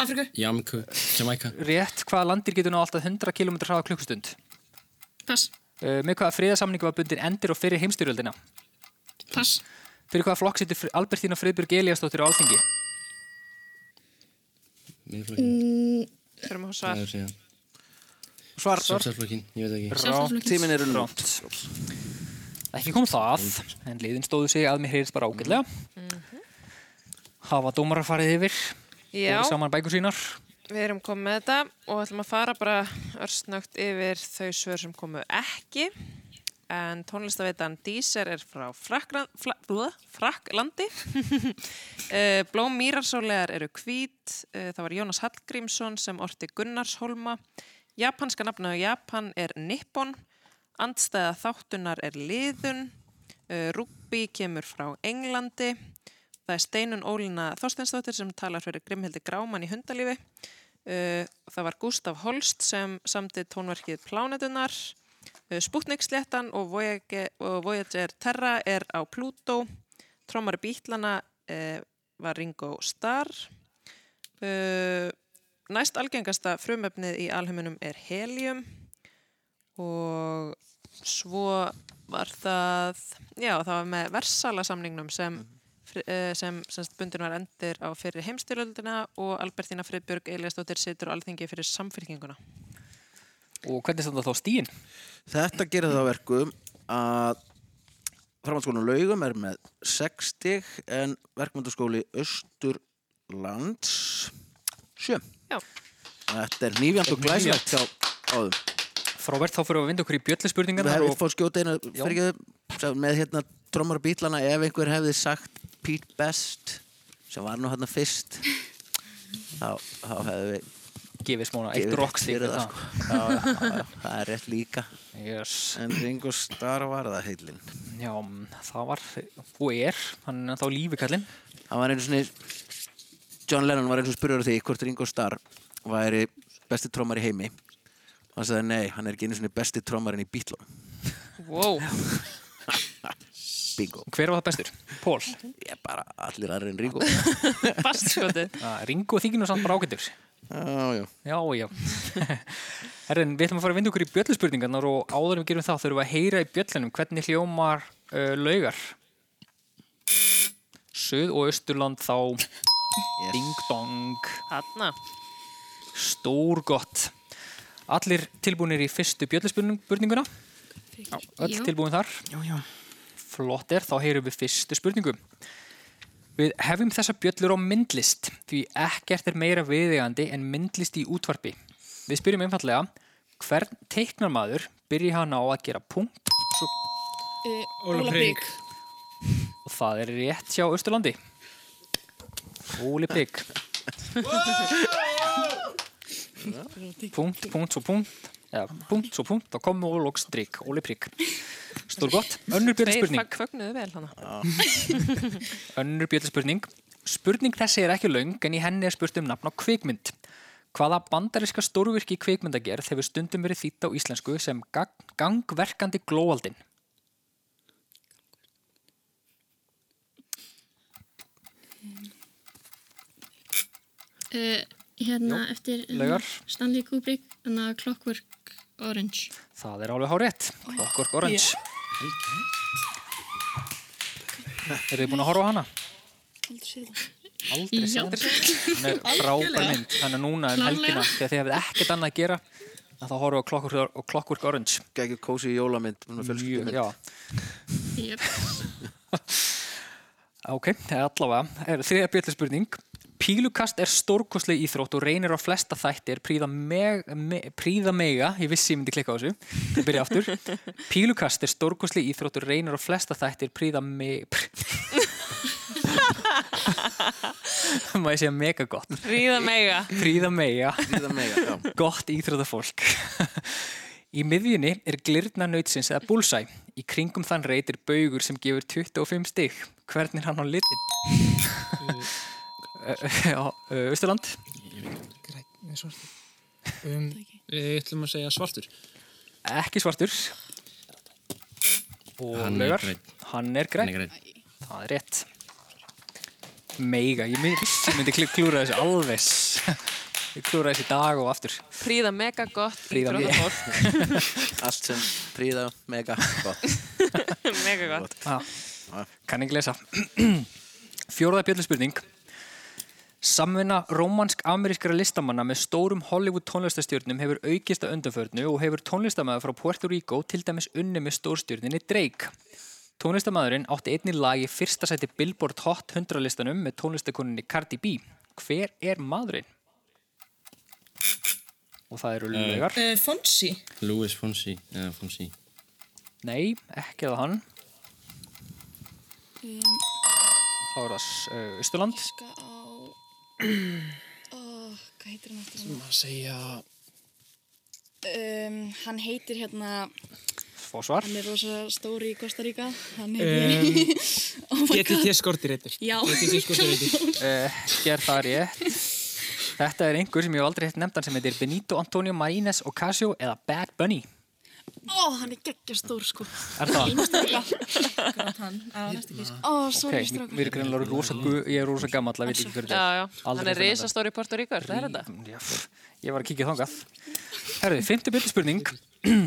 X: Afrika.
W: Jamku. Jamaica.
A: Rétt, hvaða landir getur ná alltaf 100 km hraða á klukkustund?
M: Pass.
A: Uh, með hvaða friðarsamningu var bundin endir og fyrir heimstyrjöldina?
M: Pass.
A: Fyrir hvaða flokk setur Albertína Friðbjörg Eliasdóttir á alþingi?
W: Miðflokkin.
B: Mm. Förum að
W: Það
B: svar.
W: er síðan.
A: Svar.
W: Sjálfstæðisflokkin, ég veit ekki.
A: Rátt. Tíminn er unnum. Ekki kom það, en liðin stóðu sig að mér heyrðist bara ágætlega.
B: Mhm.
A: Hafa dómarar farið yfir,
B: Já.
A: borið saman bækur sínar.
B: Við erum komið með þetta og ætlum að fara bara örsnögt yfir þau svör sem komu ekki. En tónlistaveitan Díser er frá Frakland, fla, blö, Fraklandi. Eh, Blóm mýrarsólegar eru hvít. Eh, Það var Jónas Hallgrímsson sem orti Gunnarsholma. Japanska nafnið á Japan er Nippon. Andstæða þáttunar er liðun. Rúbi kemur frá Englandi. Það er Steinun Ólina Þorsteinsdóttir sem talar fyrir Grimhildi Gráman í hundalífi. Uh, Það var Gustaf Holst sem samti tónverkið Plánetunar. Uh, Sputnik sléttan og Voyager, og Voyager Terra er á Plútó. Trommar bítlana uh, var Ringo Starr. Uh, Næst algengasta frumöfnið í alheiminum er helium og svo var það, já það var með Versala samningnum sem, fri- eh, sem, sem bundin var endir á fyrir heimstyrjöldina og Albertína Friðbjörg Eliasdóttir situr á alþingi fyrir samfylkinguna.
A: Og hvernig standa þá stíin?
C: Þetta gerir það að verkum að framhaldsskólanum laugum er með 60 en verkmyndaskóli Östurlands 7.
B: Já.
C: Þetta er nýfjand og glæsilegt hjá áðum.
A: Frábært, þá fyrir við að vinda okkur í bjölluspurningarnar.
C: Við hefum
A: og-
C: fór skjóta einu
A: Já.
C: fyrirgeðu með hérna trommar og bílana ef einhver hefði sagt Pete Best sem var nú hérna
A: *laughs*
C: fyrst þá, þá hefðu við
A: gefið smóna eitt rockstig
C: fyrir
A: fyrir
C: það
A: það.
C: sko. já, já, já, já, það er rétt líka
A: yes.
C: en Ringo Starr var það heilin
A: Já, það var og er, hann er þá lífi kallinn
C: hann var einu svona John Lennon var einu svona spurður á því hvort Ringo Starr væri besti trommar í heimi og hann sagði nei, hann er ekki einu svona besti trommarinn í bílunum
B: Wow.
C: *laughs* bingo
A: Hver var það bestur? Pól?
C: Ég bara allir aðra en Ringo
B: *laughs* Bast skotið.
A: Ah, Ringo þykir nú samt bara ágættur
C: Já, já
A: Já, já *laughs* Herrin, við ætlum að fara að vinda okkur í bjölluspurningarnar og áður en við gerum það þurfum við að heyra í bjöllunum hvernig hljómar uh, laugar Suð og Östurland þá Ding dong
B: Hanna.
A: Stór gott Allir tilbúinir í fyrstu bjölluspurninguna Já, öll
B: Jú.
A: tilbúin þar
V: Já, já.
A: Flott er, þá heyrum við fyrstu spurningu Við hefum þessa bjöllur á myndlist því ekkert er meira viðegandi en myndlist í útvarpi. Við spyrjum einfallega hvern teiknar maður byrji hann á að gera punkt svo,
E: Ólafrík.
A: og það er rétt hjá Östurlandi. Óli Pygg. punkt, punkt, svo punkt eða punkt, svo punkt, þá komu og loks drikk, Óli Prygg. Stór gott. Önnur bjöllu spurning.
B: Þeir fögnuðu vel hana.
A: Önnur bjöllspurning. Spurning þessi er ekki löng en í henni er spurt um nafn á kvikmynd. Hvaða bandariska stórvirki í kvikmyndagerð hefur stundum verið þýtt á íslensku sem gang gangverkandi glóaldin?
M: Uh, hérna
A: Jú,
M: eftir
A: laugar.
M: Stanley Kubrick, þannig að Clockwork Orange.
A: Það er alveg hárétt. Clockwork Orange. Eru þið búin að horfa á hana?
N: Aldrei séð það.
A: Aldrei
N: Já.
A: séð Hún er frábær
N: Algjörlega.
A: mynd. Þannig að núna um
N: Klárlega.
A: helgina þegar þið hefur ekkert annað að gera að þá horfa á Clockwork, Clockwork Orange.
C: Gækið kósi í jólamynd, svona
A: fjölskyldumynd. Já,
M: Jöp.
A: *laughs* ok, það er allavega. Er þriðja bjöllspurning. Pílukast er stórkosleg íþrótt og reynir á flesta þættir príða, meg, me, príða mega, ég vissi ég myndi klikka á þessu, það byrja aftur. Pílukast er stórkosleg íþrótt og reynir á flesta þættir príða mega, *laughs* má ég segja mega gott.
B: Ríða mega.
A: Príða mega.
C: Príða mega, já.
A: *laughs* Gott íþrótafólk. Í miðjunni er glirna nautsins eða búlsæ. Í kringum þann reit er baugur sem gefur 25 stygg. Hvern er hann á litin? *laughs* Östurland?
V: Nei, svartur. Um, við ætlum að segja svartur.
A: Ekki svartur. Og
V: Hann er
A: Laugar?
V: grænn.
A: Hann er grænn. Það er rétt. Mega, ég myndi, myndi kl- klúra þessu alveg. *laughs* Ég klúra þessu í dag og aftur.
B: Príða mega gott
A: Príða mega.
B: *laughs*
C: Allt sem príða mega gott.
B: mega gott.
A: Já. Kann ekki lesa. *clears throat* Fjóraða bjöllspurning. Samvinna rómansk-amerískara listamanna með stórum Hollywood tónlistastjörnum hefur aukist að undanförnu og hefur tónlistamæður frá Puerto Rico til dæmis unni með stórstjörninni Drake. Tónlistamæðurinn átti einni lag í fyrsta sæti Billboard Hot 100 listanum með tónlistakoninni Cardi B. Hver er maðurinn? Og það eru lögar.
X: Uh, Fonsi.
W: Louis Fonsi, eða Fonsi.
A: Nei, ekki að hann.
X: Um,
A: Þá er það uh, Ísturland.
E: Oh, hvað heitir hann eftir
V: Sem að segja...
E: Um, hann heitir hérna,
A: Fósvar.
E: hann er rosa stóri í Costa Rica. Hann
V: Um,
E: heitir... *laughs* oh my
V: Getið
E: god.
V: þér skortir eittir.
E: Já. Oh
V: Getið þér skortir
E: *laughs*
V: eittir.
A: Eh, Ger það rétt. Þetta er einhver sem ég hef aldrei hitt nefndan sem heitir Benito Antonio Marines Ocasio eða Bad Bunny.
E: Ó, hann er geggja stór sko.
A: Er það?
E: Grátt hann. Ó, sorry
A: mér
E: strákar.
A: mér er greinlega rosa, gu- ég er rosa gammal, ég veit ekki hver þetta
B: Já, já.
A: er. Aldrei
B: Hann er
A: hitt hann
B: risastóri í Porto Ríkur, það er þetta.
A: nefndan. Já, pff, Ég var að kíkja þangað. Herðu, fymti byrju spurning. *clears throat*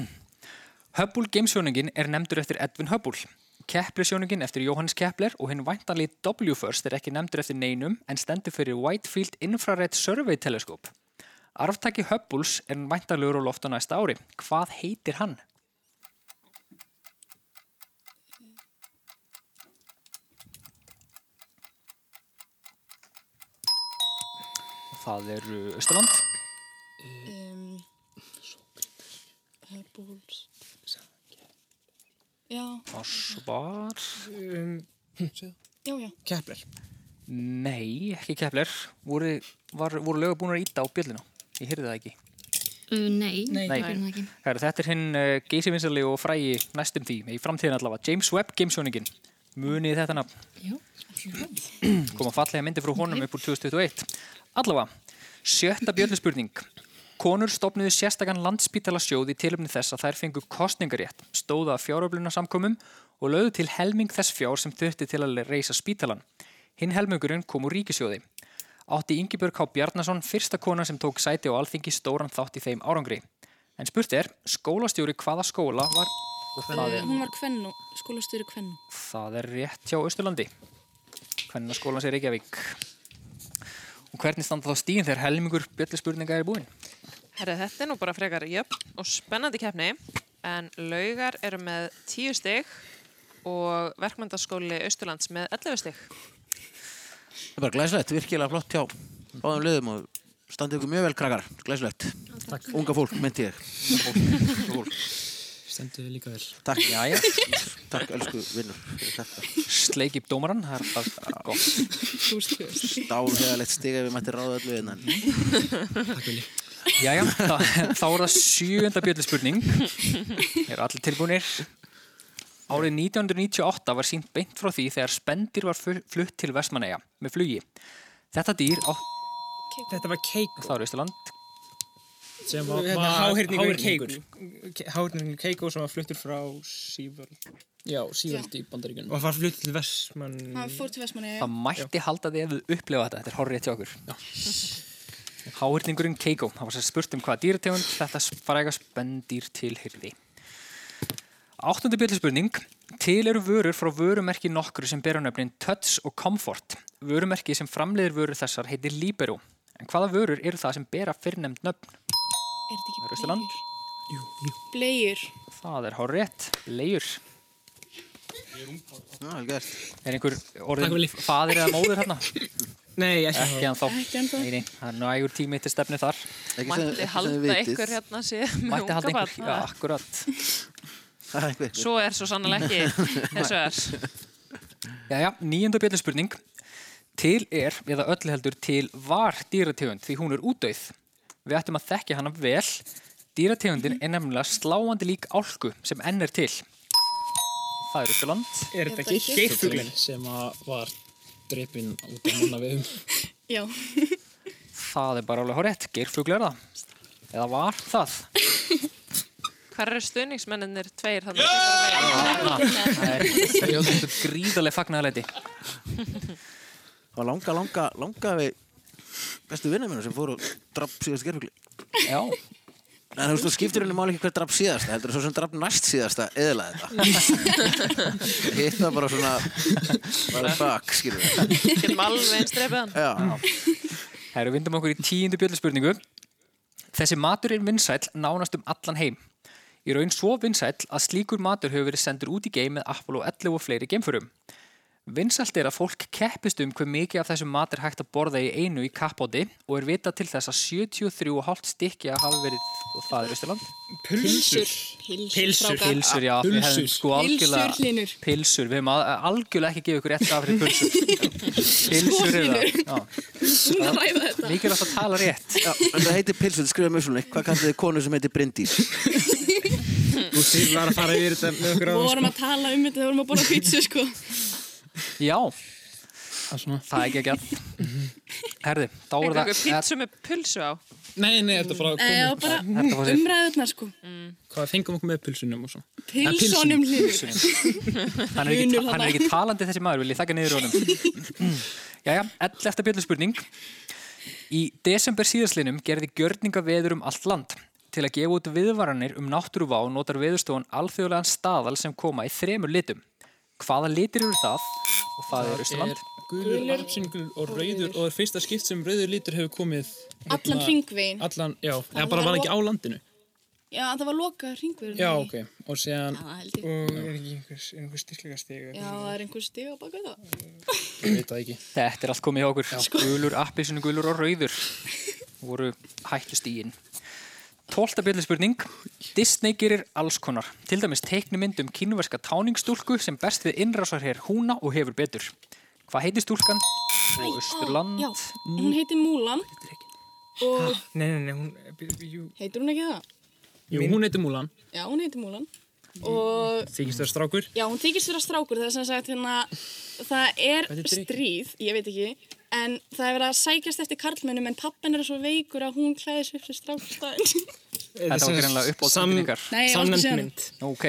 A: Hubble gamesjóningin er nefndur eftir Edvin Hubble. Kepler-sjóningin eftir Jóhannes Kepler og hinn væntanlið W-First er ekki nefndur eftir neinum en stendur fyrir Whitefield Infrared Survey Telescope. Arftaki Hubbles er væntanlegur á loft á næsta ári. Hvað heitir hann? Það er uh, Östaland.
E: Um, Hubbles. eh, Já,
A: Ásvar.
V: Um,
E: já, já.
V: Kepler.
A: Nei, ekki Kepler. Voru, var, voru lögur búin að íta á bjöllinu? Ég heyrði það ekki.
M: Uh, nei,
A: Nei.
M: það er það ekki.
A: Her, þetta er hinn uh, geysivinsali og frægi næstum því, í framtíðin allavega. James Webb gamesjóningin. Munið þetta nafn. Koma fallega myndi frá honum upp úr 2021. Allavega, sjötta bjölluspurning. Konur stopnuðu sérstakann landspítalasjóð í tilöfni þess að þær fengu kostningarétt, stóða að fjáröflunarsamkomum og lögðu til helming þess fjár sem þurfti til að reysa spítalan. Hinn helmingurinn kom úr ríkisjóði. Átti Ingibjörg H. Bjarnason fyrsta kona sem tók sæti á alþingi stóran þátt í þeim árangri. En spurt er, skólastjóri hvaða skóla var... Og það
E: Uh,
A: er,
E: hún var kvennu, skólastöru kvennu.
A: það er rétt hjá Östurlandi. Hvernig skólan sé Reykjavík? Og hvernig standa þá stíðin þegar helmingur bjöllispurninga er búinn?
B: Herra, þetta er nú bara frekar jöfn og spennandi keppni en laugar eru með 10 stygg og verkmyndaskóli Austurlands með 11 stygg.
C: er bara glæslegt, virkilega flott hjá báðum liðum og standið ykkur mjög vel krakkar, glæslegt.
V: Takk.
C: Unga fólk, myndi ég. Unga fólk.
V: Stendur við líka vel.
C: Takk, já, Takk, elsku vinnur. fyrir þetta.
A: Sleikip dómaran, það er bara gott.
C: Stálhegalegt stiga við mætti ráða öllu innan.
A: Takk Vili. *laughs* Jæja, þá, þá er það sjöunda bjöldu spurning. Eru allir tilbúinir? Árið 1998 var sínt beint frá því þegar spendir var fu- flutt til Vestmanneia með flugi. Þetta dýr á...
V: Þetta var Keiko.
A: Það var Ísland.
V: Sem
A: var-
V: var
A: var-
V: Hérna, háhyrningur
A: háhyrningur.
V: Keiko. Háhyrningur Keiko sem var fluttur frá Sívöld. Já, Sívöld í Bandaríkjunum. Og var fluttur til Vestmann...
E: Hann fór til Vestmanni
A: Það mætti halda því ef við upplefa þetta. Þetta er horrið til okkur. *laughs* Háhyrningurinn Keiko. Það var sér spurt um hvaða dýrategund þetta fræga spendýr tilhyrði. Áttundu bjöldspurning. Til eru vörur frá vörumerki nokkru sem bera nöfnin Tuts og Comfort. Vörumerki sem framleiðir vörur þessar heitir Libero. En hvaða vörur eru það sem bera fyrrnefnd nöfn?
E: Er þetta ekki
A: Rauðsland?
E: Bleiur
A: Það er horrið. Leijur.
C: Já, vel gert.
A: Er einhver
V: Takk,
A: orðin
V: Willi.
A: fadir eða móður hérna?
V: *laughs* Nei, ekki.
A: Ekki ennþá.
B: Ekki ennþá.
A: Nei, nei, það er nægur tími til stefni þar.
B: Mætti halda ykkur hérna sé með
A: Mætti
B: unga
A: halda einhver,
B: barn,
A: já,
B: ha?
C: *laughs*
A: akkurat.
B: Svo er svo sannlega ekki,
C: *laughs*
B: eins og er.
A: Jæja, níunda bjöldu spurning. Til er, eða öllu heldur, til var dýrategund því hún er útdauð. Við ættum að þekkja hana vel. Dýrategundin er nefnilega sláandi lík álku sem enn er til. Það er uppi land.
V: Er þetta ekki geirfuglinn sem að var drepinn út af manna viðum?
E: Já
A: Það er bara alveg horrið. Geirfugl er það. Eða var það.
B: Hvar eru stuðningsmennir tveir þannig að
A: Það er serióslega gríðarlega fagnaðarleiti.
C: Það var langa, langa, langa við bestu vinnum minna sem fóru og draf síðast gerfugli.
A: Já.
C: En þú veist, þú skiptir henni máli ekki hver draf síðasta, heldur þú svo sem draf næst síðasta eðlaði þetta. Hitt var Hérna bara svona, *laughs* bara fuck, skilur við.
B: Getum alveg eins drefið hann.
A: Herru, vindum okkur í tíundu bjöldspurningu. Þessi matur er vinsæll nánast um allan heim. Í raun svo vinsæll að slíkur matur hefur verið sendur út í geim með Apollo 11 og fleiri geimförum. Vinsælt er að fólk keppist um hver mikið af þessum mat er hægt að borða í einu í kappóti og er vita til þess að 73,5 stykki hafi verið, og það er Ísland.
V: Pulsur.
A: Pilsur,
V: strákar.
A: pilsur, já, við hefum sko algjörlega
E: Pilsur, Hlynur.
A: Pilsur, við hefum al- algjörlega ekki gefið ykkur rétt af fyrir pilsur
E: *laughs*
A: Pilsur er það, já
E: Svona ræða þetta
A: Mikilvægt að tala rétt.
C: Já, en það heitir pilsvöld, skrifa mjög svona, hvað kallir þið konu sem heitir Bryndís?
V: Þú séð var að fara yfir þetta með okkur sko.
E: Við
A: sko?
E: vorum að tala um þetta, við vorum að borða pítsu
A: *laughs*
E: sko
A: Já Það er ekki ekki að
V: Mhm.
A: Herði, þá er
B: Einhver
A: það
B: einhver pítsu með pulsu á.
V: Nei, nei, þetta er bara
E: Nei, Eh, já, bara umræðurnar sko
A: Mm.
V: Hvað fengum okkur með pulsunum og svo?
E: Pilsunum hlýður
A: Hann er ekki, hann er ekki talandi þessi maður, vil ég þakka niður honum. Jæja, 11. bjöldspurning. Í desember síðaslinum gerði gjörninga veður um allt land. Til að gefa út viðvaranir um náttúruvá notar veðurstofan alþjóðlegan staðal sem koma í þremur litum. Hvaða litir eru það? Og það er Ísland.
V: Gulur, absingul og rauður og það er fyrsta skipt sem rauður lítur hefur komið hérna-
E: Allan hringveginn.
V: Allan, já, eða bara var ekki á landinu
E: Já, það var lokað hringverðin
V: Já, ok, og síðan
E: það held ég.
V: Og er ekki einhver, einhver styrklega stig
E: Já, það er einhver stig á baka það
V: Ég veit það ekki
A: Þetta er allt komið hjá okkur. Gulur, appisinu, gulur og rauður voru hættustígin. 12. bjöldspurning. Disney gerir alls konar. Til dæmis teiknumynd um kínverska táningstúlku sem berst við innrásarherr húna og hefur betur. Hvað heitir stúlkan? Og Östurland.
E: Já, hún heitir Múlan Og
V: Nei, nei, nei, hún, jú,
E: heitir hún ekki það?
V: jú hún heitir Múlan
E: Já, hún heitir Múlan Og
V: Þykist það strákur
E: Já, hún þykist vera strákur það er sem sagt hérna það er
V: Hvað heitir
E: stríð, ég veit ekki en það er verið að sækjast eftir karlmennum en pappin er svo veikur að hún klæðis upp sem strákur staðinn. *laughs*
A: Þetta var greinlega upp á
V: Sam-
A: tækningar.
E: Nei, ég var ekki að segja samnefnd
A: Ok.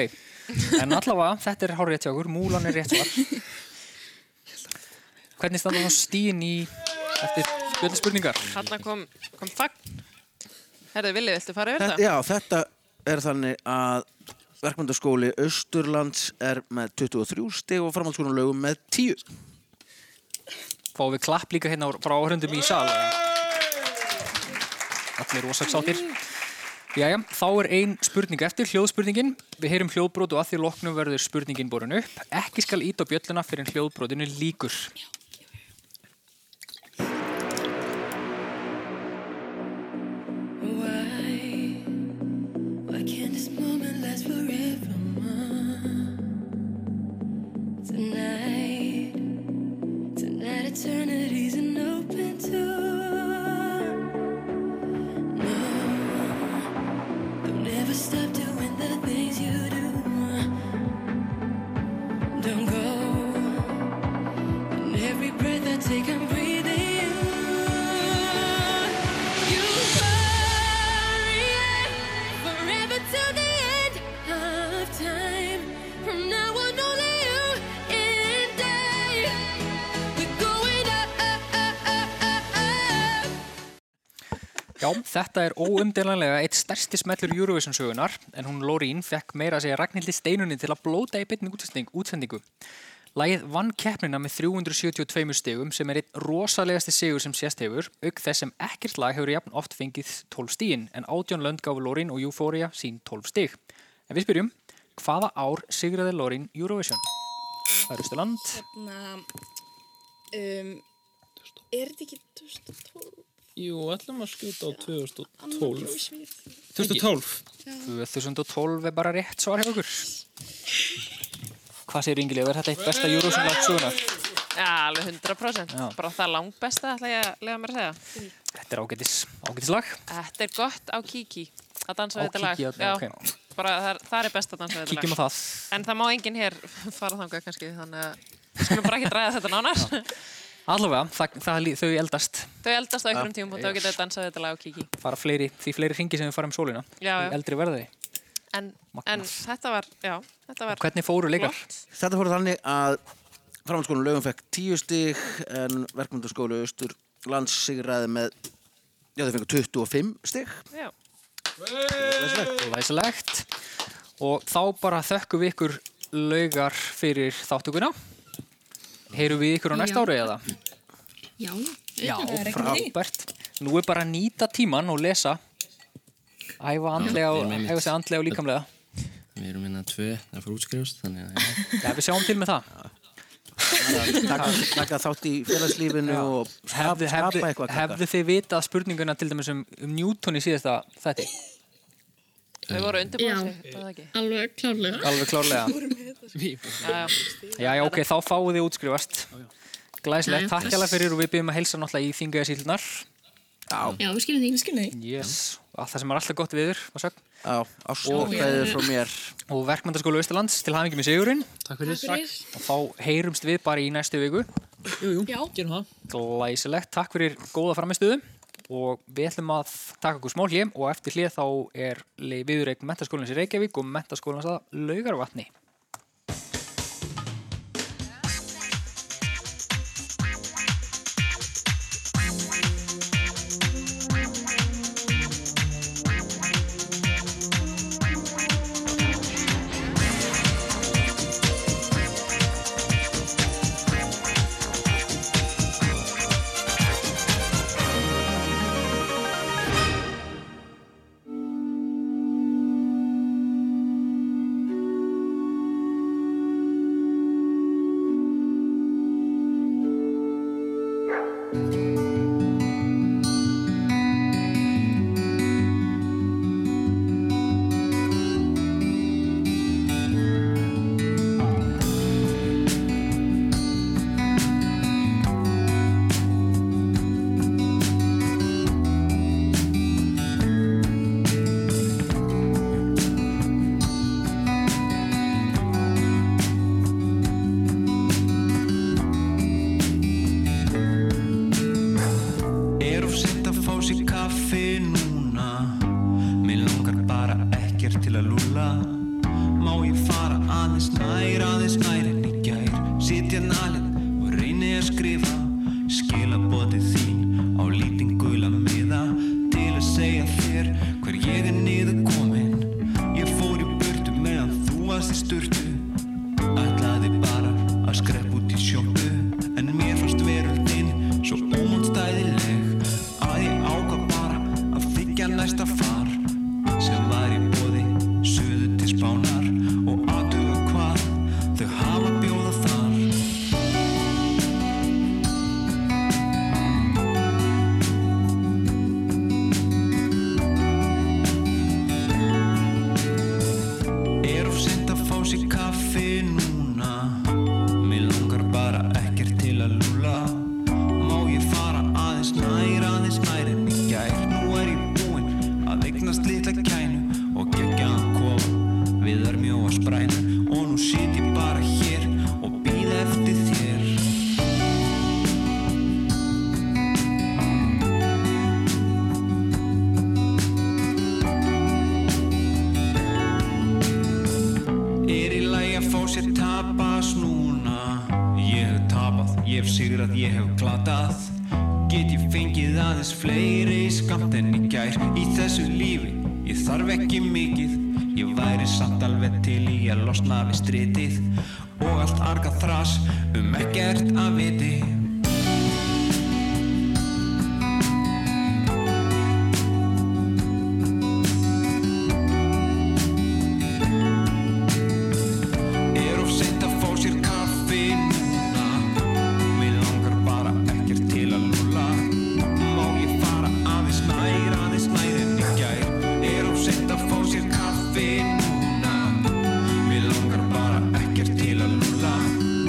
A: En allavega, þetta er hár rétt hjá okkur. Múlan
E: *laughs*
A: er rétt svar. Hvernig standa þá stíin í eftir spjöldspurningar?
B: Hanna kom, kom fagn. Herðu, Vili, viltu fara yfir
C: Þetta,
B: það?
C: já, þetta er þannig að verkmyndaskóli Östurlands er með 23 stig og framhaldsskólan lögum með 10.
A: Fáum við klapp líka hérna frá áhörundum í sal. Allir rosaksátir. Jæja, þá er ein spurning eftir, hljóðspurningin. Við heyrum hljóðbrót og að því loknum verður spurningin borin upp. Ekki skal ít á bjölluna fyrir hljóðbrótinu líkur.
G: to the end of time. From now on, only you and I. We're going up, up, up, up, up, up.
A: Já, þetta er óumdelanlega eitt stærsti smellur Eurovision sögunar en hún Lorín fekk meira að segja Ragnhildi Steinunni til að blóta í byrni útsending, útsendingu. Lægið vann keppnina með 372 stegum sem er einn rosalegasti sigur sem sést hefur auk þess sem ekkert lag hefur jafn oft fengið 12 stíin en átjón lönd gáfu Lorín og Euphoria sín 12 stig. En við spyrjum, hvaða ár sigraði Lorín Eurovision? Það er Ísland.
E: Hérna, um, er þetta ekki 2012?
V: Jú, ætlum að skjóta á 2012
A: 2012
E: Já.
A: 2012 er bara rétt svar hjá okkur Hvað segir Ingilíð, er þetta eitt besta Eurovision-lag sögunar?
B: Já, alveg 100%.
A: Já.
B: Bara það langbesta ætla ég að lega mér að segja.
A: Þetta er ágætis, ágætislag
B: Þetta er gott á Kiki að
A: Á
B: dansa við þetta lag.
A: Kiki, já,
B: Já,
A: ok.
B: Bara það, það er best að dansa við þetta lag.
A: Kíkjum á það.
B: En það má enginn hér fara þangað kannski, þannig að við skulum bara ekki ræða þetta nánar.
A: Allavega, það, það, lí- þau eldast
B: *laughs* Þau eldast á einhverjum
A: Já.
B: tímum og þá getur þau dansað við þetta lag á Kiki.
A: fara fleiri, því fleiri ringi sem við farum sólina
B: Já, já.
A: Því eldri verða þau
B: En, en þetta var, já, þetta var...
A: Hvernig fóru leikar?
C: Þetta fór þannig að framhaldsskólanum lögum fekk tíu stig en verkmyndaskólu austur lands sigraði með já þau fengur 25 stig
B: Já.
A: Læsilegt Og þá bara þökkum við ykkur laugar fyrir þáttuguna Heyrum við ykkur á
F: Já.
A: næsta ári eða?
F: Já,
A: Já,
F: auðvitað, það er ekkert að því.
A: frábært. Nú er bara að nýta tíman og lesa. Æfa andlega og, æfa sig andlega og líkamlega.
W: Við erum hérna tvö að fara útskrifast, þannig að já.
A: Já, við sjáum til með það.
C: taka, taka þátt í félagslífinu og skapa,
A: Hefðu,
C: skapa
A: hefðu,
C: eitthvað krakkar.
A: hefðu þið vitað spurninguna til dæmis um, um Newton í síðasta þetta?
B: Þau
M: Já.
B: voru
M: Eh,
B: undirbúinast, var það ekki?
M: Alveg klárlega.
A: Alveg klárlega. Við
B: Já,
A: Já, já, ok, þá fáið þið útskrifast. Glæslegt,
M: Já,
A: takk
M: bless.
A: hérlega fyrir og við byrjum að heilsa náttúrulega í þingæða sílunar.
M: Já, við skilum því. Við skilum því.
A: Yes, að það sem er alltaf gott viður, maður sög.
C: Já, ástakveður frá mér.
A: Og verkmyndaskólu Östurlands til hafingjum í Sigurinn.
V: Takk fyrir. Takk fyrir.
A: Og þá heyrumst við bara í næstu viku.
V: Jú, jú, Já. gerum það
A: Glæsilegt, takk fyrir góða framistuðu. Og við ætlum að taka okkur smá hlið og eftir hlið þá er viðurreik mentaskólans í Reykjavík og mentaskólans að laugarvatni.
O: Er of sent að fá sér kaffi núna Mér langar bara ekkert til að lúla Má ég fara aðeins nær, aðeins nær en í gær Sitja nalinn og reyni að skrifa Skilabotið þín á lítinn gula miða Til að segja þér hver ég er niður komin Ég fór í burtu meðan þú varst í sturtu Ætlaði bara að skrepp út í sjoppu En mér fannst veröldin svo ómótstæðileg Að ég ákvað bara að þykja næsta far Sem var í bóði suðu til spánar Og aðduga hvað þau hafa að bjóða þar Er of sent að fá sér kaffi núna Mér langar bara ekkert til að lúla Má ég fara aðeins nær, aðeins nær en í gær Nú er ég búinn að eignast litla kænu Og geggjaðan kofa við þar mjóa sprænu Og nú sit ég bara hér og býð eftir þér sér tapast núna Ég hef tapað, ég hef sigrað, ég hef glatað Get ég fengið aðeins fleiri skamt en í gær Í þessu lífi, ég þarf ekki mikið Ég væri samt alveg til í að losna við stritið Og allt arga þras um ekkert að viti Er of seint að fá sér kaffi núna Mér langar bara ekkert til að lúla Má ég fara aðeins nær, aðeins nær en í gær Er of seint að fá sér kaffi núna Mér langar bara ekkert til að lúla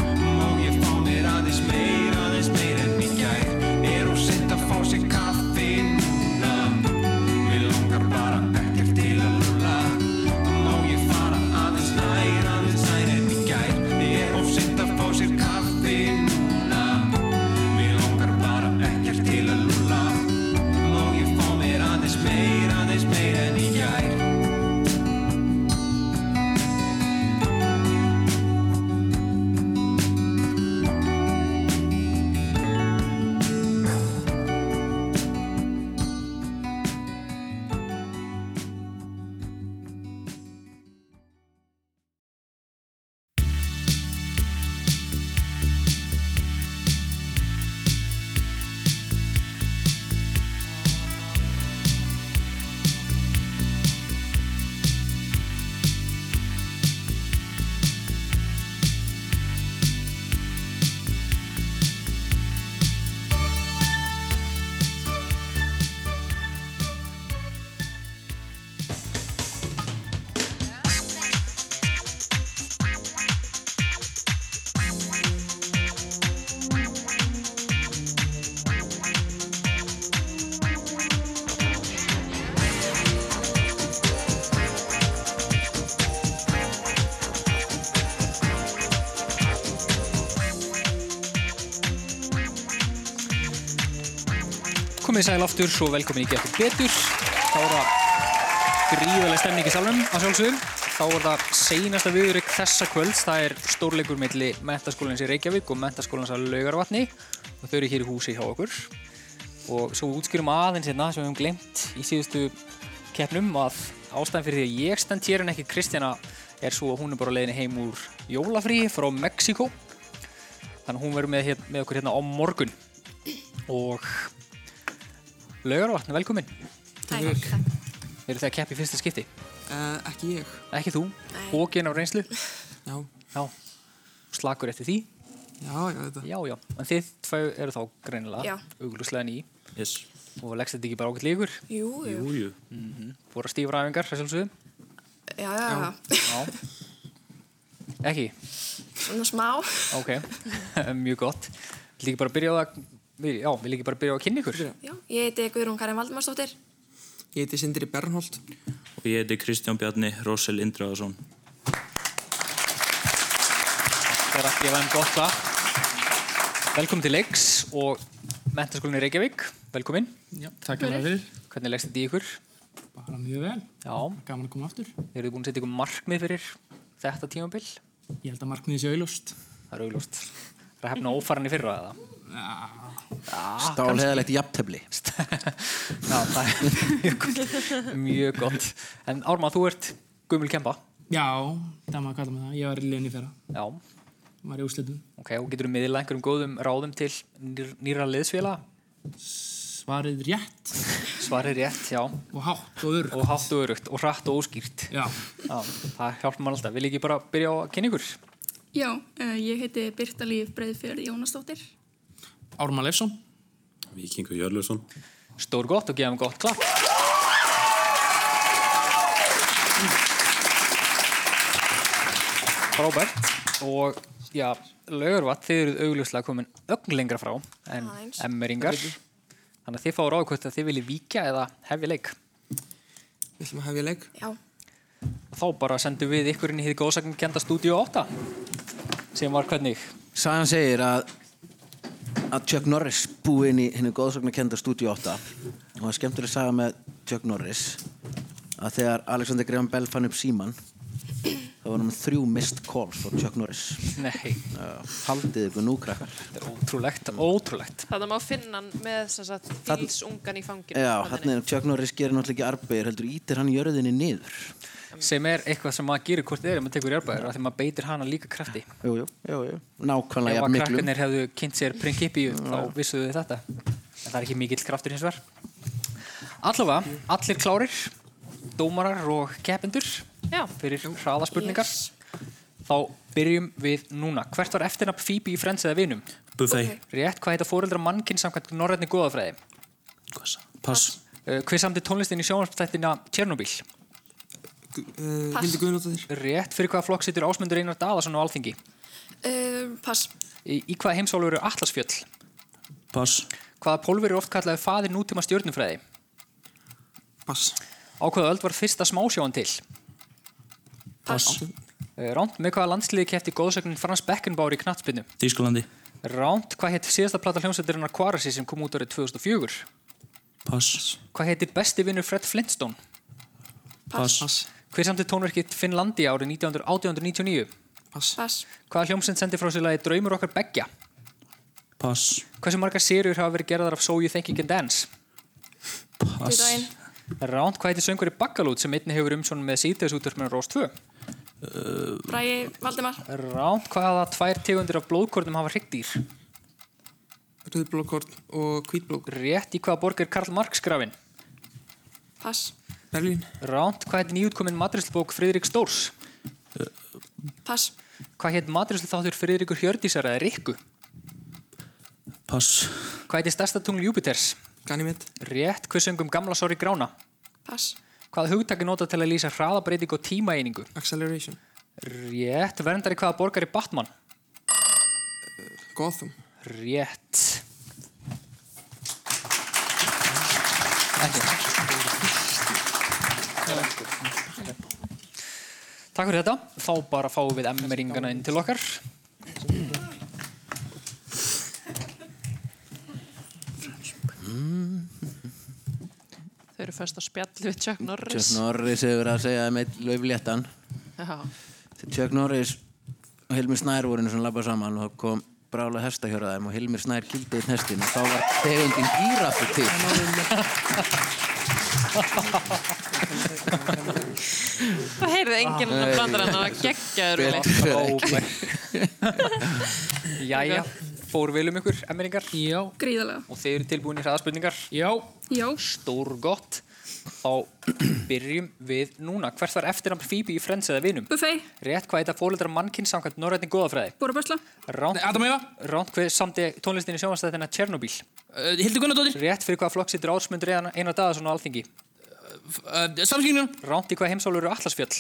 O: Má ég fá mér aðeins meir, aðeins meir en í gær Er of seint að fá sér kaffi núna Mér langar bara ekkert til að lúla Má ég fara aðeins nær, aðeins nær en í gær Ég er ofsitt að fá sér kaffi núna Mér langar bara ekkert til að lúla Má ég fá mér aðeins meir, aðeins meir en í gær
A: Komið sæl aftur og velkomin í Getur Betur. Þá er það gríðarlega stemning í salnum að sjálfsögum. Þá er það seinasta viðurik þessa kvölds. Það er stórleikur milli mentaskólans í Reykjavík og mentaskólans að Laugarvatni og þau eru hér í húsi hjá okkur. Og svo útskýrum aðeins hérna sem við höfum glemt í síðustu keppnum að ástæðan fyrir því að ég stend hér en ekki Kristjana er svo að hún er bara á leiðinni heim úr jólafríi frá Mexiko. Þannig að hún verður með, hér- með okkur hérna á morgun. Og Laugarvatn, velkomin.
P: Takk.
A: Eru þið að keppa í fyrsta skipti?
P: Uh, ekki ég.
A: Ekki þú? Hókin á reynslu? Já. Já. Slakur eftir því? Já, já, þetta. Já, já. En þið tvö eru þá
P: Já.
A: greinilega auglúslega ný. Yes. Og leggst þetta ekki bara ákveld líkur?
P: Jú, jú. Jú, jú.
A: Mm Voru stífræfingar, það sjálfsögum?
P: Já, já, já.
A: Já. Ekki?
P: Svona smá.
A: Ok. *laughs* Mjög gott. Vil ekki bara byrja á að, já, vil ekki bara byrja á að kynna ykkur?
P: Já, ég heiti Guðrún Karin Valdimarsdóttir.
Q: Ég heiti Sindri Bernholt.
S: Og ég heiti Kristján Bjarni Rósel Indraðarsson.
A: Það er að gefa þeim gott það. Velkomin til leiks og mentaskólinni í Reykjavík. Velkomin.
Q: Já,
V: takk hérna fyrir.
A: Hvernig leggst þetta í ykkur?
Q: Bara mjög vel.
A: Já.
Q: Gaman að koma aftur.
A: Eru þið búin að setja ykkur markmið fyrir þetta tímabil?
Q: Ég held að markmiðið sé auðlust.
A: Það er auglúst. Það er hefna ófaran í fyrra eða? Já.
C: Stálheðalegt jafntefli.
A: *laughs* Já, það er mjög gott. Mjög gott. En Árma, þú ert gummul kempa.
Q: Já, það maður kalla mig það. Ég var í liðinni fyrra.
A: Já.
Q: Var í úrslitum.
A: Ok, og getur þú miðla einhverjum góðum ráðum til nýr, nýra liðsfélaga?
Q: Svarið rétt.
A: Svarið rétt, já. Og hátt og örugt. Og hátt og örugt og hratt og óskýrt. Já. það hjálpar mann alltaf. Vil ekki bara byrja á að kynna ykkur?
N: Já, uh, ég heiti Birta Líf Breiðfjörð Jónasdóttir.
A: Ármann Leifsson.
S: Vikingur Jörlursson.
A: Stór gott og gefa hann gott klapp. Frábært. Og já, lögurvatt, þið eruð augljóslega komin ögn lengra frá en
Q: Aðeins.
A: emmeringar. Þannig að þið fáið ráðkvæmt að þið viljið víkja eða hefja leik.
Q: Við ætlum að hefja leik.
P: Já.
A: Þá bara sendum við ykkur inn í því góðsakn kenda stúdíu 8 sem var hvernig?
C: Sagan segir að að Chuck Norris búi inn í hennu góðsagnakenda stúdíu 8 og það er skemmtileg saga með Chuck Norris að þegar Alexander Graham Bell fann upp síman þá Það voru með þrjú missed calls frá Chuck Norris.
A: Nei.
C: Haldið ykkur nú, krakkar.
A: Þetta er ótrúlegt, ótrúlegt.
B: Þannig að má finna hann með sem sagt,
C: Þarna-
B: bílsungan í fanginu.
C: Já, hann er Chuck Norris gerir náttúrulega ekki arbeir, heldur ítir hann jörðinni niður.
A: Sem er eitthvað sem maður gerir hvort eð er ef maður tekur járbaður, af því maður beitir hana líka krafti.
C: Jú, jú, jú, jú. Nákvæmlega
A: Ef
C: jafn
A: að
C: miklu.
A: krakkarnir hefðu kynnt sér prinsipíu,
C: Já.
A: þá vissuðu þau þetta. En það er ekki mikill kraftur hins vegar. Allavega, allir klárir, dómarar og keppendur
B: Já.
A: fyrir hraðaspurningar. Þá byrjum við núna. Hvert var eftirnafn Phoebe í Friends eða vinum?
S: Buffet.
A: Rétt, hvað heita fóreldra mannkinn samkvæmt norrætni góðafræði?
S: Pass.
A: Uh, hver samdi tónlistin í sjónvarpstættina Tjernobyl?
S: eh,
A: Uh,
P: Pass. Hildur
A: Guðnóttir. Rétt, fyrir hvaða flokk situr Ásmundur Einar Daðarsson á Alþingi?
P: Uh, pass.
A: Í, í hvaða heimsálfu eru Atlasfjöll?
S: Pass.
A: Hvaða pólveri oft kallaði faðir nútíma stjörnufræði? Pass. Á hvaða öld var fyrsta smásjáan til? Pass. Ránt, með hvaða landsliði kefti góðsögnin Frans Beckenbauer í knattspinnu?
S: Þísklandi.
A: Ránt, hvað hétt síðasta plata hljómsveitarinnar Quarasi sem kom út árið 2004?
S: Pass.
A: Hvað heitir besti vinnur Fred Flintstone?
S: Pass. Pass.
A: Hver samti tónverkið Finnlandi árið 1900 1899? Pass.
P: Pass.
A: Hvaða hljómsveit sendi frá sér lagi Draumur okkar beggja?
S: Pass.
A: Hversu margar sériur hafa verið gerðar af So You Think You Can Dance?
P: Daginn.
A: Ránt, hvað heitir söngur í Baggalút sem einni hefur umsvonum með sítiðsútverfinu Rós 2? Uh.
P: Bræði Valdimar.
A: Ránt, hvaða tvær tegundir af blóðkornum hafa hryggdýr? Rauðblóðkorn og hvítblóðkorn. Rétt, í hvaða borg er Karl Marx grafinn?
P: Pass.
A: Berlín. Ránt, hvað heit nýutkominn matristlbók Friðrik Stórs? Uh.
P: Pass.
A: Hvað heit matristlþáttur Friðrikur Hjördísar eða Rikku?
S: Pass.
A: Hvað heiti stærsta tungl Júpiters? Ganymede. Rétt, hvað söngum gamla sorgi grána?
P: Pass.
A: Hvað hugtaki nota til að lýsa hraðabreiting og tímaeiningu? Acceleration. Rétt, verndari hvaða borgar í Batman? Gotham. Rétt. Takk fyrir þetta. Þá bara fáum við emmeringarna inn til okkar.
B: Þau eru fyrst að spjalla við Chuck Norris.
C: Chuck Norris hefur verið að segja um eitt laufléttan.
B: Já.
C: Chuck Norris og Hilmir Snær voru einu svona labba saman og þá kom brála hesta hjá þeim og Hilmir Snær kildið hestin og þá var tegundin gíraffi til. *laughs*
B: *laughs* Það heyrði enginn að blanda hann að geggja
A: Betur Jæja, fór vel um ykkur, emmeringar? Já.
F: Gríðarlega.
A: Og þið eru tilbúin í hraðaspurningar? Já.
F: Já.
A: Stór gott. Þá *clears throat* byrjum við núna. Hvert var eftirnafn Phoebe í Friends eða vinum?
F: Buffet,
A: Rétt hvað eitthvað fóreldra mannkinn samkvæmt norrætni góðafræði?
F: borabörsla,
A: Ránt, Adam Eva Ránt hver samti tónlistinni sjónvastæðina Tjernobyl uh, Hildur Gunnardóttir Rétt fyrir hvaða flokk sittur ásmundur eða einar dagaðsson á alþingi uh, Samskynjum Ránt í hvaða heimsálfur eru Atlasfjöll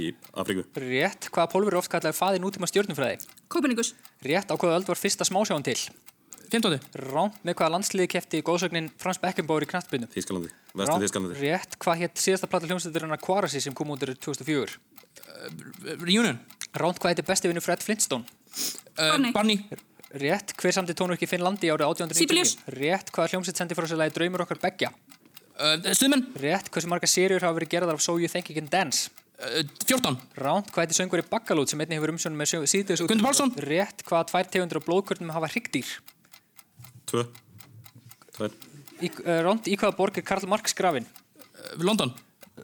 S: Í Afríku.
A: Rétt hvaða pólfur er oft kallaði faði nútíma stjörnumfræði
F: Kopernikus,
A: Rétt á hvaða öld var fyrsta smásjáin til 15. Ránt með hvaða landsliði kefti góðsögnin Frans Beckenbauer í knattbyrnu
S: Þísklandi. Vestur Þísklandi.
A: Rétt hvað hétt síðasta plata hljómsveiturinnar Quarasi sem kom út árið 2004 Reunion Ránt hvað heitir besti vinnu Fred Flintstone
F: Barney.
A: Rétt, hver samti tónverki Finnlandi árið 1899?
F: Sibelius.
A: Rétt, hvaða hljómsveit sendi frá sér lagi Draumur okkar beggja? Uh, Stuðmenn. Rétt, hversu marga sériur hafa verið gerðar af So You Think You Can Dance? Uh, 14. Ránt, hvað heitir söngur í Baggalút sem einnig hefur umsjónum með síðuðs út? Gundur Pálsson. Rétt, hvaða tvær tegundur af blóðkörnum hafa hryggdýr?
S: Tvö. Tvær.
A: Í, uh, ránt, í hvaða borg er Karl Marx grafinn? Uh, London.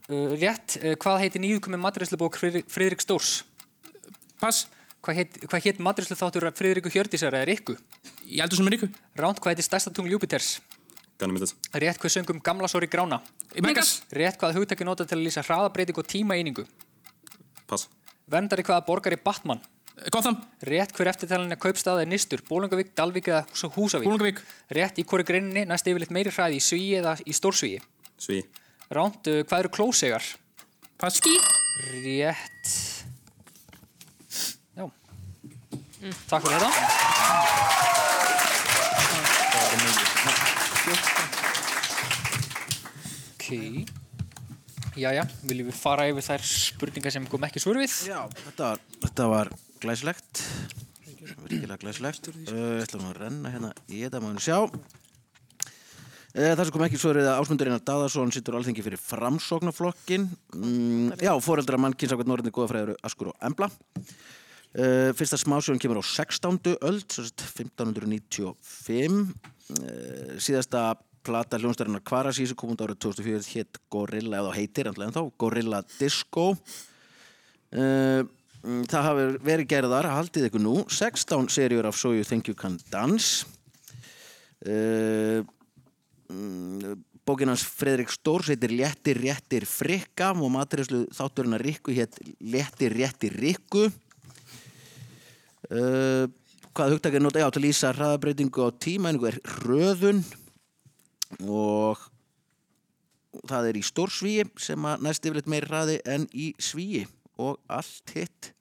A: Uh, rétt, uh, hvað heitir nýðkomi matræslubók Friðrik Stórs? Pass. Hvað heit, hvað heit matræslu þáttur Friðriku Hjördísar eða Rikku? Ég heldur sem er Rikku. Ránt, hvað heitir stærsta tungl Júpiters?
S: Ganymede.
A: Rétt, hvað söngum gamla sori grána?
S: Í Megas.
A: Rétt, hvað hugtaki nota til að lýsa hraðabreiting og tímaeiningu?
S: Pass.
A: Verndari hvaða borgar í Batman? Eh, Gotham. Rétt, hver eftirtalinni kaupstaða er nýstur? Bólungavík, Dalvík eða Hús- Húsavík? Bólungavík. Rétt, í hverju greininni næst yfirleitt meiri hraði í svíi eða í stórsvíi?
S: Sví.
A: Ránt, uh, hvað eru klósegar? Paski. Rétt. Já. Takk fyrir þetta. Ok. Jæja, viljum við fara yfir þær spurningar sem kom ekki svör við?
C: Já, þetta var, þetta var glæslegt. Virkilega glæslegt. Uh, ætlum að renna hérna í þetta maður sjá. Eh, Það sem kom ekki svo er það Ásmundur Einar Daðarsson sittur á alþingi fyrir framsóknarflokkin mm, Já, foreldra mann kynsakvæmt norðinni góðafræður Askur og Embla uh, Fyrsta smásjón kemur á 16. öld sem sagt 1595 uh, Síðasta plata hljónstærinar Kvarasísi kom út árið 2004 hétt Gorilla, eða heitir ennlega ennþá Gorilla Disco uh, mm, Það hafi verið gerðar, haldið ykkur nú 16 seríur af So You Think You Can Dance uh, mm, bókin hans Fredrik Stórs heitir Léttir, réttir, frikka og maturinslu þátturinn að rikku hétt Léttir, réttir, rikku uh, hvað hugtak er nota? Já, til að lýsa hraðabreitingu á tímæningu er röðun og það er í stórsvíi sem að næst yfirleitt meiri hraði en í svíi og allt hitt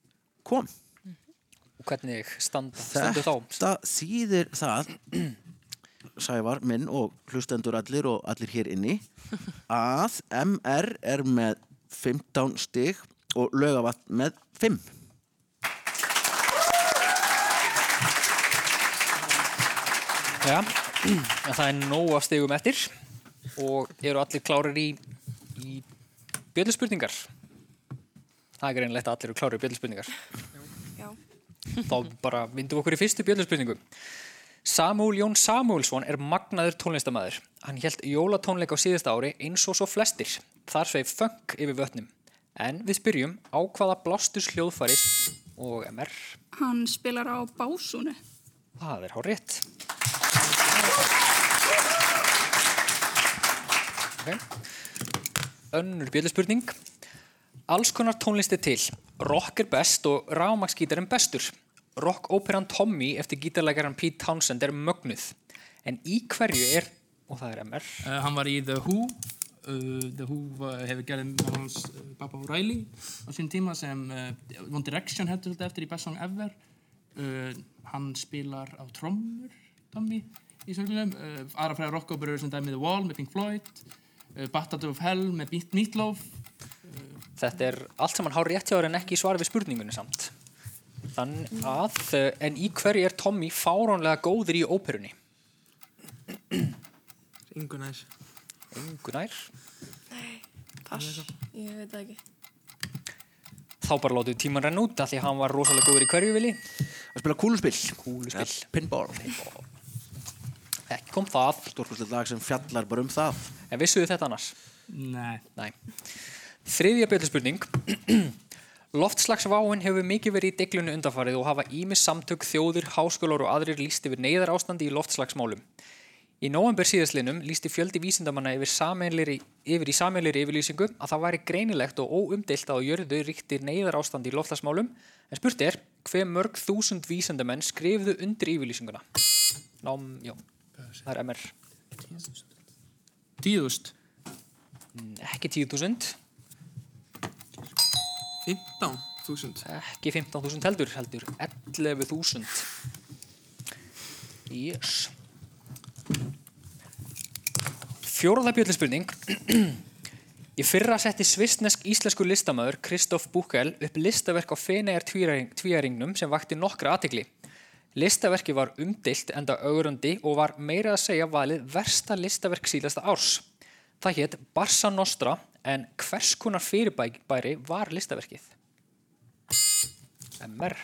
C: kom
A: Og hvernig standa, standu þá?
C: Þetta þýðir það *clears throat* Sævar minn og hlustendur allir og allir hér inni að MR er með 15 stig og lögavatn með 5
A: Já, en það er nóg af stegum eftir og eru allir klárir í, í bjöllspurningar Það er greinilegt að allir eru klárir í bjöllspurningar
P: Já.
A: Þá bara myndum við okkur í fyrstu bjöllspurningu Samúl Jón Samúlsson er magnaður tónlistamæður Hann hélt jólatónleik á síðasta ári eins og svo flestir Þar sveif funk yfir vötnum En við spyrjum á hvaða blástus hljóðfaris og MR
N: Hann spilar á básunu.
A: Það er hár rétt okay. Önnur bjöllspurning Alls konar tónlist er til Rock er best og rámaksgítar er bestur Rock-óperan Tommy eftir gítarleikaran Pete Townsend er mögnuð En í hverju er og það er MR
Q: Uh, hann var í The Who uh, The Who uh, hefur gerðið með hans uh, Baba O'Reilly á sín tíma sem uh, One Direction heldur þetta eftir í Best Song Ever uh, hann spilar á trommur Tommy í sörlunum uh, aðra fræða rockóperur sem dæmi The Wall með Pink Floyd uh, Battle of Hell með Meat Meatloaf
A: Þetta er allt saman hár rétt hjá þér en ekki í svari við spurningunni samt Þannig að uh, En í hverju er Tommy fáránlega góður í óperunni?
V: Ingunær
A: Ingunær
P: Pass. Ég veit það ekki.
A: Þá bara látum við tíman renna út af því að hann var rosalega góður í hverju vilji
C: Að spila kúluspill
A: Kúluspill
C: Pinball
A: Ekki kom það
C: Stórkoslega lag sem fjallar bara um það
A: En vissuðu þetta annars?
Q: Nei
A: Nei Þriðja bjöllspurning *clears throat* Loftslagsváin hefur mikið verið í deglunni undanfarið og hafa ímis samtök, þjóðir, háskólar og aðrir líst yfir neyðar ástandi í loftslagsmálum. Í nóvember síðaslinum lísti fjöldi vísindamanna yfir, sameiginlegri- yfir í sameinleiri yfirlýsingu að það væri greinilegt og óumdeilt að á jörðu ríktir neyðar ástandi í loftslagsmálum en spurt er hve mörg þúsund vísindamenn skrifðu undir yfirlýsinguna? Nám, já, það er MR.
Q: Tíðust?
A: Ekki tíu þúsund.
V: 15.000
A: Ekki 15.000 heldur, heldur 11.000 Yes Fjóraða bjöllspurning *clears throat* Í fyrra setti svistnesk íslensku listamöður Kristoff Bukel upp listaverk á Fenegar tvíæringnum sem vakti nokkra aðtegli. Listaverki var umdilt enda augrandi og var meira að segja valið versta listaverk síðasta árs. Það hétt Barsa Nostra en hvers konar fyrirbæri var listaverkið? MR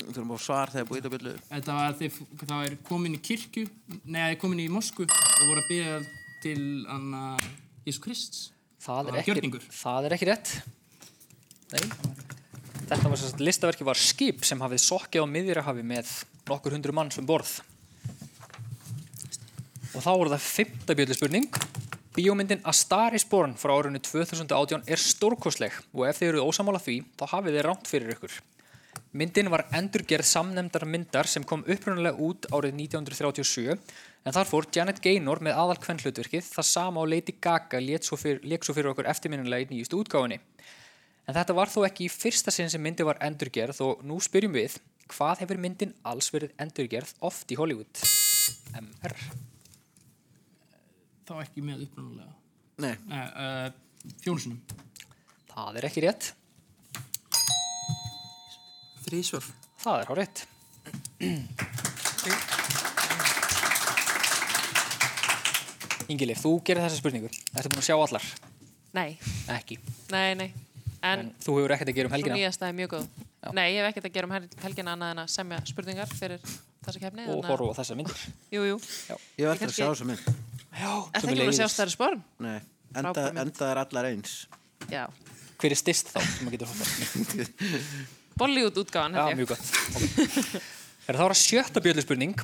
C: Þurfum að fá svar þegar búið að byrlu
Q: Þetta var þeir, það er komin í kirkju, nei, það er komin í Moskvu og voru að byrja til anna Jésu Krist.
A: Það er ekki- Það er ekki rétt. Nei. Þetta var sérst, listaverki var skip sem hafið sokkið á miðjarahafi með nokkur hundru manns um borð. Og þá voru það fymta bjöllspurning. Bíómyndin A Star is Born frá árunni 2018 er stórkosleg og ef þið eruð ósamála því þá hafið þið rámt fyrir ykkur. Myndin var endurgerð samnefndar myndar sem kom upprunalega út árið 1937 en þar fór Janet Gaynor með aðal kvennhlutverkið það sama og Lady Gaga lék svo fyrir, lék svo fyrir okkur eftirminnilega í nýjustu útgáfinni. En þetta var þó ekki í fyrsta sinn sem myndi var endurgerð og nú spyrjum við hvað hefur myndin alls verið endurgerð oft í Hollywood? MR
Q: Það var ekki með upprunalega.
C: Nei.
Q: nei uh, Fjónusunum.
A: Það er ekki rétt. Þrísvörf. Það er hár rétt. Ingilif, þú gerir þessa spurningu. Ertu búin að sjá allar?
B: *laughs* Nei,
A: Ekki.
B: nei, nei. En
A: Þú hefur ekkert að gera um
B: svo
A: helgina
B: nýjasta er mjög góð. Nei, ég hef ekkert að gera um hel- helgina annað en að semja spurningar fyrir þessa kefni.
A: og horfa á þessa myndir.
B: Jú, jú.
C: Ég hef eftir að
B: Kannski-
C: sjá þessa mynd.
B: Já. Er það ekki alveg sjást þær í sporn?
C: Nei, enda,
B: Frábær mynd.
C: enda er allar eins.
B: Já.
A: Hver er styrst þá sem maður getur horfa á?
B: Bollywood útgáðan
A: Já, mjög gott. Okay. Er það var að sjötta bjöllspurning.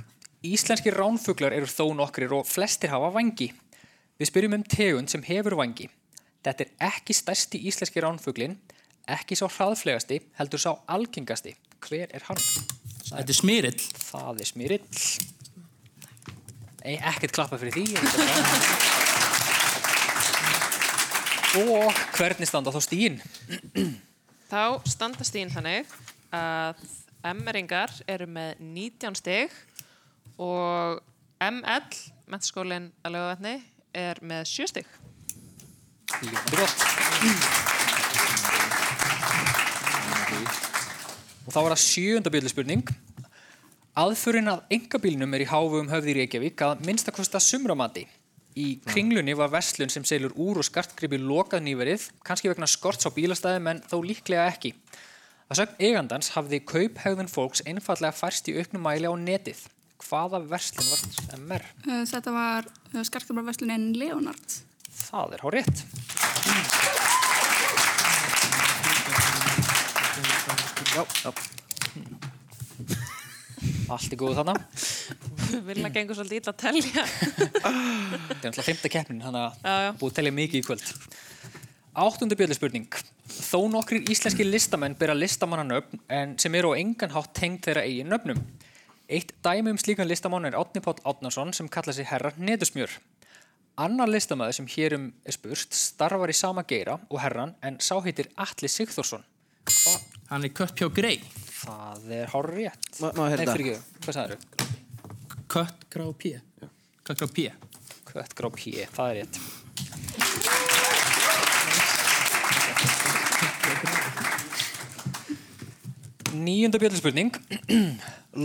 A: Íslenskir ránfuglar eru þó nokkrir og flestir hafa vangi. Við spyrjum um tegund sem hefur vangi. Þetta er ekki stærsti íslenski ránfuglin, ekki sá hraðflegasti, heldur sá algengasti. Hver er hann?
Q: Þetta er smyrill.
A: Það er smyrill. Nei, ekkert klappa fyrir því. þetta er
Q: *laughs*
A: bara- Og hvernig standa þá stíin?
B: Þá standa stíðin þannig að M-ringar eru með 19 stig og ML, mentaskólinn að lögavætni, er með 7 stig. *laughs*
A: Ljómandi gott. Og þá var það sjöunda bjöllspurning. Aðförin að engabílnum er í háfum höfði í Reykjavík að minnstakosta sumramati. Í kringlunni var verslun sem selur úr og skartgripi lokað nýverið, kannski vegna skorts á bílastæðum en þó líklega ekki. Að sögn eigandans hafði kauphegðun fólks einfallega færst í auknum mæli á netið. Hvaða verslun var MR?
N: Uh, Þetta var uh, skarkabræðverslunin Leonard.
A: Það er hár rétt. Já, já. Allt er góð þarna.
B: Vilja gengur svolítið illa að telja. *laughs*
A: Þetta er náttúrulega fymta keppnin, þannig
B: Já, já.
A: að búið að telja mikið í kvöld. Áttundu bjöllspurning. Þó nokkrir íslenski listamenn bera listamannanöfn en sem eru á engan hátt tengd þeirra eigin nöfnum. Eitt dæmi um slíkan listamann er Átni Páll Átnarsson sem kallar sig herra Netusmjör. Annar listamæður sem hérum er spurt starfar í sama geira og herran en sá heitir Atli Sigþórsson.
Q: Hann er kött hjá grei.
A: Það er hár rétt.
C: Má, má
A: Nei,
C: hérna?
A: fyrir hvað sagður þau?
Q: Kött grá pí. Kött grá pí.
A: Kött grá pí, það er rétt. Níunda bjöldspurning.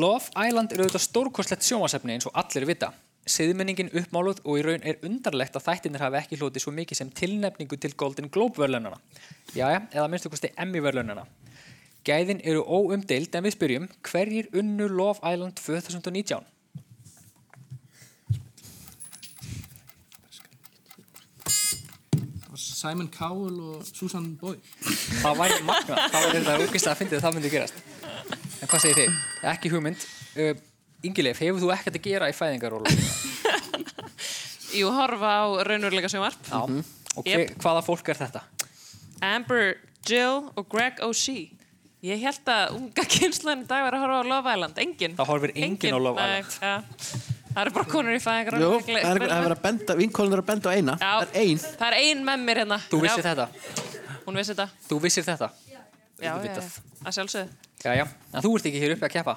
A: Love Island er auðvitað stórkostlegt sjónvarsefni eins og allir vita. Siðmenningin uppmáluð og í raun er undarlegt að þættinir hafi ekki hlotið svo mikið sem tilnefningu til Golden Globe verðlaunana. Jæja, eða minnstu kosti Emmy verðlaunana. Gæðin eru óumdeild en við spyrjum hverjir unnu Love Island 2019?
Q: Simon Cowell og Susan Boyle.
A: Það væri magna, það væri þetta úkvist að fyndið að það myndi gerast. En hvað segir þið? Ekki hugmynd. Uh, Ingileif, hefur þú ekkert að gera í fæðingarólu?
B: Jú, horfa á raunveruleika sjónvarp.
A: Já. Og hve,
B: Jep.
A: hvaða fólk er þetta?
B: Amber, Jill og Greg O'Shea. Ég held að unga *laughs* kynslan í dag var að horfa á Love Island. Engin.
A: Það horfir enginn á Love
B: Island. Nei, ja. Það eru bara konur í fæðingar.
C: Jú, það er það er verið að benda, vinkonun er að benda á eina. Það er ein.
B: Það er ein með mér hérna.
A: Þú vissir
B: Já,
A: þetta?
B: Hún vissir þetta.
A: Þú vissir þetta?
B: Já, já,
A: Auðvitað.
B: já. Að sjálfsögðu.
A: Já, já. En þú ert ekki hér uppi að keppa?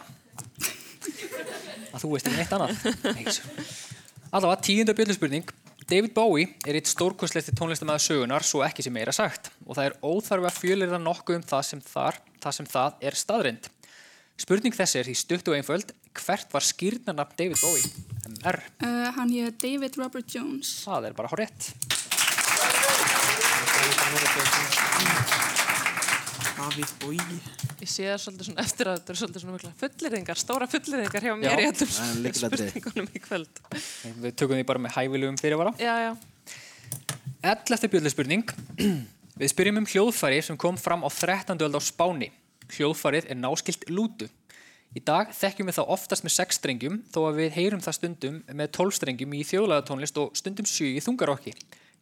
A: Að þú veist ekki neitt annað? Nei, Allavega, tíunda bjöllspurning. David Bowie er eitt stórkostleisti tónlistamæður sögunar, svo ekki sem meira sagt. Og það er óþarfi að fjölirða nokkuð um það sem, þar, það sem það er staðrind. Spurning þessi er því stutt og einföld. Hvert var skýrnarnafn David Bowie? MR.
N: Uh, hann hér David Robert Jones.
A: Það er bara hár rétt.
Q: David Bowie.
B: Ég sé það svolítið svona eftir að þetta eru svolítið svona mikla fullirðingar, stóra fullirðingar hjá mér í öllum spurningunum í kvöld.
A: Við tökum því bara með hæfilegum fyrirvara.
B: Já, já.
A: 11. bjöllspurning. Við spyrjum um hljóðfæri sem kom fram á 13. öld á Spáni. Hljóðfærið er náskilt lútu. Í dag þekkjum við það oftast með 6 strengjum þó að við heyrum það stundum með 12 strengjum í þjóðlæðatónlist og stundum 7 í þungarokki.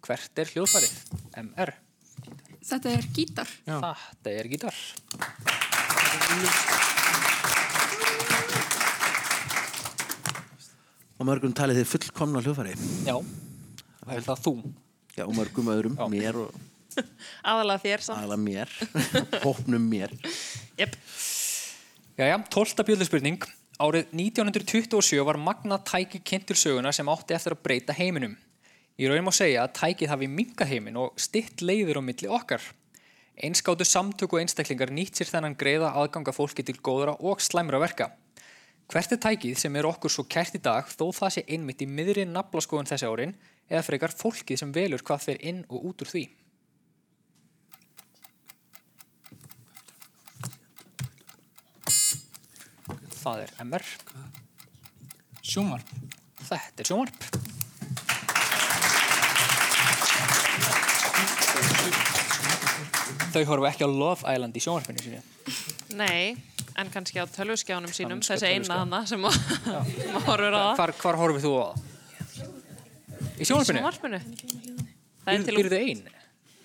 A: Hvert er hljóðfærið? MR.
N: Þetta er gítar.
A: Þetta er gítar.
C: Og mörgum talið þið fullkomna hljófari.
A: Já. Það er það þú.
C: Já, og mörgum öðrum, mér og
B: Aðalega þér samt.
C: aðla mér. *laughs* Hópnum mér.
B: Jep.
A: Jæja, 12. bjöldspurning. Árið 1927 var magna tæki kynnt til söguna sem átti eftir að breyta heiminum. Í raun má segja að tækið hafi minga heimin og stitt leiðir á milli okkar. Einskáttu samtök og einstaklingar nýtt sér þennan greiða aðganga fólki til góðra og slæmra verka. Hvert er tækið sem er okkur svo kært í dag þó það sé einmitt í miðri naflaskoðun þessi árin eða frekar fólkið sem velur hvað fer inn og út úr því? Það er MR.
Q: Sjónvarp.
A: Þetta er sjónvarp. Þau horfa ekki á Love Island í sjónvarpinu sínu.
B: Nei, en kannski á tölvuskjánum sínum,
A: Kannski á
B: þessi eina
A: tölvuskjánum.
B: hana sem að- sem að horfur á það.
A: Hvar, hvar horfið þú á það? Í
B: Í
A: sjónvarpinu?
B: sjónvarpinu. Það er til
A: Býrðu ein?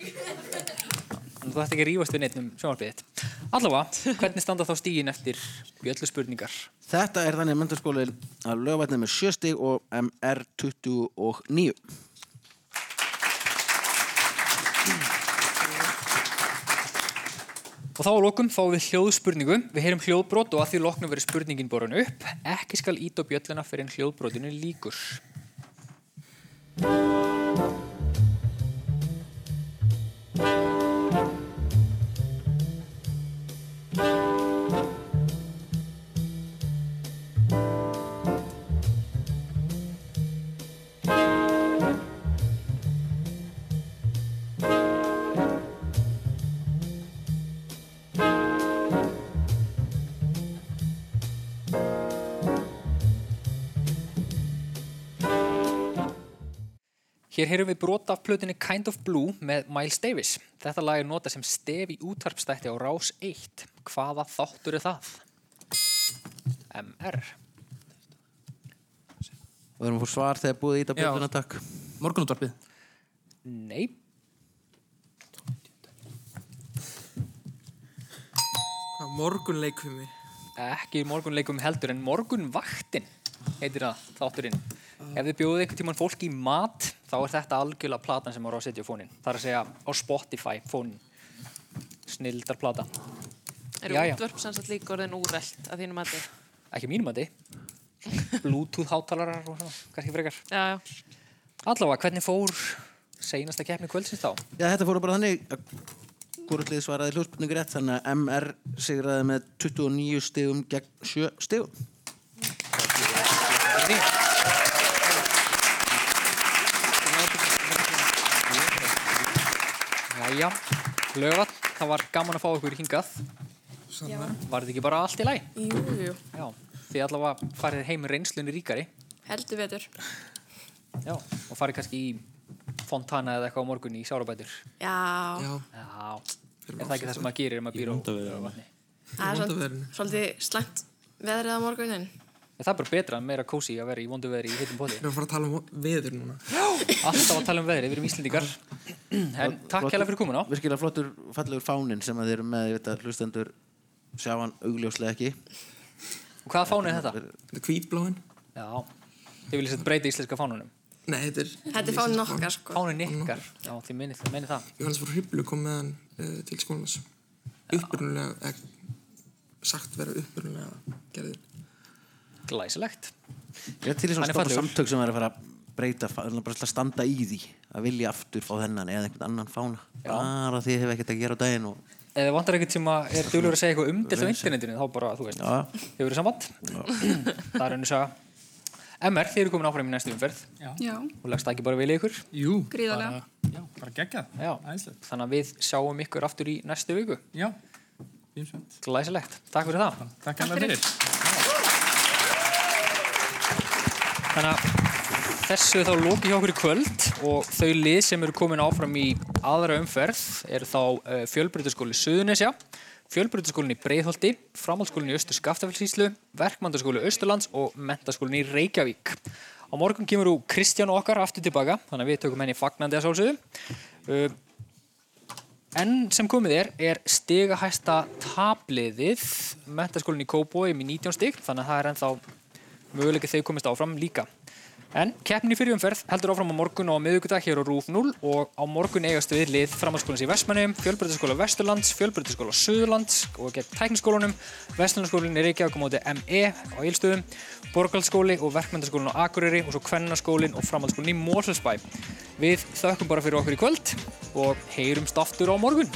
A: En Þú ætti ekki að rífast við neitt um sjónvarpið þitt. Allavega, *laughs* hvernig standa þá stígin eftir í öllu spurningar?
C: Þetta er þannig mentaskóli að lögvætnið með 7 stig og MR 29.
A: Og þá að lokum fáum við hljóðspurningu. Við heyrum hljóðbrot og að því loknum verið spurningin borun upp. Ekki skal ít á bjölluna fyrir en hljóðbrotinu líkur. Hér heyrum við brot af plötunni Kind of Blue með Miles Davis. Þetta lag er notað sem stef í útvarpstætti á Rás 1. Hvaða þáttur er það? MR.
C: Og erum við fór svar þegar búið ít á bjölduna, takk.
Q: Morgunútvarpið.
A: Nei.
D: Morgunleikfimi
A: Ekki morgunleikum heldur en morgunvaktin heitir það þátturinn. Ef þið bjóðuð einhvern tíman fólk í mat þá er þetta algjörlega platan sem á Rás 1 á fónin. Það er að segja á Spotify fónin. Snildar plata.
B: Er
A: Jæja.
B: útvörp sem sagt líka orðin úrelt að þínum aðeins?
A: Ekki mínum að þið. Bluetooth hátalarar og svona, kannski frekar.
B: Já, já.
A: Allavega, hvernig fór seinasta keppni kvöldsins þá?
C: Já, þetta fóru bara þannig að Hvorullið svaraði hljóðspurningu rétt þannig að MR sigraði með 29 stigum gegn 7 stigum.
A: Jæja, lögat, það var gaman að fá okkur hingað.
D: Sannlega.
A: Var þetta ekki bara allt í læg?
P: Jú, jú.
A: Já, þið allavega farið heim reynslunni ríkari
P: Heldur betur.
A: Já. og farið kannski í Fontana eða eitthvað á morgun í Sárabætur.
P: Já.
A: Já. Er það ekki það sem maður gerir ef maður býr á vatni?
P: Það er
A: vonda
P: svol-
A: veðrinu.
P: svolítið slæmt veðrið á morgunin.
A: En Það er bara betra, meira kósi að vera í vondu veðri í heitum poti.
D: Við erum að fara að tala um veður núna
A: Alltaf að tala um veðri, við erum Íslendingar. En takk hella fyrir komuna.
C: Virkilega flottur, fallegur fáninn sem að þið eru með, ég veit að hlustendur sjá hann augljóslega ekki.
A: Og hvaða fáni er þetta?
D: Þetta er hvítbláin.
A: Já. Þið viljið sett breyta íslenska fánunum.
D: Nei, þetta er
P: Þetta er fáinn okkar, sko.
A: Fánin ykkar. Já, þið minni, þið minni það.
D: Jóhannes frá Hriblu kom
H: eh,
D: með hann uh, til skólans upprunulega eða sagt vera upprunulega gerðin
A: Glæsilegt
C: Ég er til þess að
D: Hann er
C: stoppa
D: fallegur.
C: samtök sem er að fara að breyta, fa- bara til að standa í því að vilja aftur fá þennan eða einhvern annan fána.
A: Já.
C: Bara því hefur ekkert að gera á daginn og
A: Ef þið vantar eitthvað sem að er duglur að segja eitthvað umdelt á internetinu, þá bara, þú veist, þið verður samband. það er önnur saga. MR, þið eru komin áfram í næstu umferð.
F: Já.
A: Og leggst það ekki bara vel í ykkur? Jú.
F: Gríðarlega.
A: Já, bara geggjað. Já. Æðislegt. Þannig að við sjáum ykkur aftur í næstu viku. Já. Glæsilegt. Takk fyrir það.
Q: Takk hella fyrir.
A: Þannig að þessu er þá lóki hjá okkur í kvöld og þau lið sem eru komin áfram í aðra umferð eru þá uh, fjölbrytaskóli Suðunesja, fjölbrytaskólin í Breiðholti, framhaldsskólin í Östur Skaftafellsíslu, verkmandaskóli Östurlands og mentaskólin í Reykjavík. Á morgun kemur úr Kristján okkar aftur tilbaka, þannig að við tökum henni fagnandi að sálsögðu. Uh, En sem komið er, er stigahæsta tabliðið mentaskólinni í Kóboi með 19 stig, þannig að það er ennþá möguleika þau komist áfram líka. En keppni fyrir umferð heldur áfram á morgun og á miðugudag hér á RÚF 0 og á morgun eigast við lið framhaldsskólans í Vestmannum, fjölbrytaskóla Vesturlands, fjölbrytaskóla Suðurlands og gegn tækniskólanum, Vesturlandsskólinn í Reykjavík á móti ME á Ílstöðum, Borgaldsskóli og Verkmyndaskólinn á Akureyri og svo Kvennaskólinn og framhaldsskólinn í Mórsalsbæ. Við þökkum bara fyrir okkur í kvöld og heyrumst aftur á morgun.